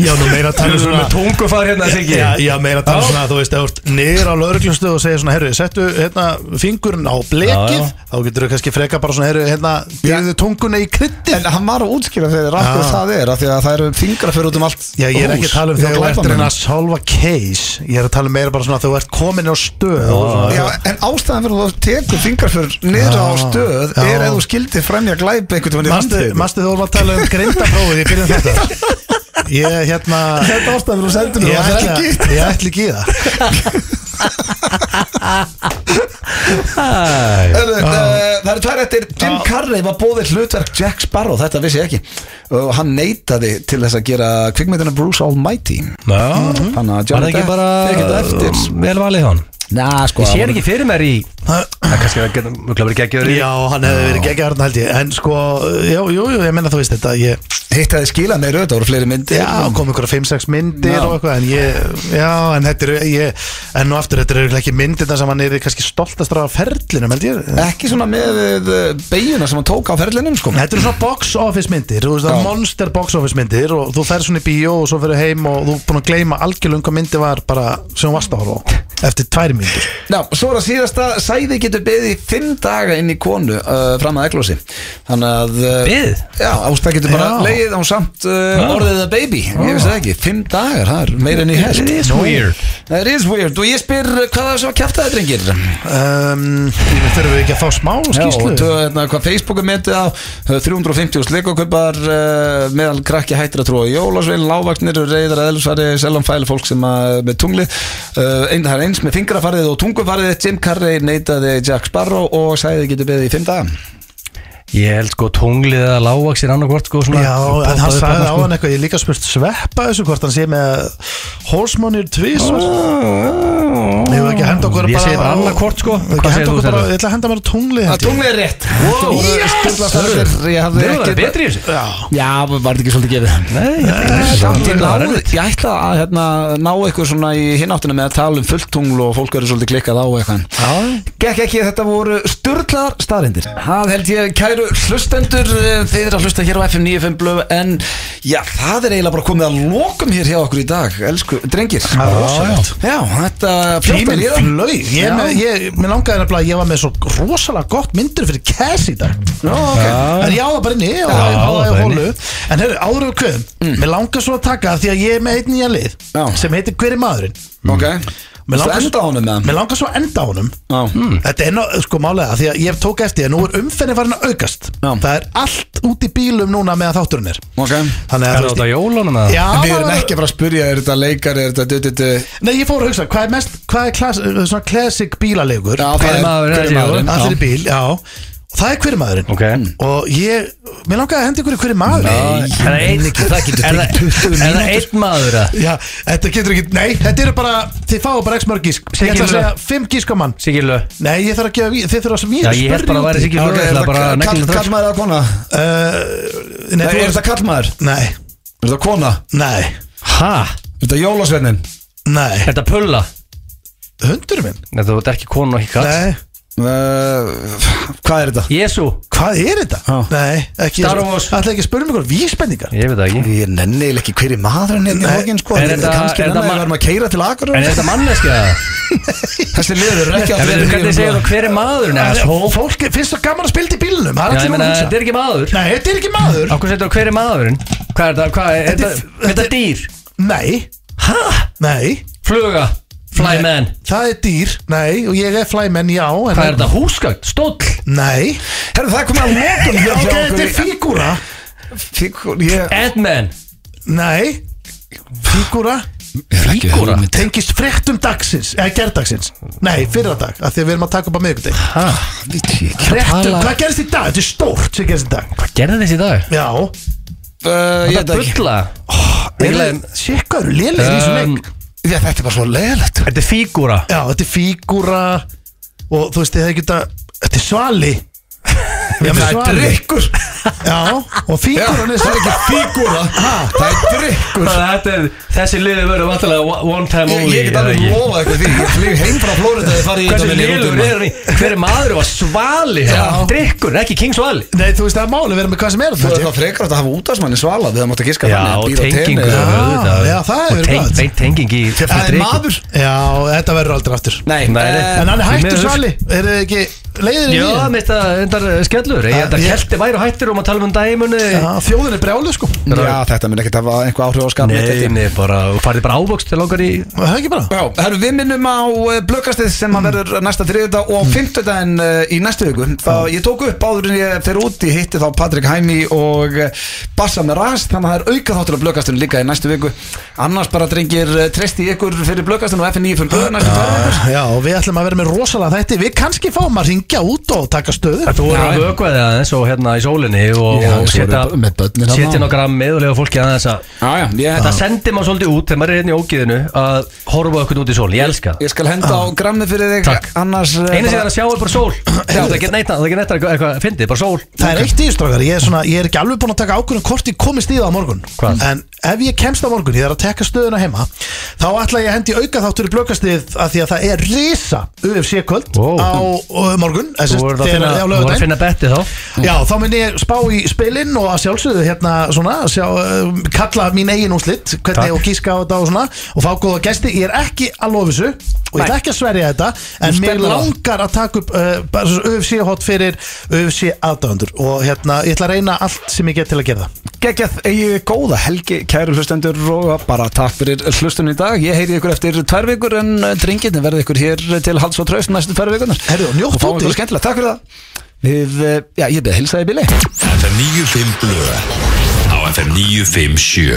B: Já, nú meira að
C: Þú
B: tala um
C: erum
B: svona
C: með tungufar hérna, Siggi
B: Já, já, meira að tala um
C: Já.
B: svona að þú veist, ef þú ert niður á lauruglustu og segir svona, herru, settu hérna fingurinn á blekið,
C: Já,
B: þá getur þú kannski frekar bara svona, herru, hérna, dýrðu tungunni í kryddið.
A: En hann var að útskýra þegar
B: Já.
A: akkur það er af því að það eru fingraför út um allt
B: Ah. Já, ég er ekki að tala um þegar þú ert að reyna
A: hennar
B: að solva case, ég er að tala um meira bara svona að þú ert komin á stöð og svona.
A: Já, en ástæðan fyrir að þú tekur fingraför niður á
B: Já.
A: stöð
B: Já.
A: er ef þú skildir fremja glæp einhvern veginn í
B: Ah. Manstu,
A: handtöðinu.
B: manstu þú vorum að tala um grindaprófið í byrjun þetta? Ég, hérna,
A: Þetta ástæðan fyrir að sendur
B: ég
A: mér það er
B: ætla,
A: ekki
B: ég ætla ekki í það.
A: Herðu, eh, Það eru tvær eftir Jim Carrey var bóðið hlutverk Jack Sparrow Þetta vissi ég ekki Og hann neitaði til þess að gera kvikmyndina Bruce Almighty
C: Já
A: Þannig að
C: Var það
A: Johnny
C: ekki
A: Depp
C: bara
A: tekið þetta eftir
C: vel valið hann
A: Næ, sko
C: Ég sé ekki fyrir mér í Það er kannski að mjög verið geggjur í
B: Já, hann hefði verið geggjarn held ég, en sko, jú, jú, jú, ég menna þú veist þetta, ég...
A: Hitt að þið skila meir auðvitað voru fleiri myndir
B: Já, kom einhverja 5-6 myndir
A: Já.
B: og eitthvað en ég, já, en þetta eru ég, en nú aftur, þetta eru örugglega ekki myndirna sem hann er kannski stoltast á ferlinum, held ég
A: Ekki svona með beiguna sem hann tók á ferlinum sko
B: Þetta eru svona box office myndir, þú veist það
A: Já.
B: er monster box office myndir og þú ferð svona í bíó og svo ferðu heim og þú er búin að gleyma algjörlega um hvað myndi var bara sem hún varst að horfa á, eftir tvær myndir
A: Já, svo er að síðasta Sæði getur beðið í fimm daga inn í konu uh, fram að eglósi Þannig að uh,
C: Beðið?
A: Já, ástæð getur bara
B: Já.
A: leið án samt uh, orðið að baby Ég veist það ekki, fimm dagar, það er meira enn í hest
C: It is weird.
A: It is weird Og ég spyr uh, hvað það er svo að kjæfta það, drengir
C: Ehm,
B: um, Þurfum við ekki að fá smá skýslu?
A: og tö, hérna, hvað Facebook er metið á uh, 350 slikoköpar uh, meðal krakki hættir að trúa í jólasveil lávagnir, reyðar, eðlisfari, selvan fæli fólk sem að, með tungli uh, ein, það er eins með fingrafarið og tungufarið Jim Carrey neitaði Jack Sparrow og sæði getur beðið í fimm daga
C: Ég held sko tunglið eða lávaxir annarkvort sko svona
B: Já,
C: poppað
B: en hann
C: upp
B: sagði
C: þarna,
B: á
C: sko.
B: hann eitthvað, ég er líka spurt sveppa þessu hvort hann sé með hósmónir tvísvar Ég hef ekki að henda okkur
C: Ég
B: bara
C: segi bara
B: á-
C: annarkvort, sko.
B: Ég hef ekki
C: Hvað
B: að
C: segir
B: henda
C: þú, Sverrir?
B: okkur bara, ég ætla að henda mér á tungli held
A: að
B: ég.
A: tungli er rétt wow. yes! ég hafði
C: Við
A: ekki
C: varum betri í þessu
A: já, var þetta ekki svolítið gefið
C: Nei, ég held ekki.
A: Samt ég
C: Það var
A: náði,
C: erfitt.
A: ég ætla að hérna, ná eitthvað svona í hináttina með að tala um fulltunglu og fólk verður svolítið klikkað á eitthvað Já Gekk ekki, þetta voru sturglar staðrindir Það held ég, kæru hlustendur, eh, þið eru að hlusta hér á FM 95 blöð En já, það er eiginlega bara komið að lokum hér hjá okkur í dag, elsku, drengir Já,
B: rosalegt.
A: þetta
B: Tíminn
A: fljóttar líða.
B: flaug Ég,
A: Já.
B: með- ég, mér langaði nefnilega að ég var með svo rosalega gott myndir fyrir Cass í dag
A: Já, ok
B: En ég á það bara inni og
C: Já,
B: ég á það
C: bara
B: í
C: inni. Mm.
B: hólu En herru, áður og kvöðum Mér langar svo að taka af því að ég er með einn nýja lið
A: Já.
B: Sem heitir Hver er maðurinn
A: Ok,
B: Mér
A: þú
B: langar-
A: enda á honum Mm. Hmm. með
B: Mér langar svo að enda á honum
A: Já.
B: Þetta er ná, sko málega Því að ég tók eftir að nú er umfenni farin að aukast
A: Já.
B: Það er allt út í bílum núna meðan þátturinn er
A: Ok
B: Þannig
C: Er það
B: að
C: út á jólunum
B: Já,
C: eða?
A: Við erum
B: maður-
A: ekki að fara að spyrja, er þetta leikar, er þetta dututu
B: Nei, ég fór að hugsa, hvað er mest Hvað er klass, svona classic bílalegur
A: Já, það
C: Hver
A: er
C: maður er
A: hver
C: þessi
A: maðurinn? Hmm.
C: maður?
B: Allir í bíl, já Og Það er hver maðurinn
C: Ok
B: Og ég, mér langaði að henda ykkur í hver maðurinn
C: Er það einn er það- er það einn maður að
B: Já, þetta getur ekki, nei, þetta eru bara Þið fáu bara x mörg gísk Ég ætla að
C: Sigurður.
B: segja fimm gískamann
C: Sigilu
B: Nei, ég þarf að gefa, þið þurfa að sem ég
C: Já, ég held bara að væri Sigilu
A: Ok, er
C: Það bara
A: þetta kall-
C: neglum það
A: kallmaður eða kona?
B: Uh, nei,
A: Nei,
B: þú
A: er þetta kallmaður?
B: Nei,
A: Er þetta kona?
B: nei,
C: Hæ?
A: Er þetta jólasvennin?
B: nei
C: Er það pulla?
B: Hundur minn?
C: Nei, þú ert ekki konu og ekki kall
B: Nei,
A: Uh, hvað er þetta?
C: Jésu
B: hvað er þetta?
A: Já.
B: Nei, ekki
C: Star Wars.
B: Ætla ekki að
C: um
B: spyrja mig ykkur vísbendingar
C: Ég veit það ekki
A: Ég nenni eiginlega ekki hverju maðurinn er
B: Nei.
A: hókin sko
C: Er þetta-
A: Kanski nenni
C: er þetta
A: að
C: ma-
A: við verðum að keira til akkur
C: En er þetta manneskja?
A: Þessi liður er ekki sko.
C: En
A: að
C: veitum hvernig segir
A: hérna.
C: þú hver er maðurinn? eða
B: Nei,
C: svo?
B: Fólk er- finnst það gaman að spilda í bílunum Það
C: Já,
B: er
C: ég
B: allir
C: meina,
B: að
C: þetta
B: hugsa
C: er ekki maður
B: Nei, þetta er ekki maður
C: Á hvað setur þú hver er maðurinn? Hvað er það? Hvað er
B: Þetta
C: þetta?
B: er-
C: Er þetta dýr?
B: Nei,
C: Hæ?
B: nei
C: Fluga? Flyman.
B: Það er dýr, nei, og ég er flyman, já en-
C: Hvað er þetta? Húsgögn? Stóll?
B: Nei
A: Herru, það komið að lokum
B: Já,
A: hjá
B: ok, þetta er
A: okkur í-
B: fígúra
A: Fígur, ég
C: Edman?
B: Nei, fígúra
C: Fígúra?
B: Tengist fréttum dagsins, eða gerðdagsins Nei, fyrra dag, af því að við erum að taka upp á miðvíkudag Fréttum, hvað gerðist í dag? Þetta er stórt sem gerðist í dag
C: Hvað gerði þessi í dag?
B: Já,
A: Uh, ég veit
C: Þetta
A: það ekki
C: bulla
B: er Sikka eru lélir í þessum
C: Um,
B: leik
A: Já, Þetta er bara svo leiðilegt
C: Þetta er fígúra
B: Já, þetta er fígúra Og þú veist, það geta Þetta er svali Já,
A: Það
B: með
A: er
B: svali
A: drikkur
B: Já, og fígúran
A: Það
B: er
A: er
B: svali
A: ekki fígúra Það er drikkur
C: Þetta er, þessi liði verður vantilega one time
A: Ég
C: only
A: ég get alveg lofa eitthvað því Ég flýg heim frá Flórida Þegar farið í þetta
C: Hversu
A: minni
C: liður
A: rútuna.
C: er hann í? Hver er maður og svali?
A: Já.
C: Drikkur, ekki King Svali
B: Nei, þú veist, það er máli að vera með hvað sem
A: Þú
B: er
A: er
B: þetta
A: eitthvað frekar átt að hafa útastmanni svala Við það mátt að giska
C: Já, og tengingu auðvitað.
B: já, það hefur
C: Og
B: verið
C: teng-
B: gott.
C: beint tenging í
A: Það er maður
B: Já, þetta verður aldrei aftur
A: Nei,
C: Nei,
A: eh,
C: nei.
B: En hann er
C: Því
B: hættur
C: miður.
B: svali, er þið ekki leiðin í
C: Já,
B: því?
C: minnst að þetta er skellur Ég held að
B: ég-
C: kelti væri og hættir um að tala um dæmunni
B: Já, þjóðin er brjálu sko
A: Já, þetta mun ekkert hafa einhver áhrif á skapnið
C: Nei, nei, bara, þú farið bara ávokst til langar í
B: Það er ekki bara
A: Já, herru, við minnum á eh, blökkastið sem hann verður næsta þriðudag og fimmtudaginn eh, í næstu viku. Það, ég tók upp áður en ég fer út, ég hitti þá Patrik Hæmi og eh, Bassa með rast, þannig að það er auka þáttur af blökkastinu líka í næstu viku. Annars bara drengir eh, treysti í ykkur fyrir blökkastinu og FNI fyrir blöðu
C: Ah.
A: næstu tæra.
B: Eh, Já, og við ætlum að vera með rosalega þætti Við kannski fáum að ringja út og taka stöðu
C: Þú voru að vökva þig aðeins og hérna í sólinni og,
A: Já,
C: og
A: svo
C: setja,
A: eru með börnin þarna.
C: setja nokkra meðulega fólki aðeins að
A: Já, já, ég,
B: Ah.
C: Það sendir maður svolítið út þegar maður er hérna í ógiðinu að horfa okkur út í sólinn, ég elska það
A: ég skal henda á grammið fyrir þig,
C: Takk.
A: annars... eh,
C: Einu sem það
A: bara-
C: er að sjá er bara sól Það er ekki neitt það er ekki neitt eitthvað, eitthvað fyndið, bara sól
B: Það er eitt ístrákar, ég, er svona- ég er ekki alveg búin að taka ákvörðum hvort ég komist í það á morgun
C: Hvað?
B: En ef ég kemst á morgun, ég er að tekka stöðuna heima Þá ætla ég að hendi auka þáttur í blökastið að Því að það er risa UFC kvöld
C: Ó.
B: á uh, morgun eh,
C: Þú
B: sest,
C: voru að
B: þegar-
C: finna,
B: á
C: þú voru að
B: laugardaginn.
C: finna betti þá
B: Já, þá minn ég spá í spilin og að sjálfsögðu hérna svona sjá, um, kalla mín eigin úslit hvernig
C: Takk.
B: og gíska á þetta og svona og fá góða gæsti, ég er ekki að lofa þessu og ég ætla ekki að sverja þetta en mér
A: stefnir á.
B: langar að taka upp uh, bara svo UFC hot fyrir UFC aðdöfundur og hérna, ég ætla að reyna allt sem ég get til að gera það
A: geggjað eigið góða helgi kæru hlustendur og bara takk fyrir hlustunum í dag, ég heyri ykkur eftir tvær vikur en dringinni verði ykkur hér til hals og traust næstu tvær vikunar
B: Herru, og njóttu
A: og fáum
B: úti.
A: ykkur skemmtilega, takk fyrir það við, eh, já ég beði hilsaði Billy
E: FM 95 Blöð Á FM 95 Sjö